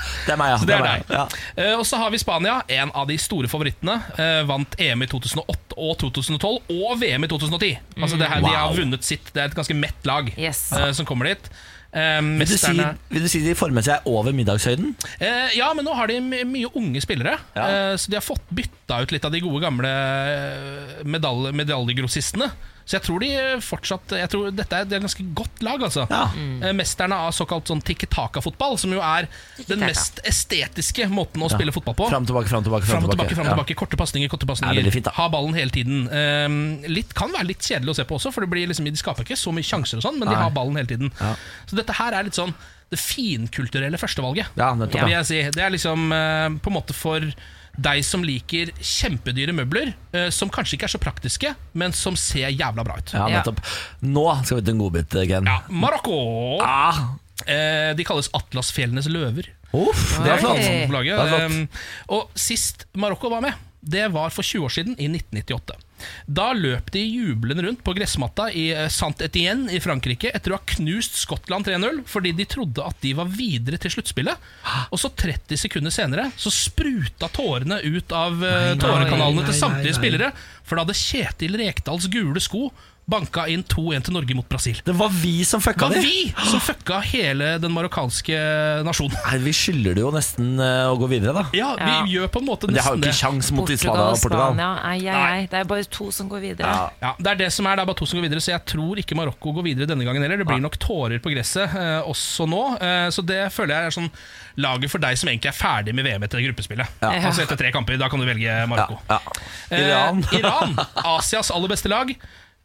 Speaker 1: Det er meg, ja.
Speaker 4: Så det er
Speaker 1: meg.
Speaker 4: deg.
Speaker 1: Ja.
Speaker 4: Eh, og så har vi Spania, en av de store favorittene. eh, vant EM i 2008 og 2012, og VM i 2010. Altså det her, De
Speaker 1: Mm,
Speaker 4: har
Speaker 1: Wow.
Speaker 4: vunnet sitt. Det er et ganske mett lag
Speaker 3: Yes.
Speaker 4: eh, som kommer dit. Eh,
Speaker 1: Vil du, si,
Speaker 4: mesterne-
Speaker 1: vil du si de former seg over middagshøyden?
Speaker 4: Eh, ja, men nå har de my- mye unge spillere. Eh, så de har fått bytta ut litt av de gode gamle eh, medal medaljegrossistene. Så jeg tror de eh, fortsatt Jeg tror dette er, det er et ganske godt lag, altså. Eh, mesterne av såkalt sånn tikki-taka-fotball, som jo er den mest estetiske måten å spille fotball på.
Speaker 1: Fram tilbake, fram tilbake,
Speaker 4: Fram
Speaker 1: fram
Speaker 4: og tilbake, fram og
Speaker 1: Ja.
Speaker 4: tilbake, korte pasninger, korte
Speaker 1: Ja,
Speaker 4: pasninger.
Speaker 1: veldig fint, da.
Speaker 4: ha ballen hele tiden. Ehm, litt, kan være litt kjedelig å se på også, for det blir liksom, de skaper ikke så mye sjanser, og sånn, men de
Speaker 1: Nei.
Speaker 4: har ballen hele tiden. Så dette her er litt sånn det finkulturelle førstevalget,
Speaker 1: Ja, nettopp, ja.
Speaker 4: vil jeg si. Det er liksom eh, på en måte for deg som liker kjempedyre møbler, eh, som kanskje ikke er så praktiske, men som ser jævla bra ut.
Speaker 1: Ja, nettopp. Nå skal vi til en godbit, eh, Ken.
Speaker 4: Ja, Marokko!
Speaker 1: Ah.
Speaker 4: Eh, de kalles Atlasfjellenes løver.
Speaker 1: Uff, det er
Speaker 4: Oi.
Speaker 1: flott.
Speaker 4: Sånn flagget.
Speaker 1: Det er flott.
Speaker 4: Ehm, Og sist Marokko var med, det var for 20 år siden, i 1998. Da løp de jublende rundt på gressmatta i eh, Saint-Étienne i Frankrike etter å ha knust Skottland 3-0 fordi de trodde at de var videre til sluttspillet. Og så 30 sekunder senere så spruta tårene ut av eh, tårekanalene til samtlige spillere, for da hadde Kjetil Rekdals gule sko banka inn 2-1 til Norge mot Brasil.
Speaker 1: Det var vi som
Speaker 4: Det
Speaker 1: fucka
Speaker 4: var
Speaker 1: det.
Speaker 4: vi som fucka hele den marokkanske nasjonen.
Speaker 1: Nei, vi skylder det jo nesten eh, å gå videre, da.
Speaker 4: Ja, vi
Speaker 3: Ja.
Speaker 4: gjør på en måte
Speaker 1: Men det har jo
Speaker 4: nesten det.
Speaker 1: ikke kjangs mot Spania og Portugal.
Speaker 3: Spania. Ai, ai, ai. Det er bare to som går videre.
Speaker 4: Ja, det er det som er, det er bare to som går videre, så jeg tror ikke Marokko går videre denne gangen heller. Det blir nok tårer på gresset eh, også nå, eh, så det føler jeg er sånn laget for deg som egentlig er ferdig med VM etter gruppespillet. Altså etter tre kamper, da kan du velge Marokko.
Speaker 1: Ja. Iran.
Speaker 4: Eh, Iran, Asias aller beste lag,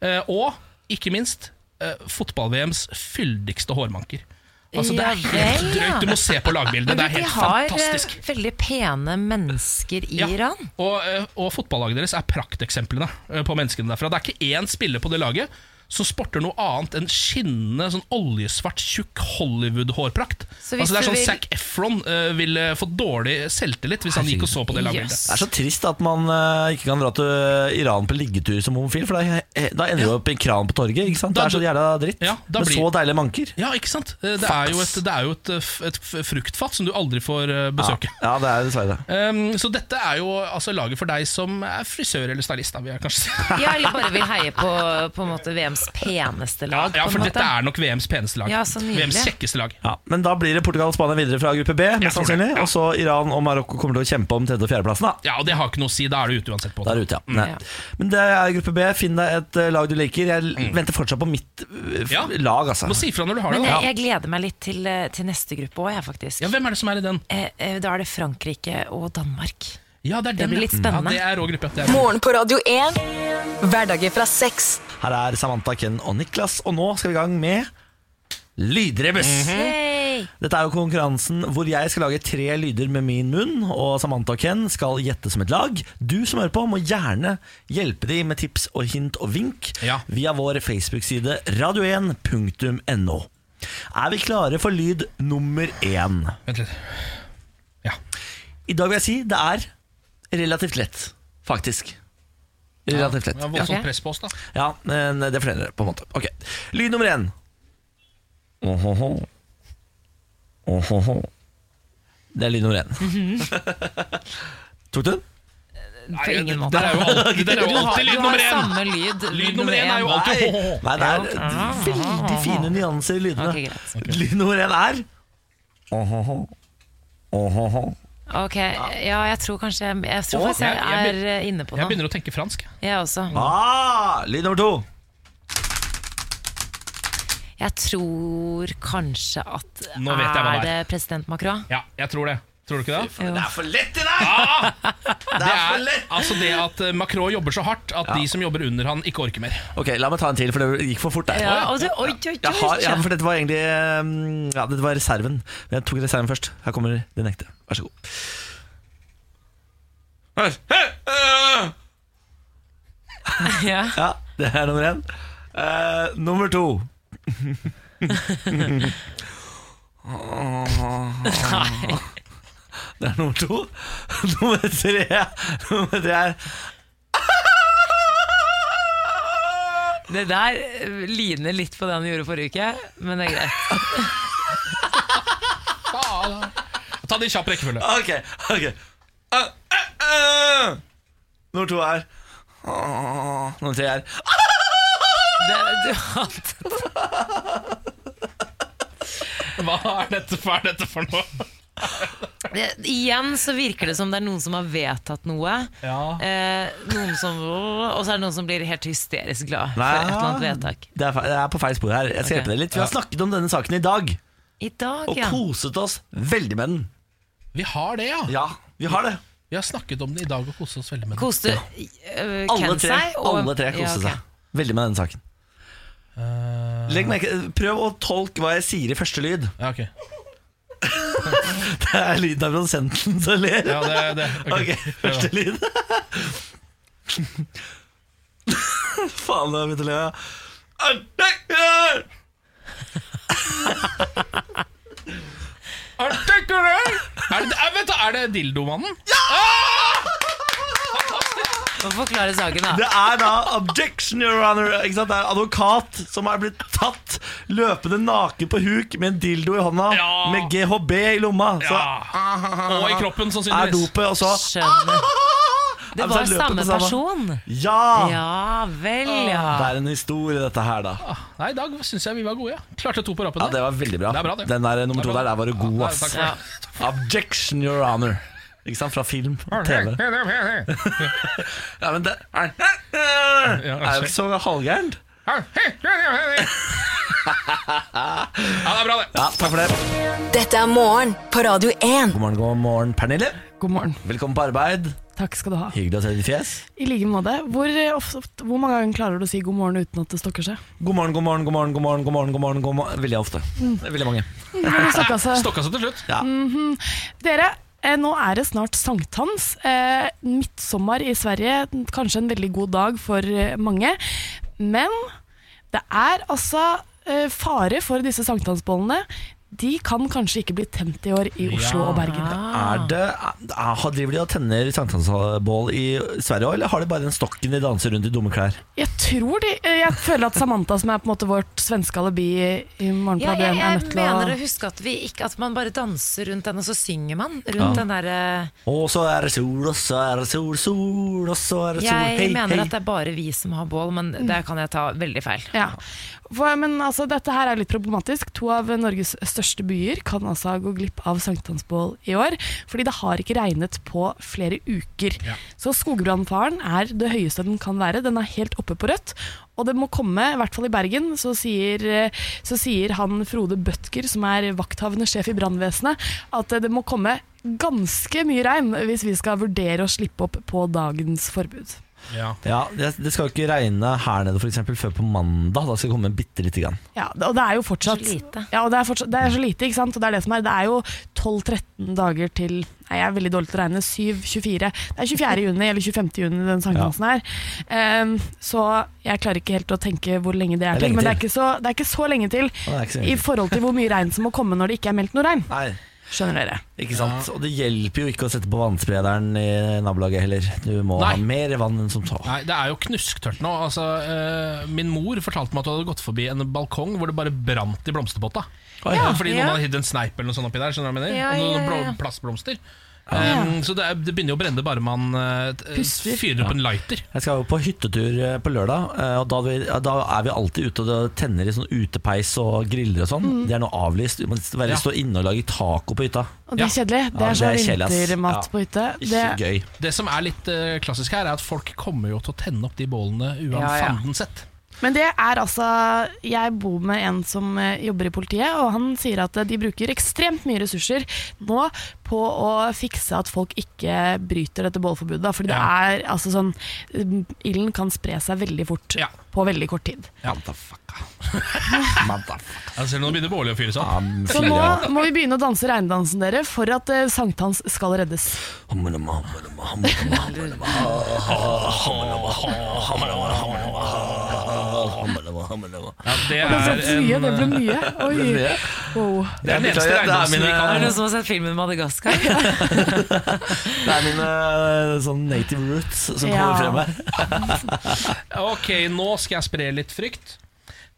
Speaker 4: eh, og ikke minst eh, fotball-VMs fyldigste hårmanker. Altså, det er
Speaker 3: Ja
Speaker 4: helt
Speaker 3: vel, ja.
Speaker 4: drøyt. Du må se på lagbildet. Det er
Speaker 3: de
Speaker 4: helt
Speaker 3: har
Speaker 4: fantastisk.
Speaker 3: eh, veldig pene mennesker i
Speaker 4: Ja,
Speaker 3: Iran.
Speaker 4: Og, eh, og fotballaget deres er prakteksemplene eh, på menneskene derfra. Det er ikke én spiller på det laget som sporter noe annet enn skinnende, sånn oljesvart, tjukk Hollywood-hårprakt. Altså
Speaker 3: Så hvis
Speaker 4: Det er
Speaker 3: du
Speaker 4: sånn
Speaker 3: vil-
Speaker 4: Zac Efron eh, ville fått dårlig selvtillit hvis han gikk og så på det laget.
Speaker 3: Jøss.
Speaker 1: Det er så trist at man eh, ikke kan dra til Iran på liggetur som homofil, for da, eh, da ender du opp i en kran på torget. ikke sant?
Speaker 4: Da-
Speaker 1: Det er så jævla dritt.
Speaker 4: Ja, da
Speaker 1: Med
Speaker 4: blir-
Speaker 1: så deilige manker.
Speaker 4: Ja, ikke sant? Eh, Det er jo et, det er jo et, eh, f- et f- fruktfat som du aldri får eh, besøke.
Speaker 1: Ja, det er dessverre det.
Speaker 4: Ehm, så dette er jo altså, laget for deg som er frisør eller stylist, da, vil jeg kanskje si.
Speaker 3: Ja, eller bare vil heie på, på en måte VMs peneste
Speaker 4: Ja,
Speaker 3: lag.
Speaker 4: ja,
Speaker 3: på en
Speaker 4: for
Speaker 3: måte.
Speaker 4: dette er nok VMs peneste lag.
Speaker 3: Ja, så nydelig.
Speaker 4: VMs kjekkeste lag.
Speaker 1: Ja, men da blir det Portugal og Spania videre fra gruppe B,
Speaker 4: Jeg
Speaker 1: mest
Speaker 4: tror det,
Speaker 1: sannsynlig.
Speaker 4: ja.
Speaker 1: Og så Iran og Marokko kommer til å kjempe om tredje- og fjerdeplassen. da
Speaker 4: Ja, og det har ikke noe å si. Da Mm. er du ute uansett. på en måte.
Speaker 1: Der ute, ja. Nei.
Speaker 3: Ja.
Speaker 1: Men det er gruppe B. Finn deg et eh, lag du liker. Jeg l- venter fortsatt på mitt eh, f-
Speaker 4: Mm. Ja.
Speaker 1: lag, altså.
Speaker 4: Må si ifra når du har det.
Speaker 3: Men
Speaker 4: da
Speaker 3: jeg, jeg gleder meg litt til, eh, til neste gruppe òg, jeg, faktisk.
Speaker 4: Ja, Hvem er det som er i den?
Speaker 3: Eh, eh, da er det Frankrike og Danmark.
Speaker 4: Ja, det er den,
Speaker 3: blir
Speaker 4: ja.
Speaker 3: litt spennende.
Speaker 4: Ja, det er rå gruppe. Det er rå.
Speaker 5: Morgen på Radio 1. Hverdager fra seks.
Speaker 1: Her er Samantha, Ken og Niklas, og nå skal vi i gang med Lydrebus.
Speaker 4: Mhm. Mm.
Speaker 3: Hey!
Speaker 1: Dette er jo konkurransen hvor jeg skal lage tre lyder med min munn, og Samantha og Ken skal gjette som et lag. Du som hører på, må gjerne hjelpe dem med tips og hint og vink
Speaker 4: Ja.
Speaker 1: via vår Facebook-side radio1.no. Er vi klare for lyd nummer én?
Speaker 4: Vent litt.
Speaker 1: I dag vil jeg si det er relativt lett, faktisk. Relativt
Speaker 4: Det er
Speaker 1: lett.
Speaker 4: voldsomt
Speaker 3: Ok.
Speaker 4: press på oss, da.
Speaker 1: Ja, men det er flere, på en måte. Ok, Lyd nummer én. Ohoho. Ohoho. Det er lyd nummer én. Tok du den?
Speaker 3: På
Speaker 4: Det
Speaker 3: ingen måte.
Speaker 4: er jo alltid, det er jo
Speaker 3: Du har,
Speaker 4: alltid
Speaker 3: du
Speaker 4: lyd
Speaker 3: har
Speaker 4: nummer én.
Speaker 3: samme lyd.
Speaker 4: Lyd nummer én er jo alltid
Speaker 1: Nei,
Speaker 4: ho-ho-ho.
Speaker 1: Nei det er veldig fine nyanser i lydene.
Speaker 3: Ok, greit.
Speaker 1: Lyd nummer én er Ohoho. Ohoho.
Speaker 3: Ok, ja, jeg tror kanskje Jeg, jeg tror
Speaker 1: Å,
Speaker 3: faktisk jeg,
Speaker 4: jeg- jeg
Speaker 3: er eh, inne på
Speaker 4: Jeg
Speaker 3: noe.
Speaker 4: begynner å tenke fransk.
Speaker 3: Jeg også.
Speaker 1: Ah, lyd nummer to.
Speaker 3: Jeg tror kanskje at
Speaker 4: Nå vet jeg hva
Speaker 3: Er
Speaker 4: det
Speaker 3: det president Macron?
Speaker 4: Ja, jeg tror det. Tror du ikke det?
Speaker 1: Det er for lett i dag!
Speaker 4: Det er altså det at eh, Macron jobber så hardt at de som jobber under han, ikke orker mer.
Speaker 1: Ok, La meg ta en til, for det gikk for fort der.
Speaker 3: Ja, og du, oi, oi, oi,
Speaker 1: Jeg har, ja, for dette var egentlig um, Ja, dette var reserven. Men jeg tok reserven først. Her kommer den ekte. Vær så god.
Speaker 3: Ja.
Speaker 1: Ja, Det er nummer én. Eh, nummer to. Det er nummer to. Nummer tre Nummer tre er
Speaker 3: Det der eh, ligner litt på det han gjorde forrige uke, men det er greit.
Speaker 4: Faen. Ta det i kjapp rekkefølge.
Speaker 1: Ok, ok Eh, eh, eh. Nummer to er Nummer tre er
Speaker 3: Det, du,
Speaker 4: Hva er dette for, er dette for noe?
Speaker 3: Det, Eh, igjen så virker det som det er noen som har vedtatt noe.
Speaker 4: Ja.
Speaker 3: Eh, noen som, og så er det noen som blir helt hysterisk glad
Speaker 1: Nei.
Speaker 3: for et eller annet vedtak.
Speaker 1: Det er, fe- jeg er på feil spor her. Jeg skal
Speaker 3: Ok.
Speaker 1: hjelpe deg litt Vi har
Speaker 3: Ja.
Speaker 1: snakket om denne saken i dag,
Speaker 3: I dag,
Speaker 1: og
Speaker 3: ja.
Speaker 1: koset oss veldig med den.
Speaker 4: Vi har det, ja.
Speaker 1: Ja, vi har det.
Speaker 4: Vi har snakket om det i dag og kost oss veldig med det.
Speaker 3: Koste
Speaker 1: Ja.
Speaker 3: øh,
Speaker 1: Alle
Speaker 3: Ken
Speaker 1: tre,
Speaker 3: seg? og-
Speaker 1: alle tre koste
Speaker 3: Ja, ok.
Speaker 1: seg veldig med denne saken. Legg merke, prøv å tolke hva jeg sier i første lyd.
Speaker 4: Ja, ok.
Speaker 1: Det er lyden av produsenten som ler.
Speaker 4: Ja, det, det.
Speaker 1: Ok, første lyd. Faen, jeg har begynt å le. ja.
Speaker 4: Er det, er det, vent da, er det dildomannen?
Speaker 3: Må Forklare saken, da.
Speaker 1: Det er da objection, your honor. Ikke sant? Det er advokat som er blitt tatt løpende naken på huk med en dildo i hånda,
Speaker 4: Ja.
Speaker 1: med GHB i lomma. Så
Speaker 4: Og i kroppen,
Speaker 1: er
Speaker 4: sannsynligvis.
Speaker 1: dopet, og så
Speaker 3: Skjønner. Det
Speaker 1: Ja, men så
Speaker 3: var
Speaker 1: er løpet
Speaker 3: samme
Speaker 1: det samme.
Speaker 3: person.
Speaker 1: Ja!
Speaker 3: Ja vel, ja.
Speaker 1: Det er en historie, dette her, da.
Speaker 4: Ah, Nei, I dag syns jeg vi var gode. Ja. Klarte to på rappen.
Speaker 1: Ja, Det var veldig bra.
Speaker 4: Det er bra, det.
Speaker 1: Den der eh, nummer
Speaker 4: Det er
Speaker 1: to
Speaker 4: bra,
Speaker 1: der, der var du god,
Speaker 4: Ja,
Speaker 1: ass.
Speaker 4: takk for det.
Speaker 3: ja.
Speaker 1: Objection, your honor. Ikke sant? Fra film og TV. Ja, men det er Det er jo ikke så halvgærent.
Speaker 4: Ja, det er bra, det.
Speaker 1: Ja, takk for det.
Speaker 5: Dette er morgen på Radio 1.
Speaker 1: God morgen, god morgen, Pernille.
Speaker 2: God morgen.
Speaker 1: Velkommen på arbeid.
Speaker 2: Takk skal du ha.
Speaker 1: Hyggelig å se ditt fjes.
Speaker 2: I like måte. Hvor, eh, ofte- hvor mange ganger klarer du å si god morgen uten at det stokker seg?
Speaker 1: God morgen, god morgen, god morgen, god morgen, god morgen, god morgen, god morgen. Veldig ofte.
Speaker 3: Mm.
Speaker 1: Veldig mange.
Speaker 2: Hvor det stokka seg.
Speaker 4: Stokka seg til slutt.
Speaker 2: Mhm. Dere, eh, nå er det snart sankthans. Eh, midtsommer i Sverige, kanskje en veldig god dag for eh, mange. Men det er altså eh, fare for disse sankthansbollene. De kan kanskje ikke bli tent i år i Oslo og Bergen.
Speaker 1: Er det, er, har- driver de og tenner sankthansbål i Sverige òg, eller har de bare den stokken de danser rundt i dumme klær?
Speaker 2: Jeg tror de, eh, jeg føler at Samantha, som er på en måte vårt svenske alibi i i
Speaker 3: Ja,
Speaker 2: Morgenpodden,
Speaker 3: jeg,
Speaker 2: er
Speaker 3: jeg
Speaker 2: nødt til
Speaker 3: mener å
Speaker 2: å
Speaker 3: huske at, vi ikke, at man bare danser rundt den, og så synger man rundt den eh, derre
Speaker 1: Og så er det sol, og så er det sol, sol, og så er det sol,
Speaker 3: Jeg
Speaker 1: hei,
Speaker 3: mener
Speaker 1: hei.
Speaker 3: at det er bare vi som har bål, men der kan jeg ta veldig feil.
Speaker 2: ja. For, men altså, dette her er litt problematisk. To av Norges største byer kan altså gå glipp av sankthansbål i år, fordi det har ikke regnet på flere uker. Så skogbrannfaren er det høyeste den kan være. Den er helt oppe på rødt. Og det må komme, i hvert fall i Bergen, så sier, eh, så sier han Frode Bødker, som er vakthavende sjef i brannvesenet, at eh, det må komme ganske mye regn hvis vi skal vurdere å slippe opp på dagens forbud.
Speaker 1: Ja, det, det skal jo ikke regne her nede for eksempel, før på mandag. Da skal det komme bitte lite grann.
Speaker 2: Ja, det- og det er jo fortsatt
Speaker 3: Så lite.
Speaker 2: Ja, og det er, fortsatt, det er så lite, ikke sant? Og det er det som er, det er jo 12-13 dager til Nei, jeg er veldig dårlig til å regne. 7-24. Det er 24. juni eller 25. juni den sankthansen her. Ehm, så jeg klarer ikke helt å tenke hvor lenge det er
Speaker 1: Det er
Speaker 2: til.
Speaker 1: lenge
Speaker 2: Men det er
Speaker 1: til.
Speaker 2: ikke så, det er ikke så lenge til
Speaker 1: det er ikke så lenge
Speaker 2: i
Speaker 1: til.
Speaker 2: forhold til hvor mye regn som må komme når det ikke er meldt noe regn.
Speaker 1: Nei,
Speaker 2: Skjønner dere.
Speaker 1: ikke sant? Og det hjelper jo ikke å sette på vannsprederen i nabolaget heller. Du må
Speaker 4: Nei.
Speaker 1: ha mer vann enn som så.
Speaker 4: Nei, Det er jo knusktørt nå. Altså, eh, min mor fortalte meg at hun hadde gått forbi en balkong hvor det bare brant i blomsterpotta.
Speaker 1: ja.
Speaker 4: Fordi
Speaker 3: Ja.
Speaker 4: noen hadde hidd en sneip eller noe sånt oppi der. Skjønner du hva jeg mener?
Speaker 3: Ja,
Speaker 4: Og noen
Speaker 3: ja,
Speaker 4: blå-
Speaker 3: ja.
Speaker 4: plastblomster. Um, så det, er, det begynner jo å brenne bare man eh, t-
Speaker 1: Puster.
Speaker 4: fyrer opp en lighter.
Speaker 1: Jeg skal jo på hyttetur eh, på lørdag, eh, og da, vi, ja, da er vi alltid ute og tenner i sånn utepeis og griller og sånn.
Speaker 2: Mm.
Speaker 1: Det er nå avlyst. Vi må være
Speaker 4: Ja.
Speaker 1: stå inne og lage taco på hytta.
Speaker 2: Og det er kjedelig. Det
Speaker 1: Ja,
Speaker 2: er så
Speaker 1: det er kjedelig, ass.
Speaker 2: vintermat
Speaker 1: Ja.
Speaker 2: på hytte.
Speaker 1: Ikke
Speaker 2: Det,
Speaker 1: gøy.
Speaker 4: Det som er litt eh, klassisk her, er at folk kommer jo til å tenne opp de bålene
Speaker 3: Ja, ja.
Speaker 4: uanfanden sett.
Speaker 2: men det er altså Jeg bor med en som eh, jobber i politiet, og han sier at eh, de bruker ekstremt mye ressurser nå på å fikse at folk ikke bryter dette bålforbudet. da, Fordi
Speaker 4: Ja.
Speaker 2: det er altså sånn mm, Ilden kan spre seg veldig fort
Speaker 4: Ja.
Speaker 2: på veldig kort tid.
Speaker 4: Jeg ser nå begynner bålet å fyres opp.
Speaker 1: Um,
Speaker 2: Så nå må vi begynne å danse regndansen, dere, for at eh, sankthans skal reddes.
Speaker 4: Ja, det,
Speaker 2: Det
Speaker 4: er
Speaker 2: ble mye, det ble
Speaker 4: en, eh,
Speaker 2: mye. Oi. Wow.
Speaker 4: det er den eneste
Speaker 1: Beklager, det er
Speaker 4: eiendomsen vi
Speaker 1: mine-
Speaker 4: kan
Speaker 3: Er det noen som har sett filmen Madagaskar?
Speaker 1: Det er mine eh, sånn native roots som
Speaker 2: Ja.
Speaker 1: kommer frem her.
Speaker 4: Ok, nå skal jeg spre litt frykt.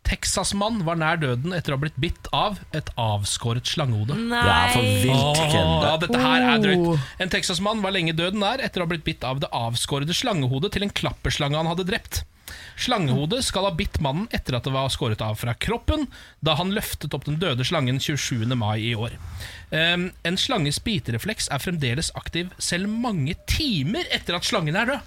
Speaker 4: Texasmann var nær døden etter å ha blitt bitt av et avskåret slangehode.
Speaker 1: Det er for
Speaker 3: Nei.
Speaker 1: vilt,
Speaker 4: Åh,
Speaker 1: Ken.
Speaker 4: ja, dette her er
Speaker 2: Oh.
Speaker 4: drøyt. En texasmann var lenge døden nær etter å ha blitt bitt av det avskårede slangehodet til en klapperslange han hadde drept. Slangehodet skal ha bitt mannen etter at det var skåret av fra kroppen, da han løftet opp den døde slangen 27. mai i år. Ehm, en slanges biterefleks er fremdeles aktiv selv mange timer etter at slangen er død.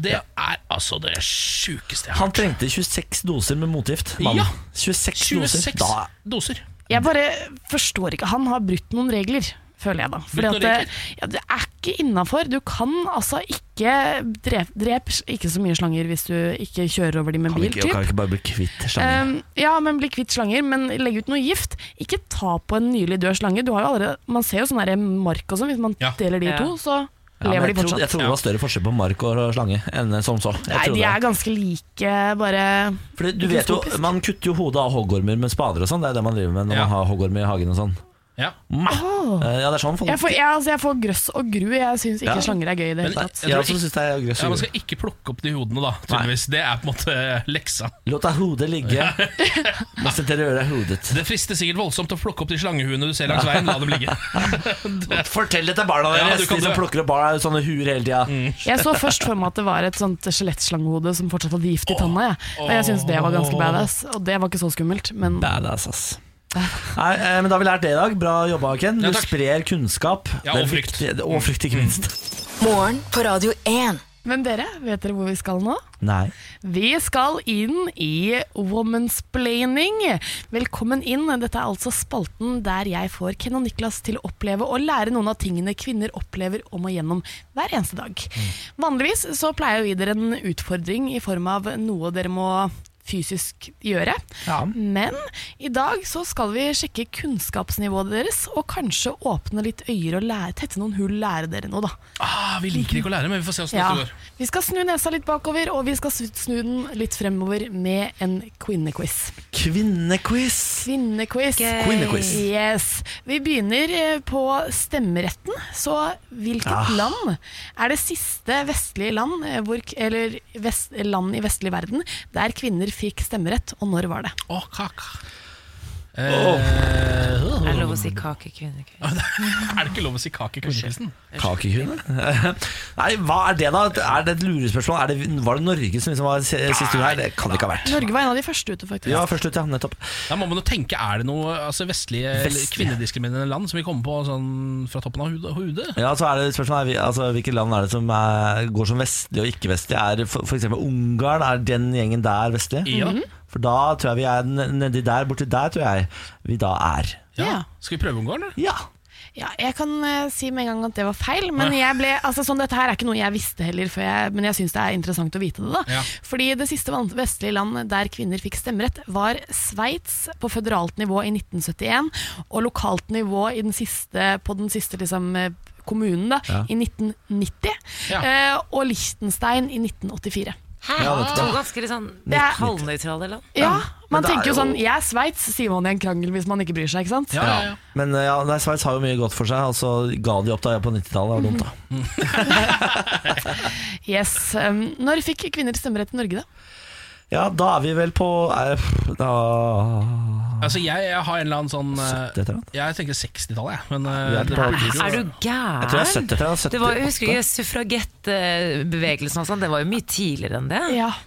Speaker 4: Det er altså det sjukeste jeg har
Speaker 1: Han trengte 26 doser med motgift. mannen.
Speaker 4: Ja.
Speaker 1: 26,
Speaker 4: 26
Speaker 1: doser. Da
Speaker 4: doser.
Speaker 2: Jeg bare forstår ikke Han har brutt noen regler, føler jeg da. Fordi
Speaker 4: Brutt
Speaker 2: at
Speaker 4: noen
Speaker 2: det,
Speaker 4: regler?
Speaker 2: ja, det er ikke innafor. Du kan altså ikke drep, drep ikke så mye slanger hvis du ikke kjører over dem med
Speaker 1: kan vi
Speaker 2: bil.
Speaker 1: ikke,
Speaker 2: typ.
Speaker 1: kan vi ikke bare bli kvitt slangen.
Speaker 2: Um, ja, men bli kvitt slanger, men legg ut noe gift. Ikke ta på en nylig død slange. Du har jo allerede, man ser jo sånn der mark og sånn, hvis man deler de
Speaker 1: Ja.
Speaker 2: i to, så
Speaker 1: Ja, men
Speaker 2: lever
Speaker 1: jeg,
Speaker 2: de
Speaker 1: trodde,
Speaker 2: fortsatt.
Speaker 1: jeg trodde det var større forskjell på mark og slange enn som så. Jeg
Speaker 2: Nei,
Speaker 1: trodde
Speaker 2: de
Speaker 1: det.
Speaker 2: er ganske like, bare
Speaker 1: Fordi du vet jo, Man kutter jo hodet av hoggormer med spader og sånn. Det er det man driver med når man har hoggormer i hagen og sånn.
Speaker 4: Ja.
Speaker 1: Eh, ja, det er sånn folk
Speaker 2: Jeg får, jeg, altså, jeg får grøss og gru. Jeg syns ikke
Speaker 1: Ja.
Speaker 2: slanger er gøy i det hele tatt.
Speaker 1: Jeg også synes det er grøss
Speaker 4: ja,
Speaker 1: og grøss.
Speaker 4: Man skal ikke plukke opp de hodene, da, tydeligvis. Det er på en måte leksa.
Speaker 1: Låt deg hodet ligge. Mens dere rører hodet.
Speaker 4: Det frister sikkert voldsomt å plukke opp de slangehuene du ser langs veien. La dem ligge.
Speaker 1: Fortell det til barna
Speaker 4: Ja,
Speaker 1: deres,
Speaker 4: du kan
Speaker 1: de som
Speaker 4: dø.
Speaker 1: plukker opp barna, sånne huer hele tida.
Speaker 2: Jeg så først for meg at det var et sånt skjelettlangehode som fortsatt hadde gift i tanna. Jeg. Og jeg syns det var ganske
Speaker 1: Åh.
Speaker 2: badass. Og det var ikke så skummelt, men
Speaker 1: Badass, ass. Nei, eh, men da har vi lært det i dag. Bra jobba, Ken. Du
Speaker 2: Ja, takk.
Speaker 1: sprer kunnskap.
Speaker 2: Ja,
Speaker 1: Det er
Speaker 2: og frykt. Mm.
Speaker 1: viktig- Og frykt, ikke minst.
Speaker 2: Morgen på Radio 1. Men dere, vet dere hvor vi skal nå?
Speaker 1: Nei.
Speaker 2: Vi skal inn i womansplaining. Velkommen inn. Dette er altså spalten der jeg får Ken og Niklas til å oppleve og lære noen av tingene kvinner opplever om og gjennom hver eneste dag. Vanligvis så pleier vi dere en utfordring i form av noe dere må fysisk gjøre. Men i dag så skal vi sjekke kunnskapsnivået deres, og kanskje åpne litt øyer og lære, tette noen hull, lære dere noe, da.
Speaker 4: Ah, vi liker ikke å lære, men vi får se åssen
Speaker 2: Ja.
Speaker 4: det går.
Speaker 2: Vi skal snu nesa litt bakover, og vi skal snu snu den litt fremover med en kvinnequiz.
Speaker 1: Kvinnequiz!
Speaker 2: Kvinnequiz.
Speaker 1: Kvinnequiz.
Speaker 2: Yes. Vi begynner eh, på stemmeretten. Så hvilket
Speaker 1: Ah.
Speaker 2: land er det siste vestlige land, eh, hvor, k- eller vest, land i vestlig verden, der kvinner fikk stemmerett, og når var det?
Speaker 4: Åh, kak. Eh,
Speaker 3: Er det lov å si kake kvinne?
Speaker 4: Er det ikke lov å si kake i kvinnekvisten?
Speaker 1: Kakekvinne? Nei, hva er det, da? Er det et lurespørsmål? Er det, var det Norge som liksom var se- siste gang her? Det kan det ikke ha vært.
Speaker 2: Norge var en av de første ute, faktisk.
Speaker 1: Ja, først ut, ja. Nettopp.
Speaker 4: Da må man jo tenke, er det noe altså vestlige, eller
Speaker 1: Vestlige.
Speaker 4: kvinnediskriminerende land som vi kommer på sånn fra toppen av hud- hodet?
Speaker 1: Ja, så er det spørsmålet er, vi- altså, Hvilke land er det som er, går som vestlig og ikke vestlig? Er f.eks. Ungarn, er den gjengen der vestlig?
Speaker 4: Ja. Mhm.
Speaker 1: For da tror jeg vi er n- nedi der, borti der tror jeg vi da er.
Speaker 4: Ja. Skal vi prøve Ungarn, da?
Speaker 1: Ja.
Speaker 2: Ja, jeg kan eh, si med en gang at det var feil, men
Speaker 4: Ja.
Speaker 2: jeg ble, altså, sånn, dette her er ikke noe jeg visste heller, før jeg, men jeg syns det er interessant å vite det. da.
Speaker 4: Ja.
Speaker 2: Fordi det siste van- vestlige land der kvinner fikk stemmerett, var Sveits på føderalt nivå i 1971, og lokalt nivå i den siste, på den siste liksom, eh, kommunen da,
Speaker 1: Ja.
Speaker 2: i 1990,
Speaker 3: Ja.
Speaker 2: eh, og Liechtenstein i 1984.
Speaker 3: Hæ?
Speaker 1: Ja, det er
Speaker 3: to
Speaker 1: bra.
Speaker 3: ganske litt sånn
Speaker 2: Det er-
Speaker 3: halvnøytrale land.
Speaker 2: Ja, Man
Speaker 1: det er
Speaker 2: tenker jo sånn
Speaker 1: jo-
Speaker 2: Jeg er Sveits, sier man i en krangel hvis man ikke bryr seg, ikke sant?
Speaker 1: Men eh, ja, nei, Sveits har jo mye godt for seg, og så ga de opp da på 90-tallet. Det var dumt, da.
Speaker 2: Yes. Um, når fikk kvinner stemmerett i Norge, da?
Speaker 1: Ja, da er vi vel på eh, er, da,
Speaker 4: Altså, jeg, jeg har en eller annen sånn eh,
Speaker 1: 70 eller noe?
Speaker 4: Jeg tenker 60-tallet, jeg. Men
Speaker 1: Vi
Speaker 4: eh,
Speaker 1: er
Speaker 4: det
Speaker 1: på-
Speaker 4: blir jo-
Speaker 3: Er du gæren?
Speaker 1: Jeg tror jeg er 70 eller 78.
Speaker 3: Det var, jeg husker ikke suffragettbevegelsen og sånn, det var jo mye tidligere enn det.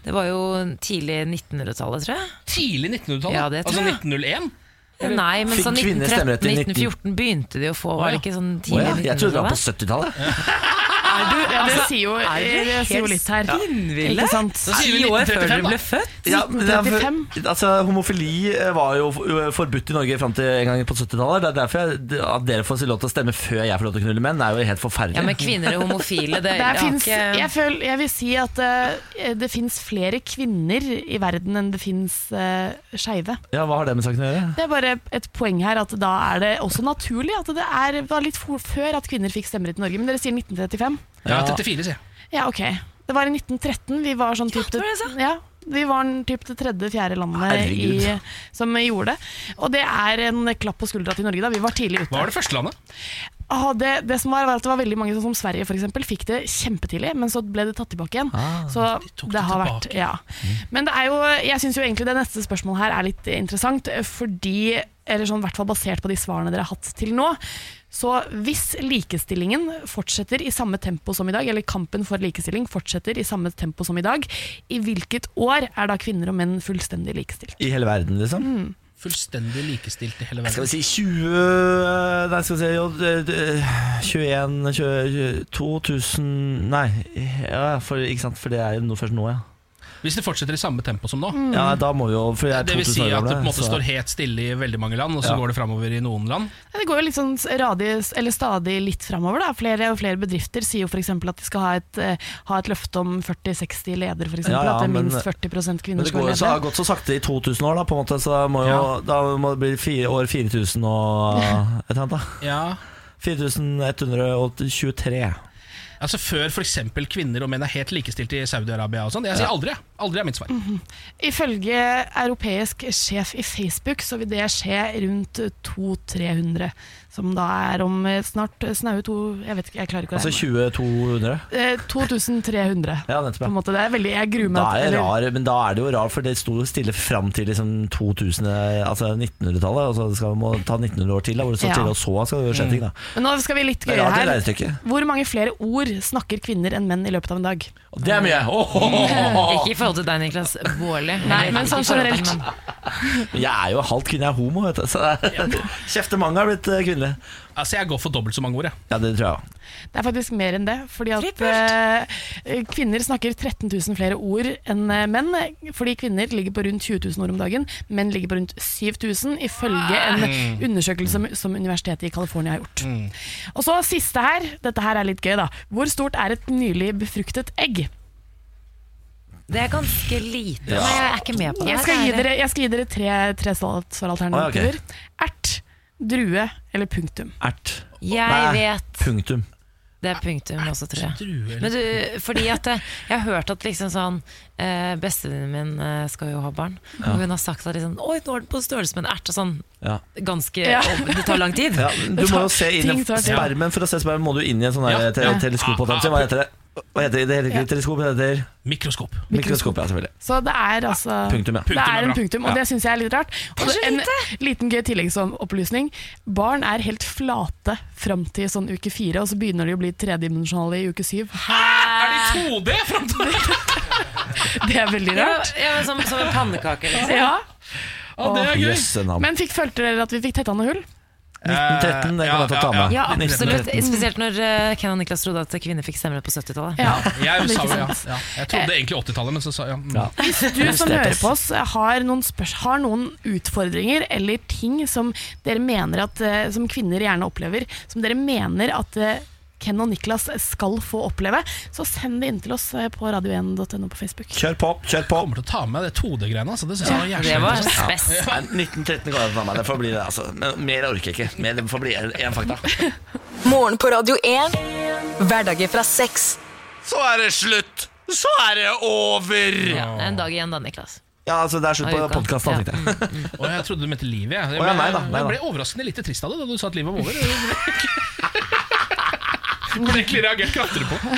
Speaker 3: Det var jo tidlig 1900-tallet, tror jeg.
Speaker 4: Tidlig 1900-tallet?
Speaker 3: Ja, det tror
Speaker 4: altså
Speaker 3: jeg.
Speaker 4: 1901?
Speaker 3: Nei, men
Speaker 1: Fikk
Speaker 3: sånn
Speaker 1: kvinner stemmerett i
Speaker 3: 1913-1914 begynte de å få, var det ikke sånn
Speaker 1: Å
Speaker 3: tidlig
Speaker 1: ja, jeg trodde det var på
Speaker 3: 1900-tallet?
Speaker 1: 70-tallet.
Speaker 2: Er du, ja, det
Speaker 3: altså,
Speaker 2: sier jo,
Speaker 3: er dere
Speaker 2: det sier jo
Speaker 3: helt
Speaker 2: litt her.
Speaker 3: spinnville?
Speaker 2: Ikke sant?
Speaker 3: Da sier vi Ti år før 1935, dere da. ble født?
Speaker 1: Ja, men det er for-
Speaker 2: 1935.
Speaker 1: altså, homofili eh, var jo eh, forbudt i Norge fram til en gang på 70-tallet. Det er derfor jeg, det- at dere får lov til å stemme før jeg får lov til å knulle menn, er jo helt forferdelig.
Speaker 3: Ja, men kvinner er homofile, det,
Speaker 2: Det
Speaker 3: det har
Speaker 2: finnes,
Speaker 3: ikke
Speaker 2: jeg, føl, jeg vil si at eh, det fins flere kvinner i verden enn det fins uh, skeive.
Speaker 1: Ja, Hva har det med saken å gjøre?
Speaker 2: Det er bare et poeng her at da er det også naturlig at det er, var litt for, før at kvinner fikk stemmerett i Norge. Men dere sier 1935?
Speaker 4: Ja, 34, sier jeg.
Speaker 2: Ja, ok. Det var i 1913 vi var sånn typ det, ja, vi var en typ det tredje, fjerde landet i,
Speaker 4: Herregud.
Speaker 2: som gjorde det. Og det er en klapp på skuldra til Norge, da. Vi var tidlig ute.
Speaker 4: Hva var det første landet?
Speaker 2: Ah, det, det som var, var at det var veldig mange sånn som Sverige for eksempel, fikk det kjempetidlig, men så ble det tatt tilbake igjen.
Speaker 6: Ah,
Speaker 2: så det, har vært, ja. Men det er jo, jeg syns jo egentlig det neste spørsmålet her er litt interessant, fordi eller sånn, i hvert fall basert på de svarene dere har hatt til nå. Så hvis likestillingen fortsetter i samme tempo som i dag, eller kampen for likestilling fortsetter i samme tempo som i dag, i hvilket år er da kvinner og menn fullstendig likestilt?
Speaker 1: I hele verden, liksom.
Speaker 4: Fullstendig likestilt i hele verden.
Speaker 1: Skal vi si 20 Nei, skal vi si jo, d- d- 21 20, 2000 Nei, ja, for, ikke sant? for det er jo noe først nå, ja.
Speaker 4: Hvis det fortsetter i samme tempo som nå.
Speaker 1: Ja, da må vi jo For jeg Mm. er
Speaker 4: Det vil
Speaker 1: 2000
Speaker 4: si
Speaker 1: år
Speaker 4: at
Speaker 1: gammel,
Speaker 4: det på en måte
Speaker 1: så-
Speaker 4: står helt stille i veldig mange land, og så
Speaker 1: Ja.
Speaker 4: går det framover i noen land.
Speaker 2: Ja, Det går jo litt sånn radius, eller stadig litt framover. Da. Flere og flere bedrifter sier jo f.eks. at de skal ha et, eh, ha et løfte om 40-60 leder, f.eks.
Speaker 1: Ja, ja,
Speaker 2: at det er
Speaker 1: men-
Speaker 2: minst 40
Speaker 1: Men
Speaker 2: kvinner
Speaker 1: det
Speaker 2: som
Speaker 1: går
Speaker 2: er
Speaker 1: jo så, har
Speaker 2: ledere.
Speaker 1: gått så sakte i 2000 år, da, på en måte, så da må jo, da må det bli fire, år 4000 og et eller annet, da.
Speaker 4: Ja.
Speaker 1: 4123.
Speaker 4: Altså Før f.eks. kvinner og menn er helt likestilte i Saudi-Arabia og sånn. Jeg sier
Speaker 1: Ja.
Speaker 4: aldri. Aldri er mitt svar.
Speaker 2: Ifølge europeisk sjef i Facebook så vil det skje rundt 200-300, som da er om eh, snart eh, snaue to Jeg vet ikke, jeg klarer ikke å
Speaker 1: Altså
Speaker 2: regne.
Speaker 1: 2200.
Speaker 2: Eh, 2300.
Speaker 1: Ja, nettopp.
Speaker 2: På en
Speaker 1: ja.
Speaker 2: måte, det er veldig, jeg gruer meg
Speaker 1: Da er det
Speaker 2: eller-
Speaker 1: rar, men da er det jo rar, for det sto jo stille fram til liksom 2000, altså 1900-tallet. Og så skal vi må ta 1900 år til, da, hvor det står
Speaker 2: Ja.
Speaker 1: stille, og så skal det jo skje ting. da
Speaker 2: Men nå skal vi litt
Speaker 1: Det er
Speaker 2: gøye
Speaker 1: rart, det
Speaker 2: her.
Speaker 1: regnestykket.
Speaker 2: Hvor mange flere ord snakker kvinner enn menn i løpet av en dag?
Speaker 1: Det er
Speaker 4: Mm.
Speaker 1: mye!
Speaker 3: Ikke i forhold til deg, Niklas Baarli.
Speaker 2: Nei, men sånn generelt.
Speaker 1: Jeg er jo halvt kvinne, jeg er homo, vet du. Så det er- kjeftemange har blitt eh, kvinnelig.
Speaker 4: Altså Jeg går for dobbelt så mange ord, jeg.
Speaker 1: Ja, det tror jeg òg.
Speaker 2: Det er faktisk mer enn det. Fordi at eh, kvinner snakker 13 000 flere ord enn eh, menn. Fordi kvinner ligger på rundt 20 000 ord om dagen. Menn ligger på rundt 7000, ifølge en
Speaker 6: Mm.
Speaker 2: undersøkelse som, som universitetet i California har gjort.
Speaker 3: Mm.
Speaker 2: Og så siste her. Dette her er litt gøy, da. Hvor stort er et nylig befruktet egg?
Speaker 3: Det er ganske lite.
Speaker 2: Ja.
Speaker 3: Men jeg er ikke med på det.
Speaker 2: Jeg
Speaker 3: her,
Speaker 2: skal gi
Speaker 3: det er-
Speaker 2: dere, jeg skal gi dere tre, tre svar- svaralternativer. Ert, drue eller punktum.
Speaker 1: Ert.
Speaker 3: Jeg
Speaker 1: Nei,
Speaker 3: vet.
Speaker 1: Punktum.
Speaker 3: Det er punktum også, tror
Speaker 4: jeg.
Speaker 3: Men du, fordi at eh, Jeg har hørt at liksom sånn eh, Bestevennen min eh, skal jo ha barn,
Speaker 1: Ja.
Speaker 3: og hun har sagt at liksom, Oi, nå er den på størrelse med en ert. Og sånn
Speaker 1: Ja.
Speaker 3: ganske
Speaker 1: Ja.
Speaker 3: og Det tar lang tid.
Speaker 1: Ja, du må jo se inn i spermen. For å se spermen må du inn i en sånn ja.
Speaker 4: Ja. Ja.
Speaker 1: teleskoppotensium. Hva heter det? Hva heter det? det heter
Speaker 2: Ja.
Speaker 1: ikke teleskop, det heter
Speaker 4: Mikroskop.
Speaker 1: Mikroskop, ja, selvfølgelig.
Speaker 2: Så det er altså
Speaker 1: Punktum, ja.
Speaker 2: Det
Speaker 1: Punktum er
Speaker 2: er en
Speaker 1: bra.
Speaker 2: punktum, og
Speaker 1: Ja.
Speaker 2: det syns jeg er litt rart. Og en liten gøy tilleggsopplysning. Barn er helt flate fram til sånn uke fire, og så begynner de å bli tredimensjonale i uke syv.
Speaker 4: Er de 2D fram til
Speaker 2: Det er veldig rart.
Speaker 3: Ja, men som, som en pannekake, liksom.
Speaker 2: Ja.
Speaker 3: Ja, det er
Speaker 2: Og-
Speaker 3: gøy. Jøsse navn.
Speaker 2: Men fikk, følte dere at vi fikk tetta noe hull?
Speaker 1: 1913, det kan jeg ta ta med.
Speaker 3: Ja, absolutt.
Speaker 1: 1913.
Speaker 3: Spesielt når eh, Ken og Niklas trodde at kvinner fikk stemmerett på 70-tallet.
Speaker 2: Ja.
Speaker 4: Jeg, sa,
Speaker 2: Ikke
Speaker 4: ja,
Speaker 2: sant?
Speaker 4: ja. jeg trodde egentlig 80-tallet, men så sa jeg ja. mm,
Speaker 2: Hvis du som hører på oss har noen, spørs, har noen utfordringer eller ting som dere mener at eh, Som kvinner gjerne opplever, som dere mener at eh, Ken og Niklas skal få oppleve, så send det inn til oss eh, på radio1.no på Facebook.
Speaker 1: Kjør på, kjør på.
Speaker 4: Kommer til å ta med det 2D-greiene. Altså. Det synes jeg var
Speaker 2: Ja,
Speaker 4: jævlig
Speaker 2: det var
Speaker 4: interessant.
Speaker 2: spes.
Speaker 4: Ja.
Speaker 1: Nei, 1913 kan jeg ta med. Det får bli det, altså. Men mer orker jeg ikke. Mer, det får bli én fakta.
Speaker 5: Morgen på Radio 1. Hverdager fra seks.
Speaker 1: Så er det slutt! Så er det over!
Speaker 3: Ja, en dag igjen da, Niklas.
Speaker 1: Ja, altså, det er slutt
Speaker 3: Av
Speaker 1: på
Speaker 3: uka.
Speaker 1: podkasten, tenkte jeg.
Speaker 4: Å, jeg trodde du mente livet. Jeg,
Speaker 1: Å, ja, nei da, nei da.
Speaker 4: jeg ble overraskende lite trist av det da du sa at livet var over. Jeg burde egentlig reagert kraftigere på.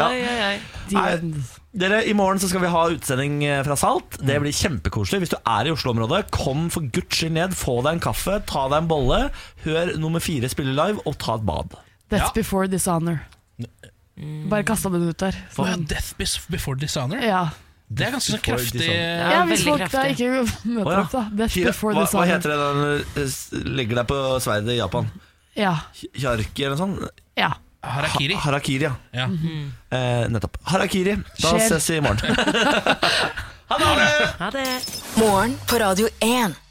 Speaker 1: Oi, Nei, dere, I morgen så skal vi ha utsending eh, fra Salt. Det
Speaker 3: Mm.
Speaker 1: blir kjempekoselig. Hvis du er i Oslo-området, kom for guds skyld ned. Få deg en kaffe, ta deg en bolle, hør nummer fire spille live, og ta et bad.
Speaker 2: Death before dishonor. Bare kasta den ut der.
Speaker 4: Å, ja, death bes- before dishonor.
Speaker 2: Ja.
Speaker 4: Det er ganske sånn
Speaker 1: Before
Speaker 4: kraftig
Speaker 1: dishonor.
Speaker 2: Ja, hvis folk da ikke møter
Speaker 1: Å, ja.
Speaker 2: opp, da. Death
Speaker 1: Kira,
Speaker 2: before
Speaker 1: hva, hva
Speaker 2: dishonor.
Speaker 1: heter det den eh, s- legger deg på sverdet i Japan?
Speaker 2: Ja.
Speaker 1: Hjarki eller noe sånt?
Speaker 2: ja.
Speaker 1: Harakiri. Ha, harakiri, ja.
Speaker 2: Mhm.
Speaker 1: Eh, nettopp. Harakiri. Da
Speaker 5: Skjer.
Speaker 1: ses vi i morgen.
Speaker 5: Ha det! Morgen på Radio 1.